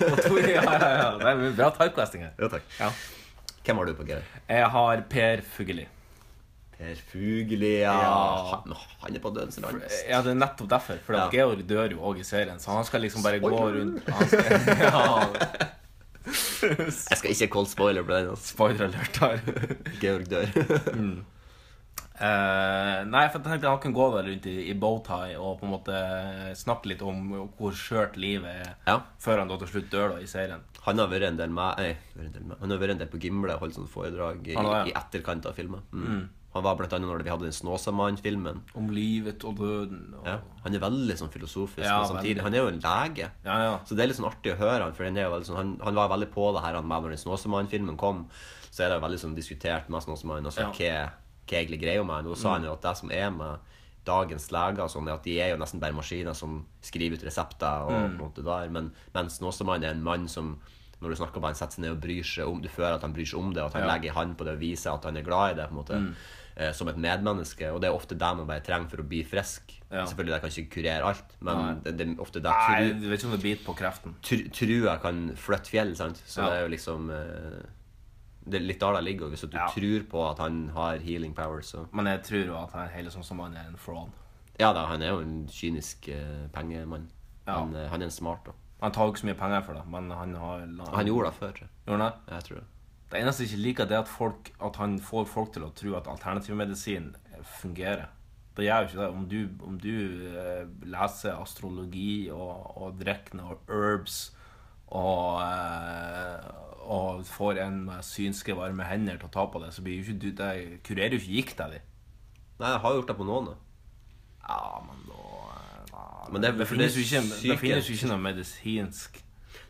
Speaker 2: ja, ja. Det er bra typecasting her.
Speaker 3: jo, takk.
Speaker 2: Ja.
Speaker 3: Hvem har du på Geir?
Speaker 2: Jeg har Per Fugelli.
Speaker 3: Per Fugli, ja.
Speaker 2: Ja.
Speaker 3: Han, han er på dødens land.
Speaker 2: Ja, det er nettopp derfor. For at
Speaker 3: Ja.
Speaker 2: Georg dør jo òg i serien, så han skal liksom bare gå
Speaker 3: Spoiler.
Speaker 2: rundt han skal, ja,
Speaker 3: Jeg skal ikke cold spoiler på den. Altså.
Speaker 2: Spoiler alert her.
Speaker 3: Georg dør.
Speaker 2: Mm. Eh, nei, for jeg tenkte han kan gå der rundt i, i bowtie og på en måte snakke litt om hvor skjørt livet er,
Speaker 3: Ja.
Speaker 2: før han da til slutt dør da i serien.
Speaker 3: Han har vært en del med nei, vært en del med, Han har vært en del på Gimle og holdt sånne foredrag i,
Speaker 2: Han har, ja.
Speaker 3: i etterkant av filmen. Mm. Han var blant annet når vi hadde den Snåsamann-filmen.
Speaker 2: Om livet og døden og
Speaker 3: Ja. Han er veldig sånn filosofisk,
Speaker 2: Ja,
Speaker 3: men samtidig
Speaker 2: veldig.
Speaker 3: Han er jo en lege.
Speaker 2: Ja, ja.
Speaker 3: Så det er litt sånn artig å høre han, for den er jo veldig sånn, han, han var veldig på det her han med når den Snåsamann-filmen kom. Så er det jo veldig sånn diskutert med Snåsamann altså,
Speaker 2: Ja.
Speaker 3: hva, hva egentlig greier med han. Og da sa han jo at det som er med dagens leger, og sånn, er at de er jo nesten bare maskiner som skriver ut resepter. og
Speaker 2: Mm.
Speaker 3: på en måte der, men, Mens Snåsamann er en mann som når du snakker med han, setter seg ned og bryr seg om du føler at han bryr seg om det, og at han
Speaker 2: Ja. Mm.
Speaker 3: legger en hand på det og viser at han er glad i det. på en måte, eh, Som et medmenneske. Og det er ofte det man bare trenger for å bli frisk.
Speaker 2: Ja.
Speaker 3: Selvfølgelig, det kan ikke kurere alt, men det, det er ofte det
Speaker 2: Nei,
Speaker 3: tru,
Speaker 2: jeg vet ikke om det biter på kreften.
Speaker 3: tr- trua kan flytte fjell, sant? Så
Speaker 2: Ja.
Speaker 3: det er jo liksom eh, Det er litt der det ligger. og Hvis du
Speaker 2: Ja.
Speaker 3: tror på at han har healing power, så
Speaker 2: Men jeg tror jo at han hele sånn som han er en fraud.
Speaker 3: Ja da, han er jo en kynisk eh, pengemann.
Speaker 2: Ja.
Speaker 3: Men eh, han er en smart, da.
Speaker 2: Han tar jo ikke så mye penger for det, men han har
Speaker 3: Og han gjorde det før. tror jeg.
Speaker 2: Gjorde han det?
Speaker 3: Ja, Jeg tror det.
Speaker 2: Det eneste jeg ikke liker, det er at, folk, at han får folk til å tro at alternativmedisin fungerer. Det gjør jo ikke det. Om du, om du eh, leser astrologi og, og drikker noe herbs og, eh, og får en med synske, varme hender til å ta på det, så blir jo ikke du, det kurerer jo ikke gikta di.
Speaker 3: Nei, jeg har gjort det på noen, da.
Speaker 2: Ja, men da eh, da-
Speaker 3: Men det er-
Speaker 2: det, finnes jo ikke, det
Speaker 3: syke.
Speaker 2: finnes jo ikke noe medisinsk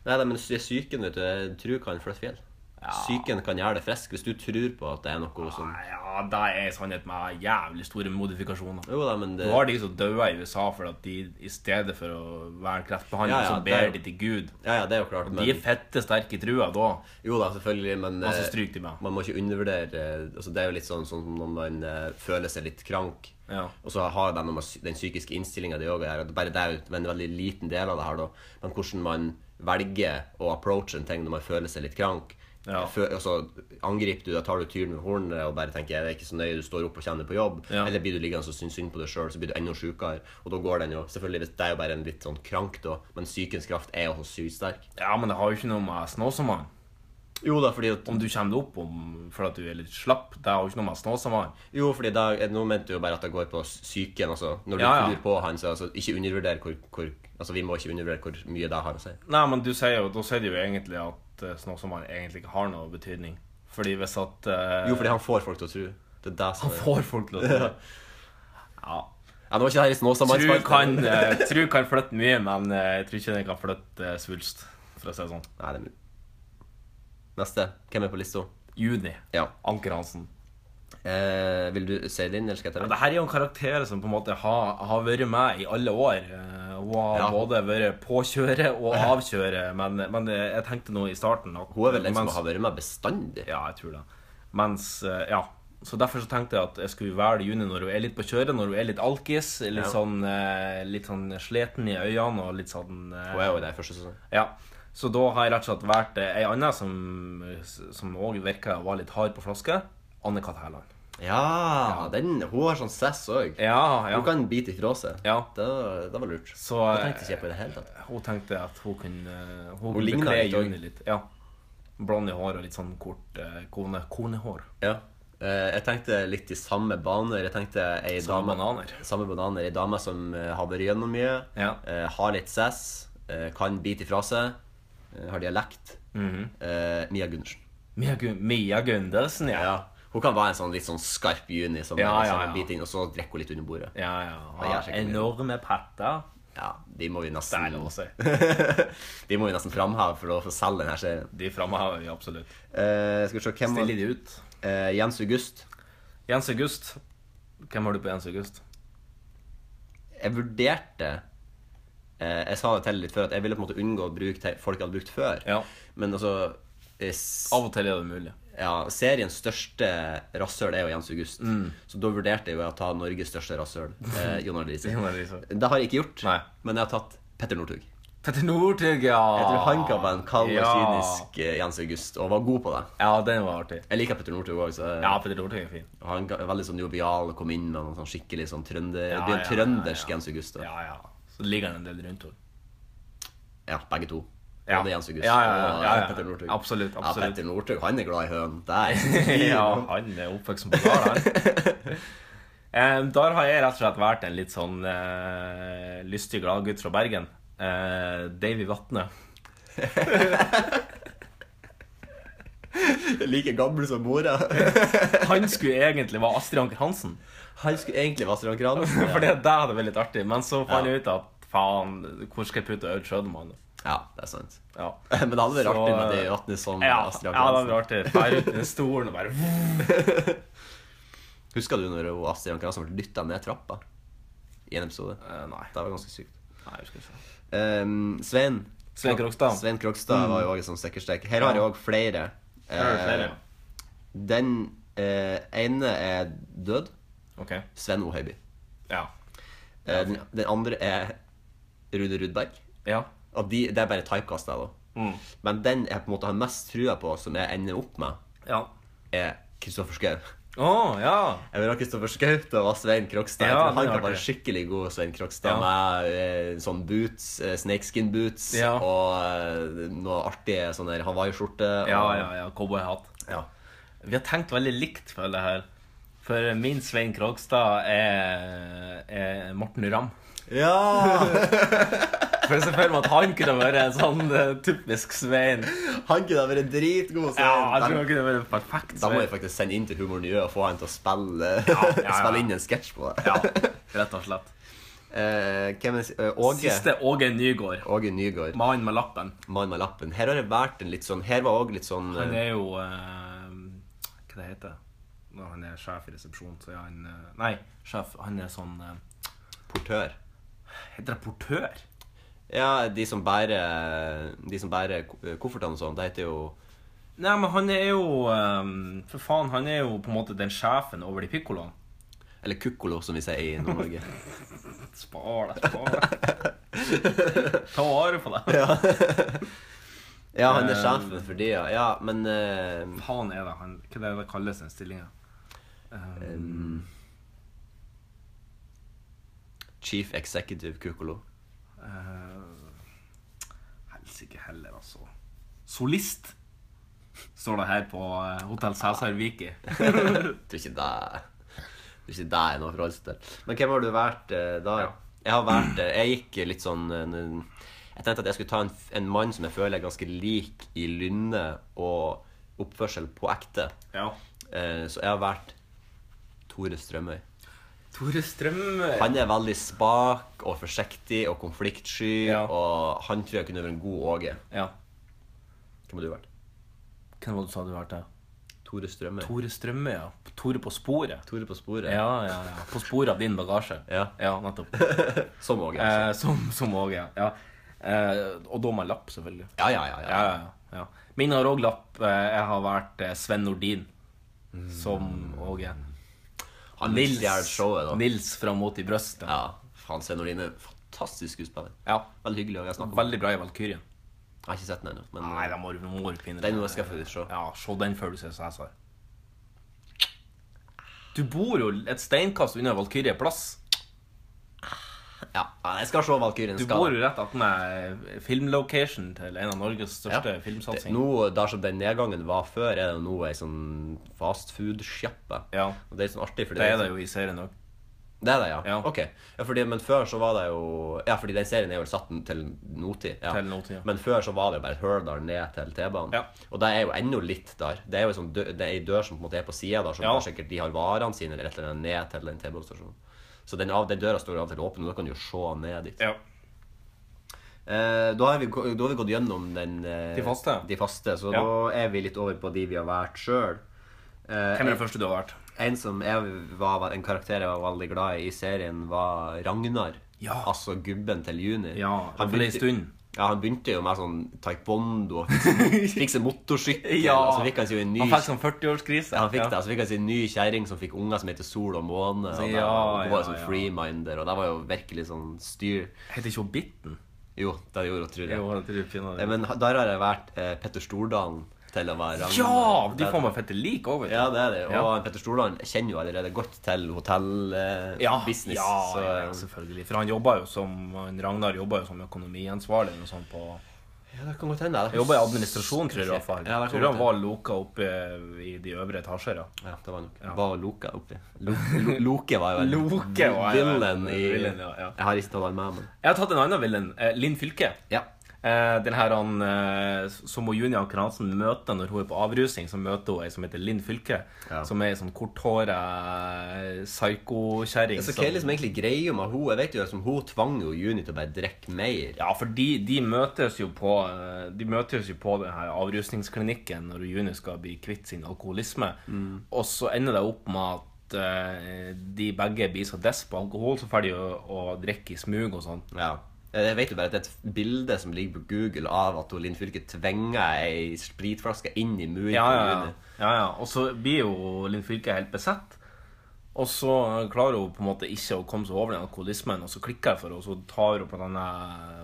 Speaker 3: Nei, nei, men sy- psyken, vet du, jeg tror kan flytte fjell. Psyken kan gjøre det frisk hvis du tror på at det er noe som
Speaker 2: Nei, Ja, det er sannhet med jævlig store modifikasjoner.
Speaker 3: Jo da, men det
Speaker 2: Du har de som dør i USA fordi at de i stedet for å være en kreftbehandler,
Speaker 3: Ja, ja,
Speaker 2: så
Speaker 3: det er
Speaker 2: ber
Speaker 3: jo-
Speaker 2: de til Gud.
Speaker 3: Ja, ja, det er jo klart,
Speaker 2: De er Altså,
Speaker 3: men
Speaker 2: fette sterke i trua da.
Speaker 3: Jo da, selvfølgelig, men
Speaker 2: Og så
Speaker 3: eh,
Speaker 2: stryker de med.
Speaker 3: Man må ikke undervurdere eh, altså Det er jo litt sånn, sånn som når man eh, føler seg litt krank.
Speaker 2: Ja.
Speaker 3: Og så har de noe med sy- den psykiske innstillinga de òg gjør. at Bare det er jo en veldig liten del av det her, da. Men hvordan man velger å approache en ting når man føler seg litt krank.
Speaker 2: Ja.
Speaker 3: Fø- og så angriper du, da tar du tyren med hornet og bare tenker 'jeg er ikke så nøye', du står opp og kjenner på jobb.
Speaker 2: Ja.
Speaker 3: Eller blir du liggende og synes synd på deg sjøl, så blir du enda sjukere. Og da går den jo Selvfølgelig, hvis det er jo bare en litt sånn krank, da, men psykens kraft er jo så sykt sterk.
Speaker 2: Ja, men det har jo ikke noe med Snåsamann
Speaker 3: Jo da, fordi at
Speaker 2: Om du kommer deg opp om, for at du er litt slapp, det har jo ikke noe med Snåsamann
Speaker 3: Jo, fordi da, nå mente du jo bare at det går på psyken. Altså. Når du
Speaker 2: Ja, ja.
Speaker 3: tror på han, så altså, ikke undervurder hvor, hvor Altså, vi må ikke undervurdere hvor mye det har å si.
Speaker 2: Nei, men du sier jo, da sier du jo egentlig at eh, Snåsamann egentlig ikke har noe betydning. Fordi hvis at eh,
Speaker 3: Jo, fordi han får folk til å tro. Det er det som er
Speaker 2: får folk til å tro. Ja.
Speaker 3: Ja, nå var ikke det her i
Speaker 2: Tru
Speaker 3: Snåsamannsparken.
Speaker 2: kan, eh, tru kan flytte mye, men eh, jeg tror ikke den kan flytte eh, svulst, for å si det sånn.
Speaker 3: Nei, det er mulig. Neste. Hvem er på lista?
Speaker 2: Juni.
Speaker 3: Ja.
Speaker 2: Anker Hansen.
Speaker 3: Eh, vil du si din, eller skal jeg ta
Speaker 2: Men
Speaker 3: den?
Speaker 2: det her er jo en karakter som på en måte har, har vært med i alle år. Eh, Hun har
Speaker 3: Ja.
Speaker 2: både vært påkjøre og avkjøre, men, men eh, jeg tenkte nå i starten at
Speaker 3: Hun er vel den som
Speaker 2: mens-
Speaker 3: har vært med bestandig.
Speaker 2: Ja, jeg tror det. Mens eh, Ja. Så derfor så tenkte jeg at jeg skulle velge Juni når hun er litt på kjøret, når hun er litt alkis, litt,
Speaker 3: Ja.
Speaker 2: sånn, eh, litt sånn sliten i øynene og litt sånn eh,
Speaker 3: Hun er jo der i første sesong.
Speaker 2: Ja. Så da har jeg rett og slett valgt eh, ei anna som òg virka å være litt hard på flaske. Anne-Kat. Hærland.
Speaker 3: Ja, den, hun har sånn sass òg.
Speaker 2: Ja, ja.
Speaker 3: Hun kan bite ifra seg.
Speaker 2: Ja.
Speaker 3: Det, var- det var lurt.
Speaker 2: Så
Speaker 3: Det tenkte ikke jeg på i det hele tatt.
Speaker 2: Hun tenkte at hun kunne Hun, kunne
Speaker 3: ligner
Speaker 2: bekle
Speaker 3: litt også.
Speaker 2: Juni litt. Ja. Blond i hår og litt sånn kort eh, kone, konehår.
Speaker 3: Ja. Eh, jeg tenkte litt i samme baner. Jeg tenkte ei
Speaker 2: Samme
Speaker 3: dame,
Speaker 2: bananer.
Speaker 3: Samme bananer. Ei dame som eh, har vært gjennom mye,
Speaker 2: Ja.
Speaker 3: eh, har litt sass, eh, kan bite ifra seg,
Speaker 2: Mhm.
Speaker 3: eh, har dialekt. Eh, Mia Gundersen.
Speaker 2: Mia, Gun Mia Gundersen, ja.
Speaker 3: Ja. Hun kan være en sånn litt sånn skarp juni som
Speaker 2: Ja,
Speaker 3: som
Speaker 2: ja, ja.
Speaker 3: biter inn, og så drikker hun litt under bordet.
Speaker 2: Ja, ja.
Speaker 3: Ja, jeg
Speaker 2: Har
Speaker 3: sjekker
Speaker 2: enorme patter.
Speaker 3: Ja, de må vi
Speaker 2: Det
Speaker 3: nesten
Speaker 2: er lov å si.
Speaker 3: De må vi nesten framheve for å få selge denne serien.
Speaker 2: De framhever vi absolutt.
Speaker 3: Eh, skal vi se hvem
Speaker 2: Stiller de ut.
Speaker 3: Eh, Jens August.
Speaker 2: Jens August. Hvem har du på Jens August?
Speaker 3: Jeg vurderte eh, Jeg sa det til litt før at jeg ville på en måte unngå å bruke te- folk jeg hadde brukt før.
Speaker 2: Ja.
Speaker 3: Men altså s-
Speaker 2: Av og til er det mulig.
Speaker 3: ja, Seriens største rasshøl er jo Jens August.
Speaker 2: Mm.
Speaker 3: Så da vurderte jeg jo å ta Norges største rasshøl, eh, Jon Arne Riise.
Speaker 2: Jon Arne Riise.
Speaker 3: Det har jeg ikke gjort,
Speaker 2: Nei.
Speaker 3: men jeg har tatt Petter Northug.
Speaker 2: Petter Northug, ja.
Speaker 3: Jeg tror han kan være en kald
Speaker 2: Ah,
Speaker 3: og
Speaker 2: Ja.
Speaker 3: kynisk eh, Jens August, og var god på det.
Speaker 2: Ja, den var artig.
Speaker 3: Jeg liker Petter Northug òg.
Speaker 2: Ja, Petter Northug er fin.
Speaker 3: Han ga- veldig sånn jovial og kom inn med noe sånn skikkelig sånn trønder Det
Speaker 2: ja,
Speaker 3: blir
Speaker 2: ja,
Speaker 3: en trøndersk
Speaker 2: ja.
Speaker 3: Jens August. da.
Speaker 2: Ja, ja. Så ligger han en del rundt henne.
Speaker 3: Ja, begge to.
Speaker 2: Ja.
Speaker 3: Både Jens August
Speaker 2: Ja, ja, ja,
Speaker 3: og
Speaker 2: ja, ja.
Speaker 3: Petter Northug.
Speaker 2: Absolutt, absolutt.
Speaker 3: Ja, Petter Northug, han er glad i høn. Det er ikke tvil
Speaker 2: ja,
Speaker 3: om.
Speaker 2: han er oppvokst som bulgar, han. Em, Der har jeg rett og slett vært en litt sånn eh, lystig gladgutt fra Bergen. Eh, Davy Vatne.
Speaker 3: Like gammel som mora.
Speaker 2: Han skulle egentlig være Astrid Anker Hansen.
Speaker 3: Han skulle egentlig vært Strand Kranes.
Speaker 2: For det der hadde vært litt artig. Men så fant
Speaker 3: Ja.
Speaker 2: jeg ut at faen, hvor skal jeg putte Aud Schødemann?
Speaker 3: Ja, det er sant.
Speaker 2: Ja.
Speaker 3: Men det hadde vært
Speaker 2: Så,
Speaker 3: artig med det vatnet som
Speaker 2: Ja, ja, det
Speaker 3: Astrid Anker
Speaker 2: hadde
Speaker 3: Hansen.
Speaker 2: vært artig. Fære ut i stolen og bare
Speaker 3: Husker du når hun Astrid Anker Hansen ble dytta ned trappa i en episode?
Speaker 2: Eh, Nei.
Speaker 3: Det var ganske sykt.
Speaker 2: Nei, jeg husker ikke.
Speaker 3: Ehm, Svein
Speaker 2: Svein Krogstad. Mm.
Speaker 3: Svein Krogstad var jo òg en sånn stikkerstek. Her har jeg òg flere.
Speaker 2: Her er det flere.
Speaker 3: Den eh, ene er død.
Speaker 2: Ok.
Speaker 3: Sven O. Høiby.
Speaker 2: Ja.
Speaker 3: Eh, den, den andre er Rune Rudberg.
Speaker 2: Ja.
Speaker 3: Og de, det er bare typecast, da.
Speaker 2: Mm.
Speaker 3: Men den jeg på en måte har mest trua på, som jeg ender opp med,
Speaker 2: Ja.
Speaker 3: er Kristoffer Schou.
Speaker 2: Å, ja.
Speaker 3: Jeg vil ha Kristoffer Schau til å være Svein Krokstad.
Speaker 2: Ja,
Speaker 3: jeg tror
Speaker 2: det
Speaker 3: han
Speaker 2: er
Speaker 3: kan være
Speaker 2: artig.
Speaker 3: skikkelig god Svein Krokstad
Speaker 2: Ja.
Speaker 3: med eh, sånn boots, eh, snakeskin boots
Speaker 2: Ja.
Speaker 3: og eh, noe artige sånn der hawaiiskjorte. og-
Speaker 2: Ja, ja, ja. Cowboyhatt.
Speaker 3: ja.
Speaker 2: Vi har tenkt veldig likt, føler jeg her. For min Svein Krogstad er, er Morten Ramm.
Speaker 3: Ja!
Speaker 2: For jeg ser for meg at han kunne vært en sånn eh, typisk Svein.
Speaker 3: Han kunne ha vært dritgod Svein.
Speaker 2: Ja, jeg tror
Speaker 3: Den-
Speaker 2: han kunne vært en perfekt
Speaker 3: da må
Speaker 2: Svein.
Speaker 3: jeg faktisk sende inn til Humor Nye og få han til å spille,
Speaker 2: ja, ja.
Speaker 3: spille inn en sketsj på det.
Speaker 2: Ja, rett og slett.
Speaker 3: Eh, hvem er s- eh, Åge?
Speaker 2: Siste Åge Nygård.
Speaker 3: Åge Nygaard.
Speaker 2: Mannen med lappen.
Speaker 3: Mann med lappen. Her har det vært en litt sånn Her var òg litt sånn
Speaker 2: Han
Speaker 3: eh,
Speaker 2: er jo eh, Hva det heter Når han er sjef i resepsjonen, så er han eh, Nei, sjef. Han er sånn eh,
Speaker 3: portør.
Speaker 2: Heter det portør?
Speaker 3: Ja, de som bærer De som bærer ko- koffertene og sånn, det heter jo
Speaker 2: Nei, men han er jo eh, For faen, han er jo på en måte den sjefen over de pikkoloene.
Speaker 3: Eller kukkolo, som vi sier i Nord-Norge.
Speaker 2: Spar deg, spar deg. Ta vare på deg.
Speaker 3: Ja,
Speaker 2: Eh.
Speaker 3: han er sjefen for de, ja. ja men eh,
Speaker 2: Faen er det han Hva er det det kalles den stillinga?
Speaker 3: Chief Executive Kukkolo.
Speaker 2: Eh, Helsike heller, altså. Solist står det her på eh, Hotell Cæsar Viki.
Speaker 3: Tror ikke det Tror ikke det er noe å forholde seg til. Men hvem har du vært eh, da? Jeg har vært eh, Jeg gikk litt sånn eh, n- Jeg tenkte at jeg skulle ta en, f- en mann som jeg føler er ganske lik i lynne og oppførsel på ekte.
Speaker 2: Ja.
Speaker 3: Eh, så jeg har vært Tore Strømøy.
Speaker 2: Tore Strømøy.
Speaker 3: Han er veldig spak og forsiktig og konfliktsky,
Speaker 2: Ja.
Speaker 3: og han tror jeg kunne vært en god Åge.
Speaker 2: Ja.
Speaker 3: Hvem har du vært?
Speaker 2: Hvem var det du sa du var til?
Speaker 3: Tore Strømøy.
Speaker 2: Tore Strømøy, ja. Tore på sporet.
Speaker 3: Tore på sporet.
Speaker 2: Ja, ja, ja. På sporet av din bagasje.
Speaker 3: Ja.
Speaker 2: ja nettopp.
Speaker 3: Som Åge. altså.
Speaker 2: Eh, som som Åge, ja. ja. Eh, og da med lapp, selvfølgelig.
Speaker 3: Ja, ja, ja. ja.
Speaker 2: Ja, ja, ja. Min har òg lapp. eh, Jeg har vært eh, Sven Nordin. Som òg en
Speaker 3: Han vil stjele showet, da.
Speaker 2: Nils fra Mot i brøstet.
Speaker 3: Ja. Faen, Svein Olin er en fantastisk skuespiller.
Speaker 2: Ja.
Speaker 3: Veldig hyggelig å snakke om.
Speaker 2: Veldig bra i Valkyrien.
Speaker 3: Jeg har ikke sett den ennå, men eh,
Speaker 2: Nei, da må du må du finne
Speaker 3: den må jeg skaffe se.
Speaker 2: Ja, Se den før du ser Cæsar. Du bor jo et steinkast unna Valkyrje plass.
Speaker 3: Ja. ja, jeg skal se Valkyrien.
Speaker 2: Du
Speaker 3: skal
Speaker 2: bor
Speaker 3: jeg.
Speaker 2: jo rett attmed eh, filmlocation til en sånn av Norges største
Speaker 3: Ja. Det-
Speaker 2: filmsatsinger.
Speaker 3: Nå, der som den nedgangen var før, er det nå ei sånn fastfood-sjappe.
Speaker 2: Ja.
Speaker 3: Og det er litt sånn artig, for
Speaker 2: Det er det jo i serien òg.
Speaker 3: Det er det, ja.
Speaker 2: Ja.
Speaker 3: Ok. Ja, fordi, men før så var det jo Ja, fordi den serien er jo satt til notid. Ja.
Speaker 2: Til nåtid, ja.
Speaker 3: Men før så var det jo bare Hurdal ned til T-banen.
Speaker 2: Ja.
Speaker 3: Og det er jo ennå litt der. Det er jo en sånn dø- det er ei dør som på en måte er på sida der, som
Speaker 2: Ja.
Speaker 3: ja. sikkert de har varene sine eller et eller annet ned til den T-banestasjonen. Så den, av, den døra står jo av og til åpen, og da kan du jo se ned dit.
Speaker 2: Ja.
Speaker 3: Eh, da, har vi, gå- da har vi gått gjennom den eh,
Speaker 2: De faste.
Speaker 3: de faste, så
Speaker 2: Ja.
Speaker 3: da er vi litt over på de vi har Eh, valgt sjøl.
Speaker 2: Hvem er den første du har vært?
Speaker 3: En som jeg var En karakter jeg var veldig glad i i serien, var Ragnar.
Speaker 2: Ja.
Speaker 3: Altså gubben til Juni.
Speaker 2: Ja, for en stund.
Speaker 3: Ja, Han begynte jo med sånn taekwondo og fikk- fikk seg motorsykkel. Og så fikk Eh, altså, han seg jo en ny
Speaker 2: Han fikk sånn 40-årskrise.
Speaker 3: ja, han fikk det, så fikk han seg en ny kjerring som fikk unger som heter Sol og Måne. Og
Speaker 2: Ja,
Speaker 3: da- hun var
Speaker 2: ja,
Speaker 3: jo sånn
Speaker 2: ja.
Speaker 3: freeminder, og det var jo virkelig sånn styr.
Speaker 2: Heter ikke hun Bitten?
Speaker 3: Jo, det gjorde hun, tror jeg.
Speaker 2: Jo, jeg tror jeg finner
Speaker 3: Eh,
Speaker 2: det.
Speaker 3: Men ha- der har jeg vært eh, Petter Stordalen til å være Ragnar.
Speaker 2: Ja! De
Speaker 3: Det-
Speaker 2: får meg fette lik òg, vet
Speaker 3: Ja, det er det. Og
Speaker 2: Ja.
Speaker 3: Petter Stordalen kjenner jo allerede godt til hotellbusiness.
Speaker 2: Ja,
Speaker 3: business
Speaker 2: ja,
Speaker 3: så,
Speaker 2: ja, ja, selvfølgelig. For han jobba jo som han Ragnar jobba jo som økonomiansvarlig eller noe sånt på
Speaker 3: ja, det kan godt hende. det.
Speaker 2: Han jobba i administrasjon, tror jeg i hvert fall.
Speaker 3: Ja, det kan
Speaker 2: tror han
Speaker 3: godt
Speaker 2: var loka oppe i de øvre etasjer, ja.
Speaker 3: Ja, det var nok. Var Loke oppi? Lo- Lo- Loke var jo en
Speaker 2: Loke var jo en-
Speaker 3: villain i
Speaker 2: villain, ja, ja.
Speaker 3: Jeg har ikke tatt han med, men
Speaker 2: Jeg har tatt en annen villain. eh, Linn Fylke.
Speaker 3: Ja.
Speaker 2: Eh, den her han eh, som hun Junia Kransen møter når hun er på avrusning, så møter hun ei som heter Linn Fylke.
Speaker 3: Ja.
Speaker 2: Som er ei sånn korthåra psyko-kjerring.
Speaker 3: Så
Speaker 2: som-
Speaker 3: hva er liksom egentlig greia med hun? Jeg vet jo liksom, Hun tvang jo Juni til å bare drikke mer.
Speaker 2: Ja, for de, de møtes jo på eh, De møtes jo på den her avrusningsklinikken når Juni skal bli kvitt sin alkoholisme.
Speaker 3: Mm.
Speaker 2: Og så ender det opp med at eh, de begge blir så dess på alkohol, så får de å, å drikke i smug og sånn.
Speaker 3: Ja. Jeg vet jo bare at det er et bilde som ligger på Google av at hun Linn Fylke tvinger ei spritflaske inn i munnen
Speaker 2: Ja,
Speaker 3: på
Speaker 2: ja, ja.
Speaker 3: Juni.
Speaker 2: ja, ja. Og så blir jo Linn Fylke helt besett. Og så klarer hun på en måte ikke å komme seg over den alkoholismen, og så klikker det for henne, og så tar hun på denne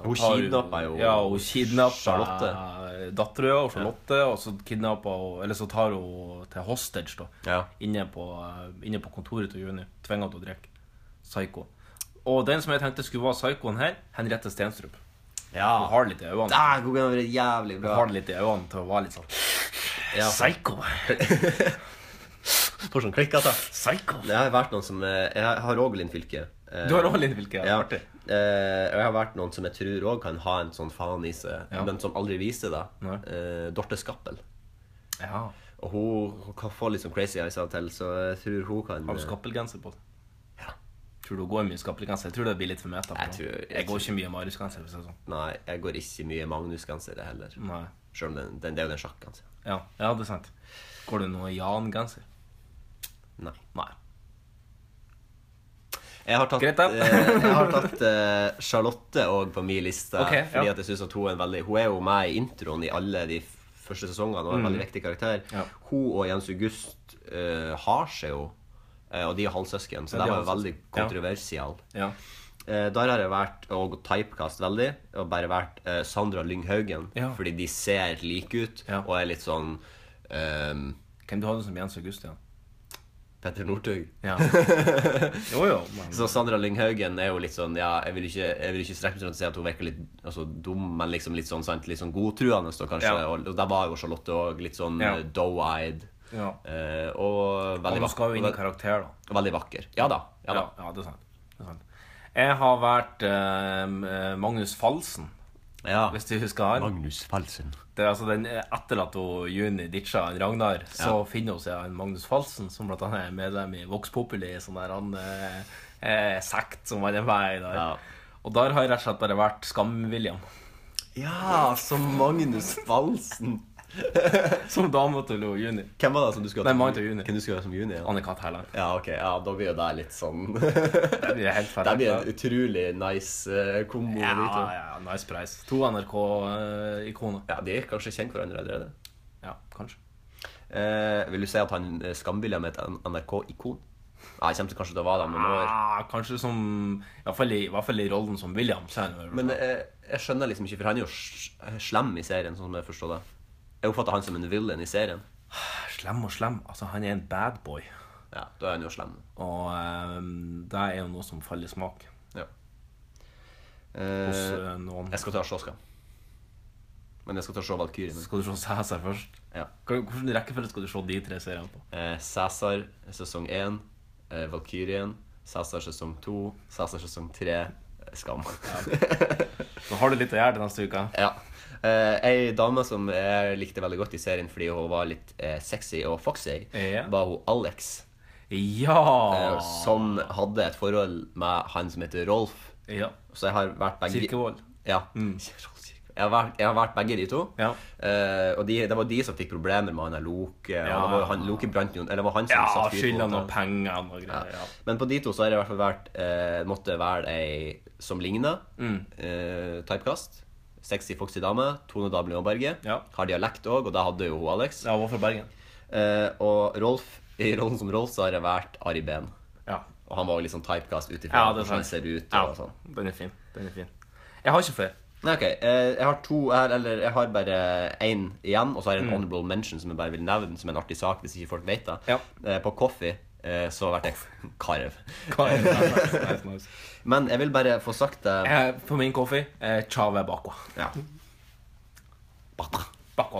Speaker 3: Hun
Speaker 2: tar-
Speaker 3: kidnapper jo
Speaker 2: Ja, hun kidnapper
Speaker 3: Charlotte.
Speaker 2: Dattera og Charlotte, og så kidnapper hun Eller så tar hun til hostage, da.
Speaker 3: Ja.
Speaker 2: Inne, på, eh, inne på kontoret til Juni. Tvinger henne til å drikke. Psycho. Og den som jeg tenkte skulle være psykoen her, Henriette Stenstrup.
Speaker 3: Ja.
Speaker 2: Hun har litt i øynene.
Speaker 3: Der kunne det vært jævlig
Speaker 2: Hun
Speaker 3: bra.
Speaker 2: har litt i øynene til å være litt sånn
Speaker 3: Ja.
Speaker 2: Psycho.
Speaker 3: Får sånn klikk, altså.
Speaker 2: Psycho.
Speaker 3: Det har vært noen som eh, Jeg har òg Linn Fylke. Eh,
Speaker 2: Du har også Linn Fylke, ja.
Speaker 3: Ja.
Speaker 2: Artig.
Speaker 3: Eh, og jeg har vært noen som jeg tror òg kan ha en sånn faen i seg,
Speaker 2: Ja.
Speaker 3: men som aldri viser det.
Speaker 2: Nei.
Speaker 3: Eh, Dorte Skappel.
Speaker 2: Ja.
Speaker 3: Og hun, hun kan få litt sånn crazy eyes av og til, så jeg tror hun kan
Speaker 2: Har du
Speaker 3: eh,
Speaker 2: skappelgenser på deg?
Speaker 3: Ja.
Speaker 2: Tror du går mye skappelgenser? Jeg tror det blir litt for meta.
Speaker 3: Jeg tror- jeg
Speaker 2: jeg går
Speaker 3: tror-
Speaker 2: ikke mye Marius-genser. for å si det sånn.
Speaker 3: Nei, jeg går ikke mye Magnus-genser jeg heller.
Speaker 2: Nei.
Speaker 3: Selv om den, den, det er jo den sjakkgenser.
Speaker 2: Ja. ja, det er sant. Går du noe Jan-genser?
Speaker 3: Nei.
Speaker 2: Nei.
Speaker 3: Jeg har tatt,
Speaker 2: Greit, da.
Speaker 3: eh, jeg har tatt eh, Charlotte òg på min liste.
Speaker 2: Ok, ja.
Speaker 3: Fordi at jeg synes at Hun er en veldig Hun er jo med i introen i alle de f- første sesongene og er en veldig viktig karakter.
Speaker 2: Mm. Ja.
Speaker 3: Hun og Jens August eh, har seg jo, eh, og de er halvsøsken, så
Speaker 2: Ja, de
Speaker 3: det
Speaker 2: er
Speaker 3: var jo veldig
Speaker 2: halvsøsken. Ja.
Speaker 3: kontroversial.
Speaker 2: Ja.
Speaker 3: Eh, der har jeg vært og typecast veldig, og bare vært eh, Sandra Lynghaugen.
Speaker 2: Ja.
Speaker 3: Fordi de ser like ut
Speaker 2: Ja.
Speaker 3: og er litt sånn ehm,
Speaker 2: Hvem du hadde som Jens Augustian?
Speaker 3: Petter Northug.
Speaker 2: Ja. Jo, jo. Men...
Speaker 3: Så Sandra Lynghaugen er jo litt sånn Ja, jeg vil ikke, jeg vil ikke strekke meg til å si at hun virker litt altså, dum, men liksom litt sånn sant, litt sånn godtruende, da, kanskje.
Speaker 2: Ja.
Speaker 3: Og, og der var jo Charlotte òg litt sånn
Speaker 2: Ja.
Speaker 3: eh, doe-eyed.
Speaker 2: Ja.
Speaker 3: Eh, og veldig
Speaker 2: Han skal jo inn i
Speaker 3: vakker.
Speaker 2: karakter, da.
Speaker 3: Veldig vakker. Ja da. Ja, da.
Speaker 2: Ja, ja det, er sant. det er sant. Jeg har vært eh, Magnus Falsen,
Speaker 3: Ja.
Speaker 2: hvis du husker han.
Speaker 3: Magnus Falsen.
Speaker 2: Det er altså den Etterlatt hun Juni ditcha en Ragnar, så finner hun seg en Magnus Falsen, som blant annet er medlem i Vox Populi, sånn der han eh, eh, sekt som han er med i der.
Speaker 3: Ja.
Speaker 2: Og der har jeg rett og slett bare vært Skam-William.
Speaker 3: Ja, som Magnus Falsen.
Speaker 2: Som dama til hun Juni.
Speaker 3: Hvem var det som du skulle
Speaker 2: Nei, mannen til Juni.
Speaker 3: Hvem du skulle ha som juni? Ja.
Speaker 2: Anne-Kat. Hærland.
Speaker 3: ja, ok. Ja, da blir jo det litt sånn
Speaker 2: Det blir helt
Speaker 3: Det
Speaker 2: ferdig.
Speaker 3: blir en utrolig nice eh, kombo.
Speaker 2: Ja,
Speaker 3: de to.
Speaker 2: ja, nice price. To NRK-ikoner.
Speaker 3: ja, de kanskje kjenner hverandre allerede.
Speaker 2: Ja, kanskje.
Speaker 3: Eh, vil du si at han eh, Skam-William er et N- NRK-ikon? Nei, jeg kommer til kanskje til å være det om noen år.
Speaker 2: Ah, kanskje som i hvert, fall i, i hvert fall i rollen som William. så er han jo-
Speaker 3: Men eh, jeg skjønner liksom ikke, for han er jo sj- slem i serien, sånn som jeg forstår det. Jeg oppfatter han som en villain i serien. eh,
Speaker 2: Slem og slem. Altså, han er en bad boy.
Speaker 3: Ja, da er han jo slem.
Speaker 2: Og ehm, det er jo noe som faller i smak
Speaker 3: Ja.
Speaker 2: hos
Speaker 3: Eh,
Speaker 2: eh, noen.
Speaker 3: jeg skal ta Sjåska. Men jeg skal ta Sjå Valkyrien.
Speaker 2: Skal du se Cæsar først?
Speaker 3: Ja.
Speaker 2: Hva- Hvilken rekkefølge skal du se de tre seriene på?
Speaker 3: Eh, Cæsar, sesong 1. Eh, Valkyrien, Cæsar sesong to, Cæsar sesong tre, Eh, Skam.
Speaker 2: Nå har du litt å gjøre til neste uke.
Speaker 3: Ja. Eh, ei dame som jeg likte veldig godt i serien fordi hun var litt eh, sexy og foxy,
Speaker 2: Ja. Ah.
Speaker 3: var hun Alex. eh,
Speaker 2: Ja!
Speaker 3: Som hadde et forhold med han som heter Rolf.
Speaker 2: Eh, ja.
Speaker 3: Så jeg har vært begge
Speaker 2: Kirkevold.
Speaker 3: Ja. Rolf Kirkevold. Jeg har, vært, jeg har vært begge de to.
Speaker 2: Mm. Ja.
Speaker 3: Eh, og de, det var de som fikk problemer med han der Loke. Og
Speaker 2: Ja.
Speaker 3: det var jo han, Loke brant jo Eller det var han som
Speaker 2: Ja,
Speaker 3: satte fyr på
Speaker 2: skylda noe
Speaker 3: hotellet.
Speaker 2: penger og greier.
Speaker 3: Ja.
Speaker 2: Ja.
Speaker 3: Men på de to så har det i hvert fall vært eh, måtte være ei som ligner.
Speaker 2: Mm.
Speaker 3: Eh, typecast. Sexy, foxy dame. Tone Dable Aaberge.
Speaker 2: Ja.
Speaker 3: Har dialekt òg, og da hadde jo hun Alex.
Speaker 2: Ja, hun var fra Bergen.
Speaker 3: Eh, og Rolf, i rollen som Rolf, så har det vært Ari Behn.
Speaker 2: Ja.
Speaker 3: Og han var jo litt sånn typecast ut ifra
Speaker 2: ja, det er
Speaker 3: hvordan han
Speaker 2: sant.
Speaker 3: ser ut.
Speaker 2: Ja,
Speaker 3: Og sånn.
Speaker 2: den er fin. Den er fin. Jeg har ikke flere.
Speaker 3: Nei, ok. Eh, jeg har to her, eller jeg har bare én igjen, og så har
Speaker 2: Mm.
Speaker 3: jeg en honorable mention som jeg bare vil nevne som en artig sak, hvis ikke folk vet det.
Speaker 2: Ja.
Speaker 3: Eh, på Coffee eh, så har jeg vært Karev.
Speaker 2: Nice, nice.
Speaker 3: Men jeg vil bare få sagt det
Speaker 2: Eh, På min kaffe eh, Chave Bakwa.
Speaker 3: Ja.
Speaker 2: Bakwa,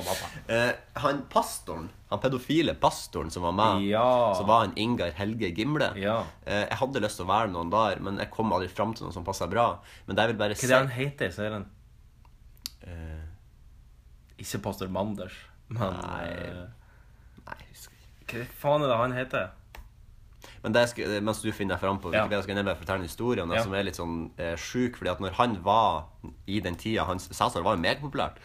Speaker 2: bakwa.
Speaker 3: Eh, han pastoren, han pedofile pastoren som var
Speaker 2: Ah,
Speaker 3: med,
Speaker 2: Ja.
Speaker 3: så var han Ingar Helge Gimle.
Speaker 2: Ja.
Speaker 3: Eh, jeg hadde lyst til å være noen der, men jeg kom aldri fram til noen som passa bra. Men det jeg vil bare
Speaker 2: Hva er
Speaker 3: si
Speaker 2: det han heter i serien? Eh. Ikke pastor Manders, men eh,
Speaker 3: Nei, jeg husker ikke.
Speaker 2: Hva faen er det han heter?
Speaker 3: Men det jeg skulle, mens du finner deg fram på
Speaker 2: Ja.
Speaker 3: Wikipedia, skal jeg bare fortelle en historie om det
Speaker 2: Ja.
Speaker 3: som er litt sånn eh, sjuk. Fordi at når han var i den tida hans Cæsar var jo megapopulært.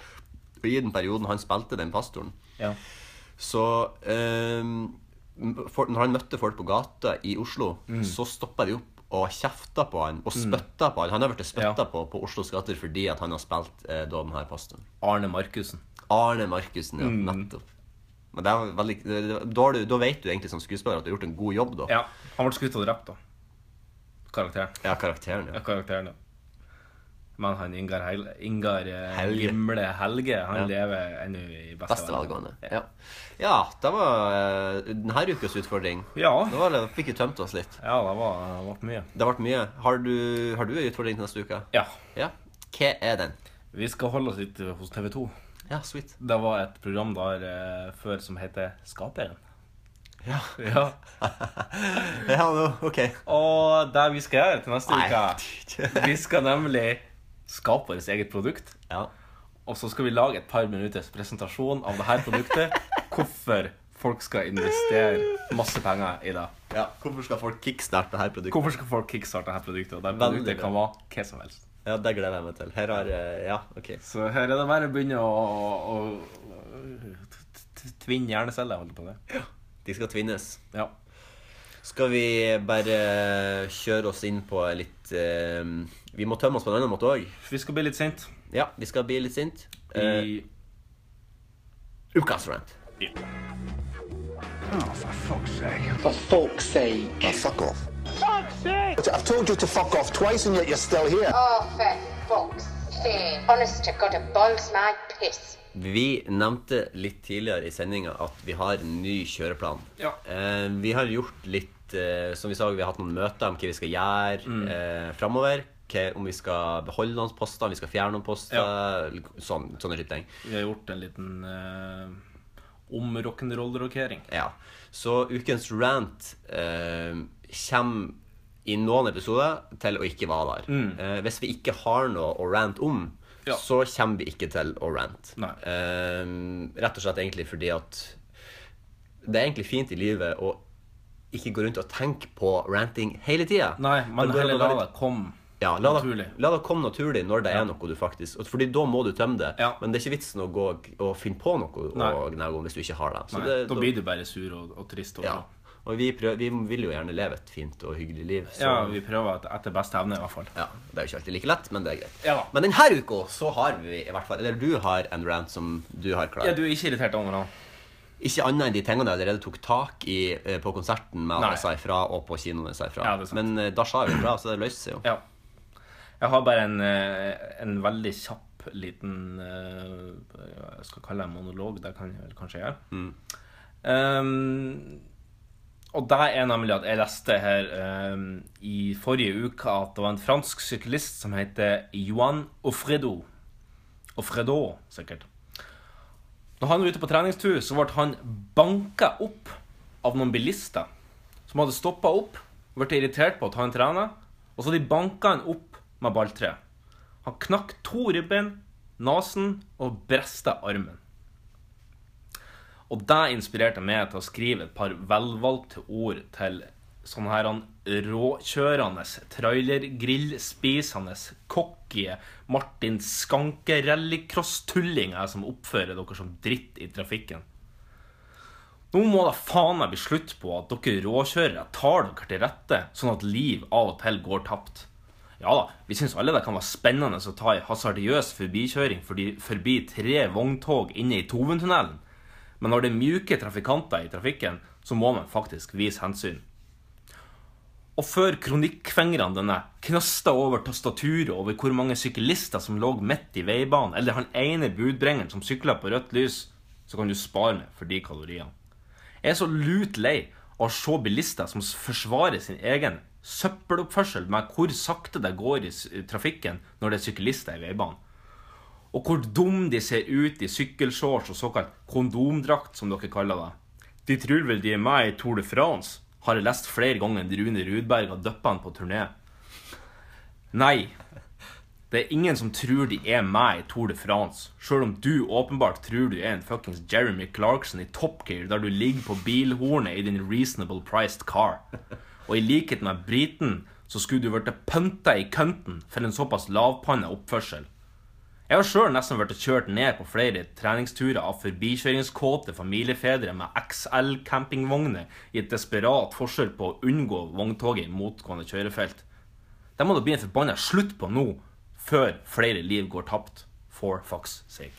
Speaker 3: Og i den perioden han spilte den pastoren,
Speaker 2: Ja.
Speaker 3: Så ehm, for, Når han møtte folk på gata i Oslo,
Speaker 2: Mm.
Speaker 3: så stoppa de opp og kjefta på han og spytta på han. Han har blitt spytta
Speaker 2: Ja.
Speaker 3: på på Oslos gater fordi at han har spilt eh, da den her pastoren.
Speaker 2: Arne Markussen.
Speaker 3: Arne Markussen,
Speaker 2: Mm.
Speaker 3: ja. Nettopp. Men det er veldig, det, det, da, har du, da vet du egentlig som skuespiller at du har gjort en god jobb, da.
Speaker 2: Ja. Han ble skutt og drept, da. Karakteren.
Speaker 3: Ja, karakteren,
Speaker 2: Ja,
Speaker 3: ja.
Speaker 2: karakteren, ja. Men han Ingar, Hel Ingar eh,
Speaker 3: Helge.
Speaker 2: Gimle Helge, han lever ennå i beste,
Speaker 3: Beste velgående.
Speaker 2: Ja.
Speaker 3: Ja. ja, det var eh, denne ukas utfordring.
Speaker 2: Ja.
Speaker 3: Da var det- fikk vi tømt oss litt.
Speaker 2: ja, det var, det var mye.
Speaker 3: Det ble mye. Har du, har du en utfordring til neste uke?
Speaker 2: Ja.
Speaker 3: ja. Hva er den?
Speaker 2: Vi skal holde oss litt hos TV 2.
Speaker 3: Ja, sweet.
Speaker 2: Det var et program der eh, før som heter Skaperen.
Speaker 3: Ja.
Speaker 2: Ja.
Speaker 3: Ja, nå, ok.
Speaker 2: Og det vi skal gjøre til neste
Speaker 3: Nei.
Speaker 2: uke Vi skal nemlig skape vårt eget produkt.
Speaker 3: Ja.
Speaker 2: Og så skal vi lage et par minutters presentasjon av dette produktet. Hvorfor folk skal investere masse penger i det.
Speaker 3: ja. Hvorfor skal folk kickstarte det her produktet?
Speaker 2: Hvorfor skal folk kickstarte dette produktet? Og det
Speaker 3: Veldig
Speaker 2: produktet
Speaker 3: bra.
Speaker 2: kan være hva som helst.
Speaker 3: Ja, det gleder jeg meg til. Her har eh, Ja, ok.
Speaker 2: Så her er det bare å begynne å, å, å t- tvinne hjerneceller. holder på det.
Speaker 3: De skal tvinnes.
Speaker 2: Ja.
Speaker 3: Skal vi bare eh, kjøre oss inn på litt eh, Vi må tømme oss på en annen måte òg.
Speaker 2: Vi skal bli litt sint
Speaker 3: Ja, vi skal bli litt sint. Eh,
Speaker 2: i
Speaker 3: Ukas rant.
Speaker 5: For folks sake.
Speaker 4: fuck off. I've told you to fuck off twice and yet you're still here.
Speaker 10: Oh, for fuck's sake. Honest to God, it boils my piss.
Speaker 3: Vi nevnte litt tidligere i sendinga at vi har en ny kjøreplan.
Speaker 2: Ja.
Speaker 3: Eh, vi har gjort litt eh, Som vi sa, vi har hatt noen møter om hva vi skal gjøre eh, framover. Hva- Om vi skal beholde noen poster, om vi skal fjerne noen poster. Sånn, sånne type ting.
Speaker 2: Vi har gjort en liten uh, om rock'n'roll-rokering.
Speaker 3: Ja. Så ukens rant eh, kommer i noen episoder til å ikke være der. Eh, hvis vi ikke har noe å rante om,
Speaker 2: Mm. Ja.
Speaker 3: så kommer vi ikke til å rante.
Speaker 2: Nei.
Speaker 3: Eh, rett og slett egentlig fordi at det er egentlig fint i livet å ikke gå rundt og tenke på ranting hele tida.
Speaker 2: Nei, men heller la det komme.
Speaker 3: ja, la det,
Speaker 2: naturlig.
Speaker 3: La det komme naturlig når det er noe du faktisk og Fordi da må du tømme det.
Speaker 2: Ja.
Speaker 3: Men det er ikke vitsen å gå og- og finne på noe
Speaker 2: Nei.
Speaker 3: å gnage om hvis du ikke har det. Så
Speaker 2: Nei,
Speaker 3: det-
Speaker 2: da blir du bare sur og, og trist. Også.
Speaker 3: ja. Og vi, prøv, vi vil jo gjerne leve et fint og hyggelig liv. Så,
Speaker 2: ja, vi prøver et- etter beste evne, i hvert fall.
Speaker 3: ja, Det er jo ikke alltid like lett, men det er greit.
Speaker 2: Ja.
Speaker 3: Men denne uka så har vi i hvert fall Eller du har en rant som du har klar.
Speaker 2: Ja, Du er ikke irritert over noe?
Speaker 3: Ikke annet enn de tingene jeg allerede tok tak i eh, på konserten med
Speaker 2: Nei.
Speaker 3: at jeg sa ifra, og på kinoen jeg sa ifra.
Speaker 2: Ja, det er sant.
Speaker 3: men eh, da sa jeg jo ifra, så det løste seg jo.
Speaker 2: Ja. Jeg har bare en, eh, en veldig kjapp liten eh, Jeg skal kalle det en monolog, det kan jeg vel kanskje gjøre. Um, og det er nemlig at jeg leste her um, i forrige uke at det var en fransk syklist som heter Johan Ofredo. Ofredo, sikkert. Når han var ute på treningstur, så ble han banka opp av noen bilister som hadde stoppa opp, ble irritert på at han trener, og så de banka han opp med balltre. Han knakk to ribbein, nesen og bresta armen. Og det inspirerte meg til å skrive et par velvalgte ord til sånne her han råkjørende, trailergrillspisende, cocky Martin Skanke rallycross-tullinger som oppfører dere som dritt i trafikken. Nå må da faen meg bli slutt på at dere råkjørere tar dere til rette, sånn at liv av og til går tapt. Ja da, vi syns alle det kan være spennende å ta ei hasardiøs forbikjøring fordi, forbi tre vogntog inne i Toventunnelen, men når det er mjuke trafikanter i trafikken, så må man faktisk vise hensyn. Og før kronikkfingrene denne knasta over tastaturet over hvor mange syklister som lå midt i veibanen, eller han ene budbrengeren som sykla på rødt lys, så kan du spare meg for de kaloriene. Jeg er så lut lei av å se bilister som forsvarer sin egen søppeloppførsel med hvor sakte det går i s- trafikken når det er syklister i veibanen. Og hvor dum de ser ut i sykkelshorts og såkalt kondomdrakt, som dere kaller det. De tror vel de er med i Tour de France, har jeg lest flere ganger enn Rune Rudberg har døppa han på turné. Nei, det er ingen som tror de er med i Tour de France, sjøl om du åpenbart tror du er en fuckings Jeremy Clarkson i Top Gear, der du ligger på bilhornet i din reasonable priced car. Og i likhet med briten, så skulle du blitt pønta i kønten for en såpass lavpanna oppførsel. Jeg har sjøl nesten blitt kjørt ned på flere treningsturer av forbikjøringskåte familiefedre med XL-campingvogner i et desperat forsøk på å unngå vogntoget i motgående kjørefelt. Det må det bli en forbanna slutt på nå, før flere liv går tapt. For fucks sake.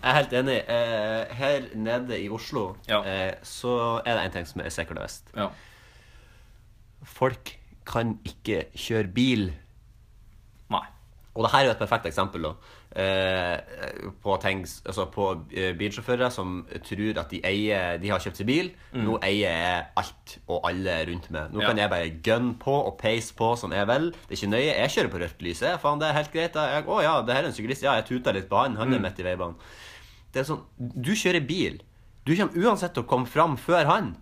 Speaker 3: Jeg er helt enig. Eh, her nede i Oslo eh, så er det en ting som er sikkert og visst. Folk kan ikke kjøre bil.
Speaker 2: Nei.
Speaker 3: Og det her er jo et perfekt eksempel da, eh, på, ting, s- altså på eh, bilsjåfører som tror at de eier De har kjøpt seg bil.
Speaker 2: Mm.
Speaker 3: Nå eier jeg alt og alle rundt meg. Nå
Speaker 2: Ja.
Speaker 3: kan jeg bare gunne på og peise på som jeg vil. Det er ikke nøye. Jeg kjører på rødt lys. jeg. Faen, det er helt greit. da. Jeg, å ja, det her er en syklist. Ja, jeg tuta litt på han. Han
Speaker 2: Mm.
Speaker 3: er midt i veibanen. Det er sånn, Du kjører bil. Du kommer uansett til å komme fram før han.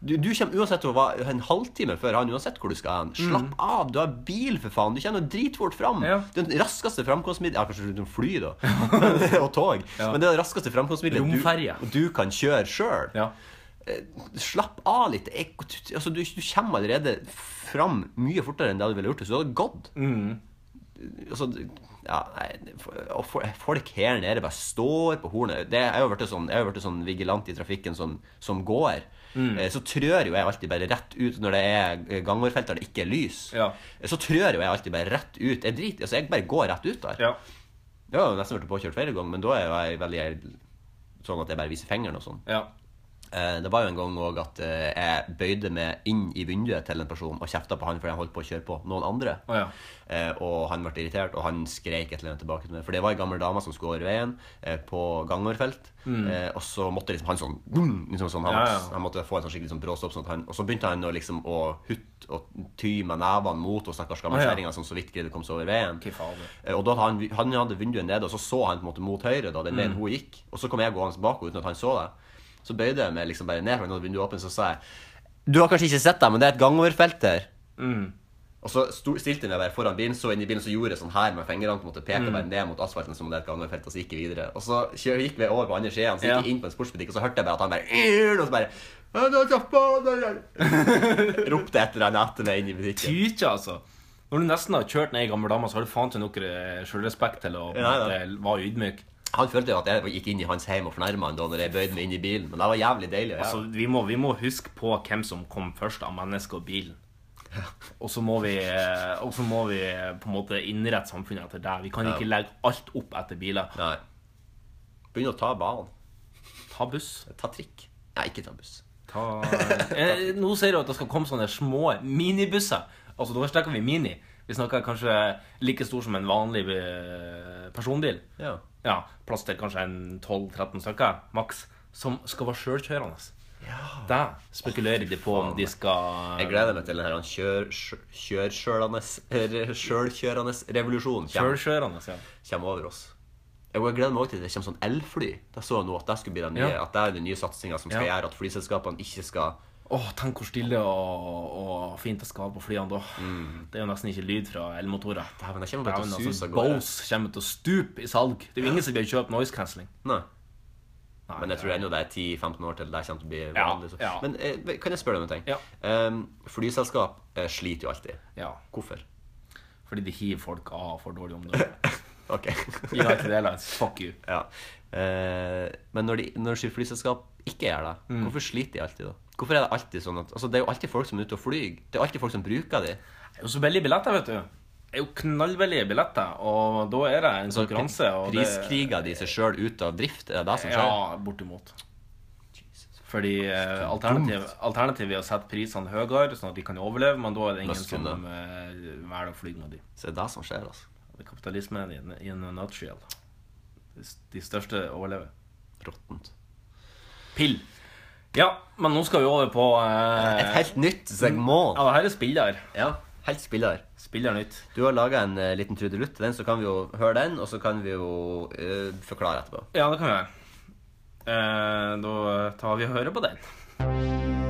Speaker 3: Du, du kommer uansett til å være en halvtime før han, uansett hvor du skal hen. Slapp av, du har bil, for faen. Du kommer jo dritfort fram. Det er Den raskeste framkomstmiddel Ja, kanskje uten fly, da. og tog. Men det er det raskeste framkomstmiddelet du, du kan kjøre sjøl. Eh, Slapp av litt. Jeg, altså, du, du kommer allerede fram mye fortere enn det du ville gjort hvis du hadde gått.
Speaker 2: Mm.
Speaker 3: Altså, ja, nei, for- og for- folk her nede bare står på hornet. Det, jeg har jo vært sånn, jeg har jo vært sånn vigilant i trafikken som, som går.
Speaker 2: Mm.
Speaker 3: Eh, Så trør jo jeg alltid bare rett ut når det er gangårfelt der det ikke er lys. Eh, Så trør jo jeg alltid bare rett ut. Jeg driter, altså jeg bare går rett ut der.
Speaker 2: Ja.
Speaker 3: Jeg har jo nesten vært påkjørt flere ganger, men da er jo jeg veldig sånn at jeg bare viser fingeren og sånn. Eh, Det var jo en gang òg at eh, jeg bøyde meg inn i vinduet til en person og kjefta på han fordi han holdt på å kjøre på noen andre.
Speaker 2: Å ja.
Speaker 3: Eh, og han ble irritert, og han skreik et eller annet tilbake til meg. For det var ei gammel dame som skulle over veien eh, på gangoverfelt.
Speaker 2: Mm.
Speaker 3: Eh, og så måtte liksom han sånn, boom, liksom sånn han,
Speaker 2: Ja, ja.
Speaker 3: han måtte få en sånn skikkelig sånn brå stopp. Sånn at han, og så begynte han å liksom å hutte og ty med nevene mot og stakkars
Speaker 2: Å,
Speaker 3: gamle
Speaker 2: ja.
Speaker 3: kjerringa som så vidt greide å komme seg over veien.
Speaker 2: fader.
Speaker 3: Eh, Og da hadde han, han hadde vinduet nede, og så så han på en måte mot høyre, da, den veien
Speaker 2: Mm.
Speaker 3: hun gikk. Og så kom jeg gående bak henne uten at han så det. Så bøyde jeg meg liksom bare ned, for han hadde vinduet åpent, så sa jeg Du har kanskje ikke sett det, men det er et gangoverfelt her.
Speaker 2: Mm.
Speaker 3: Og så sto, stilte jeg meg bare foran bilen, så inn i bilen, så gjorde jeg sånn her med fingrene. på en måte Peka
Speaker 2: Mm.
Speaker 3: bare ned mot asfalten som om det er et gangoverfelt, og så gikk jeg videre. Og så kjø- gikk vi over på andre siden, så gikk jeg inn på en sportsbutikk, og så hørte jeg bare at han bare "Ur!" Og så bare "Ja, da, hva faen er det her?" Ropte et eller annet etter meg inn i butikken.
Speaker 2: Tykje, altså. Når du nesten har kjørt ned ei gammel dame, så har du faen ikke noe eh, sjølrespekt til å på en
Speaker 3: Nei,
Speaker 2: måte, være ydmyk.
Speaker 3: Han følte jo at jeg gikk inn i hans hjem og fornærma han da når jeg bøyde meg inn i bilen, men det var jævlig deilig. Ja.
Speaker 2: Altså, vi må, vi må huske på hvem som kom først av mennesket og bilen. Og så må vi, eh, og så må vi på en måte innrette samfunnet etter det. Vi kan
Speaker 3: Ja.
Speaker 2: ikke legge alt opp etter biler.
Speaker 3: Begynn å ta banen.
Speaker 2: Ta buss.
Speaker 3: Ta trikk. Nei, ikke ta buss.
Speaker 2: Ta, eh, nå sier du at det skal komme sånne små minibusser. Altså, da snakker vi mini. Vi snakker kanskje like stor som en vanlig eh, personbil.
Speaker 3: Ja.
Speaker 2: Ja, Plass til kanskje en 12-13 stykker, maks. Som skal være sjølkjørende. Det spekulerer de på om de skal
Speaker 3: Jeg gleder meg til den her han kjør, kjør, kjørkjørende- sjølkjørende revolusjon kommer.
Speaker 2: Sjølkjørende, ja.
Speaker 3: kommer over oss. Jeg jeg gleder meg også til det kommer sånn elfly. Da så jeg nå at det skulle bli den nye,
Speaker 2: Ja.
Speaker 3: at det er den nye satsinga som skal
Speaker 2: Ja.
Speaker 3: gjøre at flyselskapene ikke skal
Speaker 2: Åh, tenk hvor stille og, og fint det skal være på flyene da. Det er jo nesten ikke lyd fra elmotorer.
Speaker 3: Dæven, jeg kommer bare til å
Speaker 2: Dæven, altså,
Speaker 3: suse av gårde.
Speaker 2: Bose kommer til å stupe i salg. Det er jo ingen som vil kjøpe noise cancelling.
Speaker 3: Nei. Men jeg tror ennå det er 10-15 år til det kommer til å bli
Speaker 2: Ja,
Speaker 3: vanlig. så-
Speaker 2: ja.
Speaker 3: Men eh, kan jeg spørre deg om en ting?
Speaker 2: Ja.
Speaker 3: Ehm, flyselskap eh, sliter jo alltid.
Speaker 2: Ja.
Speaker 3: Hvorfor?
Speaker 2: Fordi de hiver folk av for dårlig omdømme.
Speaker 3: Ok.
Speaker 2: United Airlines, fuck you.
Speaker 3: ja. Eh, men når, de, når flyselskap ikke gjør det,
Speaker 2: Mm.
Speaker 3: hvorfor sliter de alltid da? Hvorfor er det alltid sånn at, altså Det er jo alltid folk som er ute og flyr. Det er alltid folk som bruker de.
Speaker 2: Det er jo så billige billetter, vet du. Det er jo knallbillige billetter, og da er det
Speaker 3: Altså,
Speaker 2: en konkurranse. Og det-
Speaker 3: Priskriger de seg sjøl ut av drift? Er det det som skjer?
Speaker 2: Ja, bortimot. Fordi eh, alternativ, alternativet er å sette prisene høyere, sånn at de kan overleve, men da er det ingen
Speaker 3: Best kunne.
Speaker 2: som eh, velger å fly med de.
Speaker 3: Så det er det som skjer, altså.
Speaker 2: Det er kapitalismen i en, i en nutshell. De s- De største overlever.
Speaker 3: Råttent.
Speaker 2: Pill. Ja, men nå skal vi over på eh,
Speaker 3: Et helt nytt segment.
Speaker 2: Ja, det her er spiller.
Speaker 3: Ja, helt spiller.
Speaker 2: Spiller nytt.
Speaker 3: Du har laga en eh, liten trudelutt til den, så kan vi jo høre den, og så kan vi jo eh, forklare etterpå.
Speaker 2: Ja, det kan vi gjøre. Eh, da tar vi og hører på den.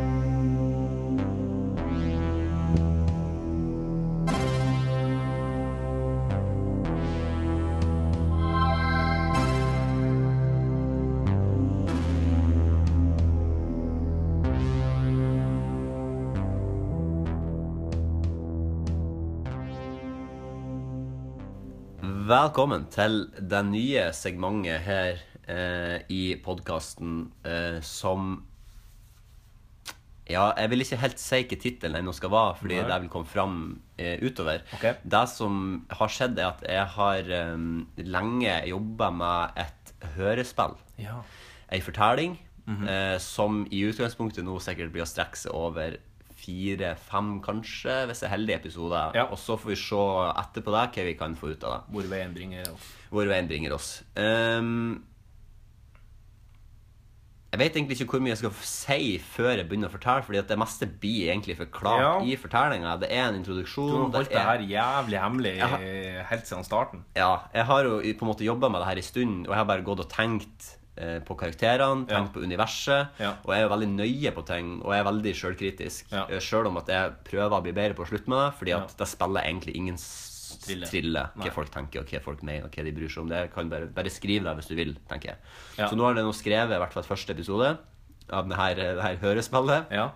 Speaker 3: Velkommen til det nye segmentet her eh, i podkasten eh, som Ja, jeg vil ikke helt si hva tittelen ennå skal være, fordi
Speaker 2: Nei.
Speaker 3: det vil komme fram eh, utover.
Speaker 2: Ok.
Speaker 3: Det som har skjedd, er at jeg har eh, lenge jobba med et hørespill.
Speaker 2: Ja.
Speaker 3: Ei fortelling
Speaker 2: Mhm.
Speaker 3: eh, som i utgangspunktet nå sikkert blir å strekke seg over fire-fem, kanskje, hvis det er heldige episoder.
Speaker 2: Ja.
Speaker 3: Og så får vi se etterpå det hva vi kan få ut av det
Speaker 2: Hvor veien bringer oss.
Speaker 3: hvor veien bringer oss. Ehm, jeg vet egentlig ikke hvor mye jeg skal si før jeg begynner å fortelle, fordi at det meste blir egentlig forklart
Speaker 2: Ja.
Speaker 3: i fortellinga. Det er en
Speaker 2: Du
Speaker 3: introduksjon.
Speaker 2: har holdt det
Speaker 3: er-
Speaker 2: her jævlig hemmelig
Speaker 3: Ja.
Speaker 2: eh, helt siden starten.
Speaker 3: ja, jeg har jo i- på en måte jobba med det her i stund, og jeg har bare gått og tenkt eh, på karakterene, tenkt på universet,
Speaker 2: Ja.
Speaker 3: og jeg er jo veldig nøye på ting, og jeg er veldig sjølkritisk.
Speaker 2: Ja.
Speaker 3: Eh, Sjøl om at jeg prøver å bli bedre på å slutte med det, fordi at
Speaker 2: Ja.
Speaker 3: det spiller egentlig ingen s-
Speaker 2: Trille.
Speaker 3: trille
Speaker 2: Nei.
Speaker 3: hva folk tenker, og hva folk mener, og hva de bryr seg om. Det kan bare, bare skrive det hvis du vil, tenker jeg.
Speaker 2: Ja.
Speaker 3: Så nå har jeg nå skrevet i hvert fall første episode av det her, eh, det her hørespillet.
Speaker 2: Ja.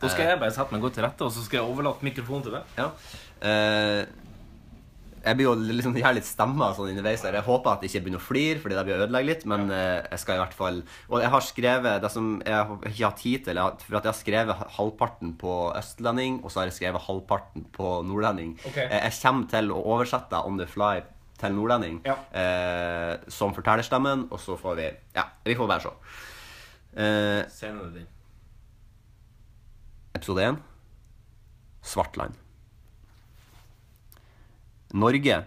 Speaker 2: Da skal jeg bare sette meg godt til rette, og så skal jeg overlate mikrofonen til deg.
Speaker 3: Ja. Eh, jeg blir jo liksom, jeg har litt stemmer sånn underveis. her. Jeg håper at jeg ikke begynner å flire, fordi det blir å ødelegge litt. Men eh, jeg skal i hvert fall Og jeg har skrevet det som jeg har ikke hatt tid til. jeg har- For at jeg har skrevet halvparten på østlending, og så har jeg skrevet halvparten på nordlending.
Speaker 2: Ok.
Speaker 3: Eh, jeg kommer til å oversette on the fly til nordlending
Speaker 2: Ja.
Speaker 3: eh, som fortellerstemmen, og så får vi Ja, vi får bare se. Eh,
Speaker 2: Scenen din.
Speaker 3: Episode 1 Svartland Norge,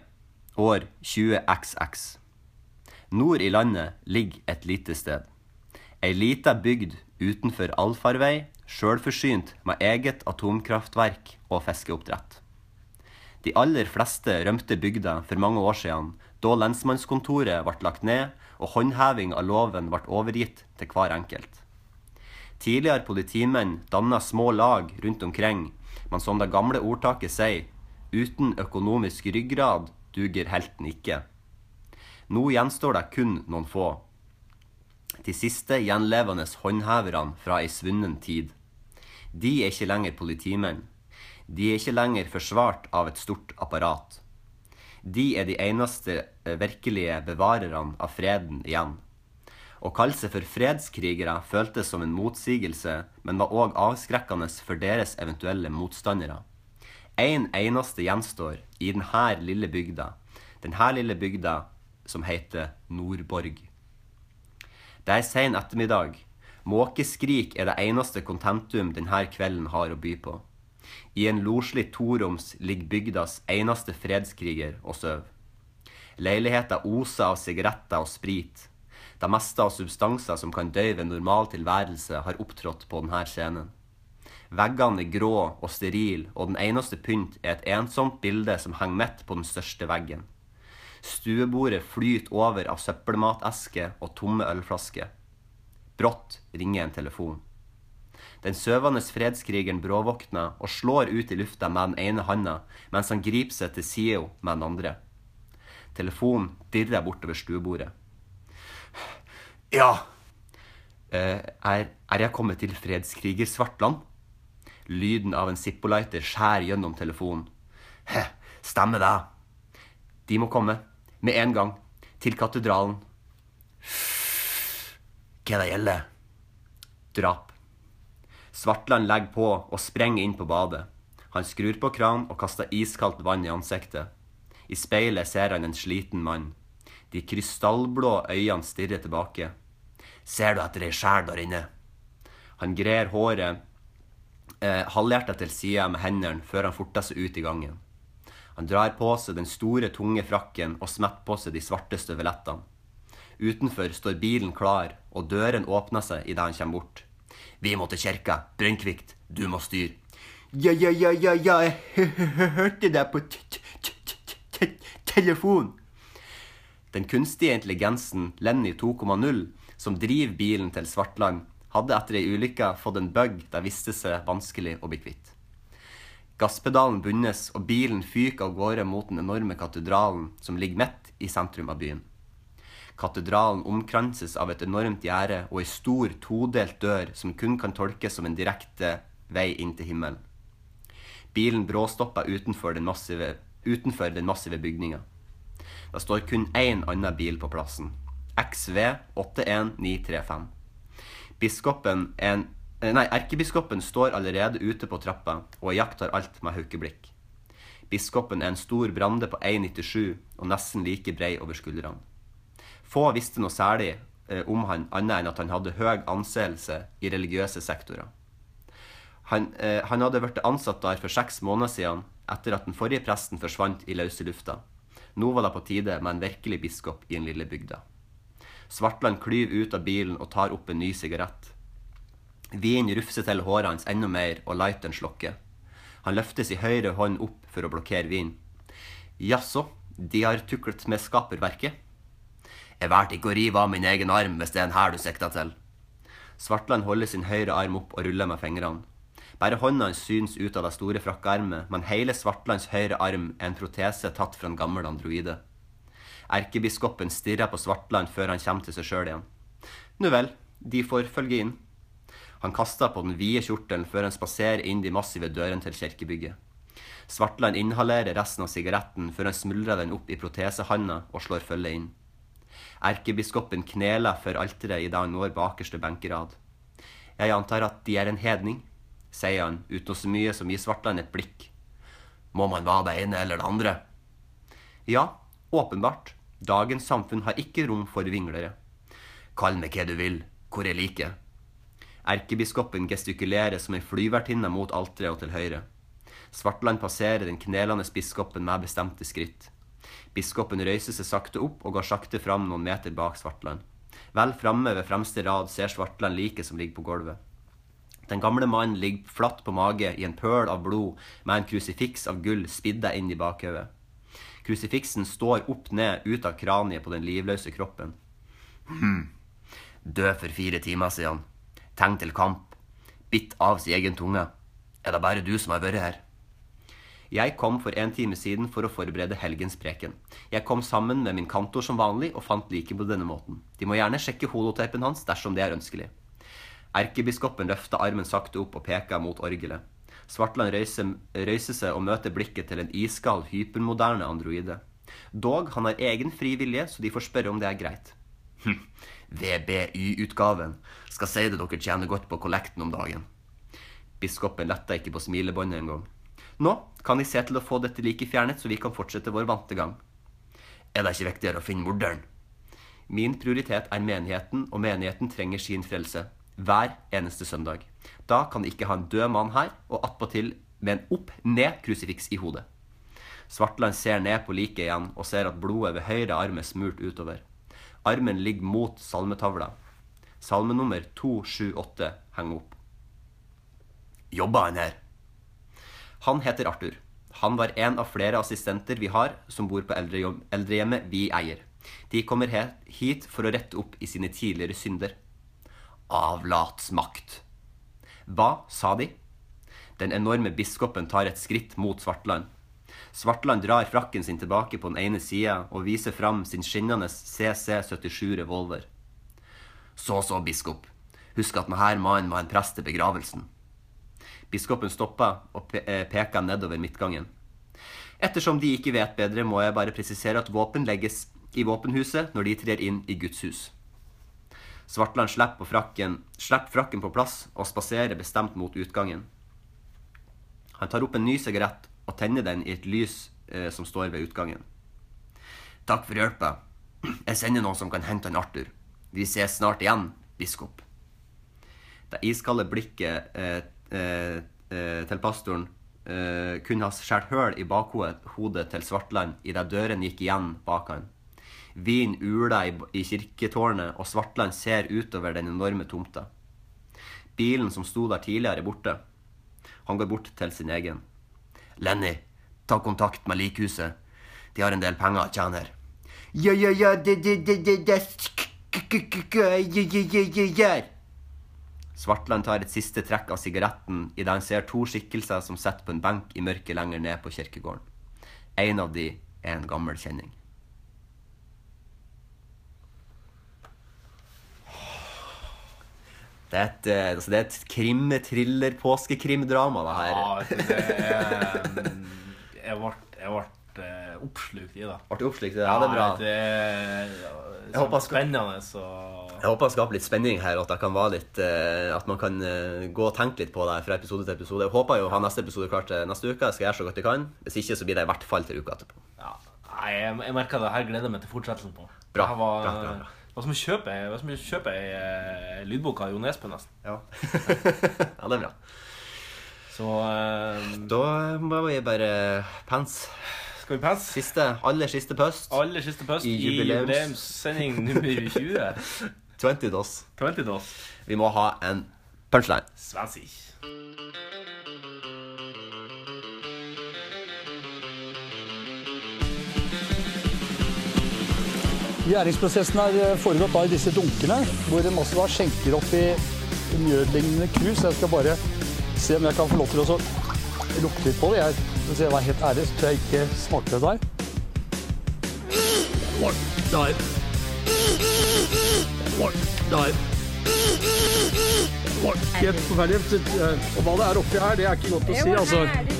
Speaker 3: år 20XX Nord i landet ligger et lite sted Ei lita bygd utenfor allfarvei Selvforsynt med eget atomkraftverk og fiskeoppdrett De aller fleste rømte bygda for mange år siden Da lensmannskontoret ble lagt ned Og håndheving av loven ble overgitt til hver enkelt Tidligere politimenn danna små lag rundt omkring, men som det gamle ordtaket sier, uten økonomisk ryggrad duger helten ikke. Nå gjenstår det kun noen få. De siste gjenlevende håndheverne fra ei svunnen tid. De er ikke lenger politimenn. De er ikke lenger forsvart av et stort apparat. De er de eneste eh, virkelige bevarerne av freden igjen. Å kalle seg for fredskrigere føltes som en motsigelse, men var òg avskrekkende for deres eventuelle motstandere. En eneste gjenstår i denne lille bygda, denne lille bygda som heter Nordborg. Det er sen ettermiddag. Måkeskrik er det eneste kontentum denne kvelden har å by på. I en loslig toroms ligger bygdas eneste fredskriger og sover. Leiligheter oser av sigaretter og sprit. Det meste av substanser som kan døyve en normal tilværelse, har opptrådt på denne scenen. Veggene er grå og sterile, og den eneste pynt er et ensomt bilde som henger midt på den største veggen. Stuebordet flyter over av søppelmatasker og tomme ølflasker. Brått ringer en telefon. Den søvende fredskrigeren bråvåkner og slår ut i lufta med den ene handa, mens han griper seg til Sio med den andre. Telefonen dirrer bortover stuebordet. Ja! Eh, er, er jeg kommet til fredskriger Svartland? Lyden av en Zippo-lighter skjærer gjennom telefonen. Heh, stemmer det. De må komme. Med en gang. Til katedralen. Hva det gjelder? Drap. Svartland legger på og sprenger inn på badet. Han skrur på kranen og kaster iskaldt vann i ansiktet. I speilet ser han en sliten mann. De krystallblå øynene stirrer tilbake. Ser du etter ei sjel der inne? Han grer håret eh, halvhjertet til sida med hendene før han forter seg ut i gangen. Han drar på seg den store, tunge frakken og smetter på seg de svarte støvelettene. Utenfor står bilen klar, og døren åpner seg idet han kommer bort. Vi må til kirka. Brennkvikt, du må styre. Ja, ja, ja, ja, ja, jeg hø- hø- hø- hørte deg på t t t t t telefon. Den kunstige intelligensen Lenny 2,0, som driver bilen til Svartland, hadde etter ei ulykke fått en bug det viste seg vanskelig å bli kvitt. Gasspedalen bundes, og bilen fyker av gårde mot den enorme katedralen som ligger midt i sentrum av byen. Katedralen omkranses av et enormt gjerde og ei stor, todelt dør som kun kan tolkes som en direkte vei inn til himmelen. Bilen bråstopper utenfor den massive, utenfor den massive bygninga. Det står kun én annen bil på plassen. XV 81935. Biskopen en, eh, Nei, erkebiskopen står allerede ute på trappa og jakter alt med haukeblikk. Biskopen er en stor brande på 1,97 og nesten like brei over skuldrene. Få visste noe særlig eh, om han annet enn at han hadde høy anseelse i religiøse sektorer. Han, eh, han hadde vært ansatt der for seks måneder siden etter at den forrige presten forsvant i løse lufta. Nå var det på tide med en virkelig biskop i den lille bygda. Svartland klyver ut av bilen og tar opp en ny sigarett. Vinen rufser til håret hans enda mer, og lighteren slukker. Han løftes i høyre hånd opp for å blokkere vinen. Jaså, de har tuklet med skaperverket? Jeg valgte ikke å rive av min egen arm hvis det er en her du sikter til. Svartland holder sin høyre arm opp og ruller med fingrene. Bare hånda hans syns ut av det store frakkeermet, men hele Svartlands høyre arm er en protese tatt fra en gammel androide. Erkebiskopen stirrer på Svartland før han kommer til seg sjøl igjen. Nu vel, de får følge inn. Han kaster på den vide kjortelen før han spaserer inn de massive dørene til kirkebygget. Svartland inhalerer resten av sigaretten før han smuldrer den opp i protesehanda og slår følge inn. Erkebiskopen kneler for alteret idet han når bakerste benkerad. Jeg antar at de er en hedning, sier han uten så mye som gir Svartland et blikk. Må man være det ene eller det andre? Ja, åpenbart. Dagens samfunn har ikke rom for vinglere. Kall meg hva du vil, hvor jeg liker. Erkebiskopen gestikulerer som ei flyvertinne mot alteret og til høyre. Svartland passerer den knelende biskopen med bestemte skritt. Biskopen røyser seg sakte opp og går sakte fram noen meter bak Svartland. Vel framme ved fremste rad ser Svartland liket som ligger på gulvet. Den gamle mannen ligger flatt på mage i en pøl av blod med en krusifiks av gull spidda inn i bakhodet. Krusifiksen står opp ned ut av kraniet på den livløse kroppen. Hmm. Død for fire timer siden. Tegn til kamp. Bitt av sin egen tunge. Er det bare du som har vært her? Jeg kom for en time siden for å forberede helgens preken. Jeg kom sammen med min kantor som vanlig og fant liket på denne måten. De må gjerne sjekke holoteipen hans dersom det er ønskelig. Erkebiskopen løfter armen sakte opp og peker mot orgelet. Svartland røyser, røyser seg og møter blikket til en iskald, hypermoderne androide. Dog, han har egen fri vilje, så de får spørre om det er greit. Hm. VBY-utgaven. Skal si det dere tjener godt på kollekten om dagen. Biskopen letta ikke på smilebåndet engang. Nå kan jeg se til å få dette liket fjernet, så vi kan fortsette vår vante gang. Er det ikke viktigere å finne morderen? Min prioritet er menigheten, og menigheten trenger sin frelse. Hver eneste søndag. Da kan jeg ikke ha en død mann her, og attpåtil med en opp-ned-krusifiks i hodet. Svartland ser ned på liket igjen og ser at blodet ved høyre arm er smurt utover. Armen ligger mot salmetavla. Salmenummer 278 henger opp. Jobber han her? Han heter Arthur. Han var en av flere assistenter vi har som bor på eldrejobb- eldrehjemmet vi eier. De kommer he- hit for å rette opp i sine tidligere synder. Avlatsmakt. Hva sa de? Den enorme biskopen tar et skritt mot Svartland. Svartland drar frakken sin tilbake på den ene sida og viser fram sin skinnende CC77 revolver. Så, så, biskop. Husk at denne mannen var en prest til begravelsen. Biskopen stoppa og pe eh, peka nedover midtgangen. Ettersom de ikke vet bedre, må jeg bare presisere at våpen legges i våpenhuset når de trer inn i Guds hus. Svartland slipper, på frakken, slipper frakken på plass og spaserer bestemt mot utgangen. Han tar opp en ny sigarett og tenner den i et lys eh, som står ved utgangen. Takk for hjelpa. Jeg sender noen som kan hente han Arthur. Vi ses snart igjen, biskop. Det iskalde blikket eh, eh, eh, til pastoren eh, kunne ha skåret høl i bakhodet hodet til Svartland idet døren gikk igjen bak han. Vin uler i, i kirketårnet, og Svartland ser utover den enorme tomta. Bilen som sto der tidligere, er borte. Han går bort til sin egen. Lenny, ta kontakt med likhuset. De har en del penger å tjene her. Ja, ja, ja, det, det, det, det, det, sk- k- k- k- k- ja, ja, ja, ja, ja. Svartland tar et siste trekk av sigaretten idet han ser to skikkelser som sitter på en benk i mørket lenger ned på kirkegården. En av de er en gammel kjenning. Det er et, eh, altså det er et krim-thriller-påskekrimdrama, det her.
Speaker 2: Ja, vet du, det er, um, jeg ble, jeg ble eh, oppslukt i det.
Speaker 3: Ble du oppslukt i det? Ja, det er bra.
Speaker 2: Det er
Speaker 3: Jeg håper han skal-
Speaker 2: spennende, så
Speaker 3: Jeg håper det skaper litt spenning her, og at, det kan være litt, eh, at man kan eh, gå og tenke litt på det fra episode til episode. Jeg håper jo å ha neste episode klart til neste uke. Jeg skal gjøre så godt jeg kan. Hvis ikke, så blir det i hvert fall til uka etterpå.
Speaker 2: Ja, nei, jeg, jeg merker det. Her gleder jeg meg til fortsettelsen på.
Speaker 3: Bra,
Speaker 2: Det her var,
Speaker 3: bra, bra, bra.
Speaker 2: Det var som å kjøpe, det var som å kjøpe ei eh, lydbok av Jo Nesbø, nesten.
Speaker 3: Ja. ja, det er bra.
Speaker 2: Så eh,
Speaker 3: Da må vi bare pens.
Speaker 2: skal vi passe.
Speaker 3: Siste, aller siste pøst.
Speaker 2: Aller siste pøst
Speaker 3: I
Speaker 2: i
Speaker 3: jubileums-
Speaker 2: jubileumssending nummer 20.
Speaker 3: 20 dos.
Speaker 2: 20 til oss.
Speaker 3: Vi må ha en punchline.
Speaker 2: Svensk.
Speaker 11: Gjæringsprosessen har eh, foregått da i disse dunkene, hvor en også da skjenker opp i mjødlignende krus. Jeg skal bare se om jeg kan få lov til å så lukte litt på det. Jeg, hvis jeg var helt ærlig, så tror jeg ikke smakte det der. Oi, Der. Oi, Der. Oi, Helt forferdelig. Det- eh, Og hva det er oppi her, det er ikke godt å si, altså.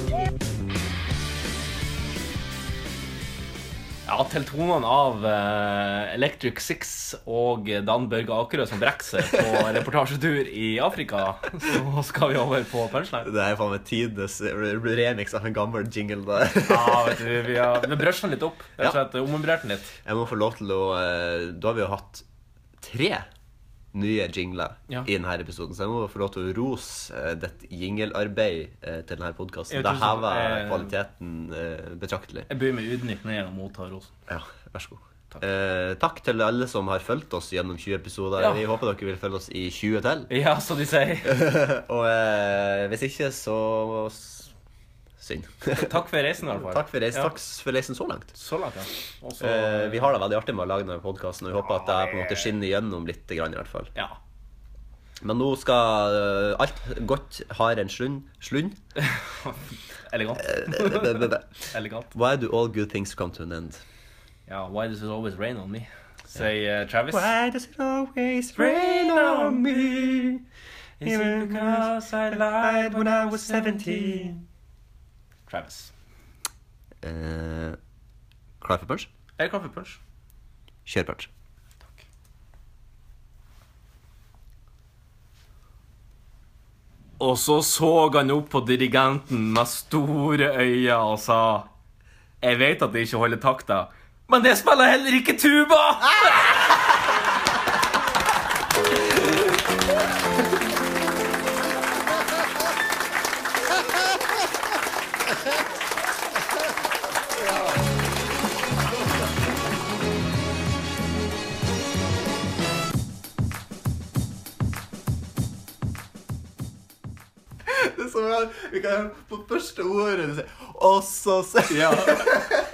Speaker 2: Ja, til tonene av eh, Electric Six og Dan Børge Akerø som brekker seg på reportasjetur i Afrika, så skal vi over på punchline.
Speaker 3: Det er faen meg tidenes remix av en gammel jingle. der.
Speaker 2: Ja, vet du, vi har vi har brushet den litt opp. Rett og
Speaker 3: Ja.
Speaker 2: slett ommobilert den litt.
Speaker 3: Jeg må få lov til å eh, Da har vi jo hatt tre nye jingler
Speaker 2: Ja.
Speaker 3: i denne episoden, så jeg må få lov til å rose eh, ditt jinglearbeid eh, til denne podkasten.
Speaker 2: Jeg
Speaker 3: Det
Speaker 2: tror så-
Speaker 3: hever
Speaker 2: eh,
Speaker 3: kvaliteten eh, betraktelig.
Speaker 2: Jeg bøyer meg ydmykt ned og mottar rosen.
Speaker 3: Ja, vær så god. Takk. Eh, takk til alle som har fulgt oss gjennom 20 episoder.
Speaker 2: Ja.
Speaker 3: Vi håper dere vil følge oss i 20 til.
Speaker 2: Ja, som de sier.
Speaker 3: Og eh, hvis ikke, så s- synd.
Speaker 2: Takk for reisen, i hvert fall.
Speaker 3: Takk for reisen,
Speaker 2: Ja.
Speaker 3: takk for reisen så langt.
Speaker 2: Så langt, ja. Og så-
Speaker 3: Eh, vi har det veldig artig med å lage denne podkasten, og vi håper at det på en måte skinner gjennom litt. Grann, i hvert fall.
Speaker 2: ja.
Speaker 3: Men nå skal eh, alt godt har en slund. Slund?
Speaker 2: Elegant.
Speaker 3: Eh, bæ, bæ, bæ.
Speaker 2: Elegant.
Speaker 3: Why do all good things come to an end?
Speaker 2: Ja, why does it always rain on me? Sier eh, Travis.
Speaker 3: does it always rain on me?
Speaker 2: Is it because I lied when I was 17? Travis.
Speaker 3: Eh, klar for punch?
Speaker 2: Er det kaffe punch?
Speaker 3: Kjør punch.
Speaker 2: Og så så han opp på dirigenten med store øyne og sa Jeg vet at det ikke holder takta, men det spiller heller ikke tuba!
Speaker 3: Ah! Det er så bra. Vi kan høre på første ordet du sier Og så se
Speaker 2: Ja.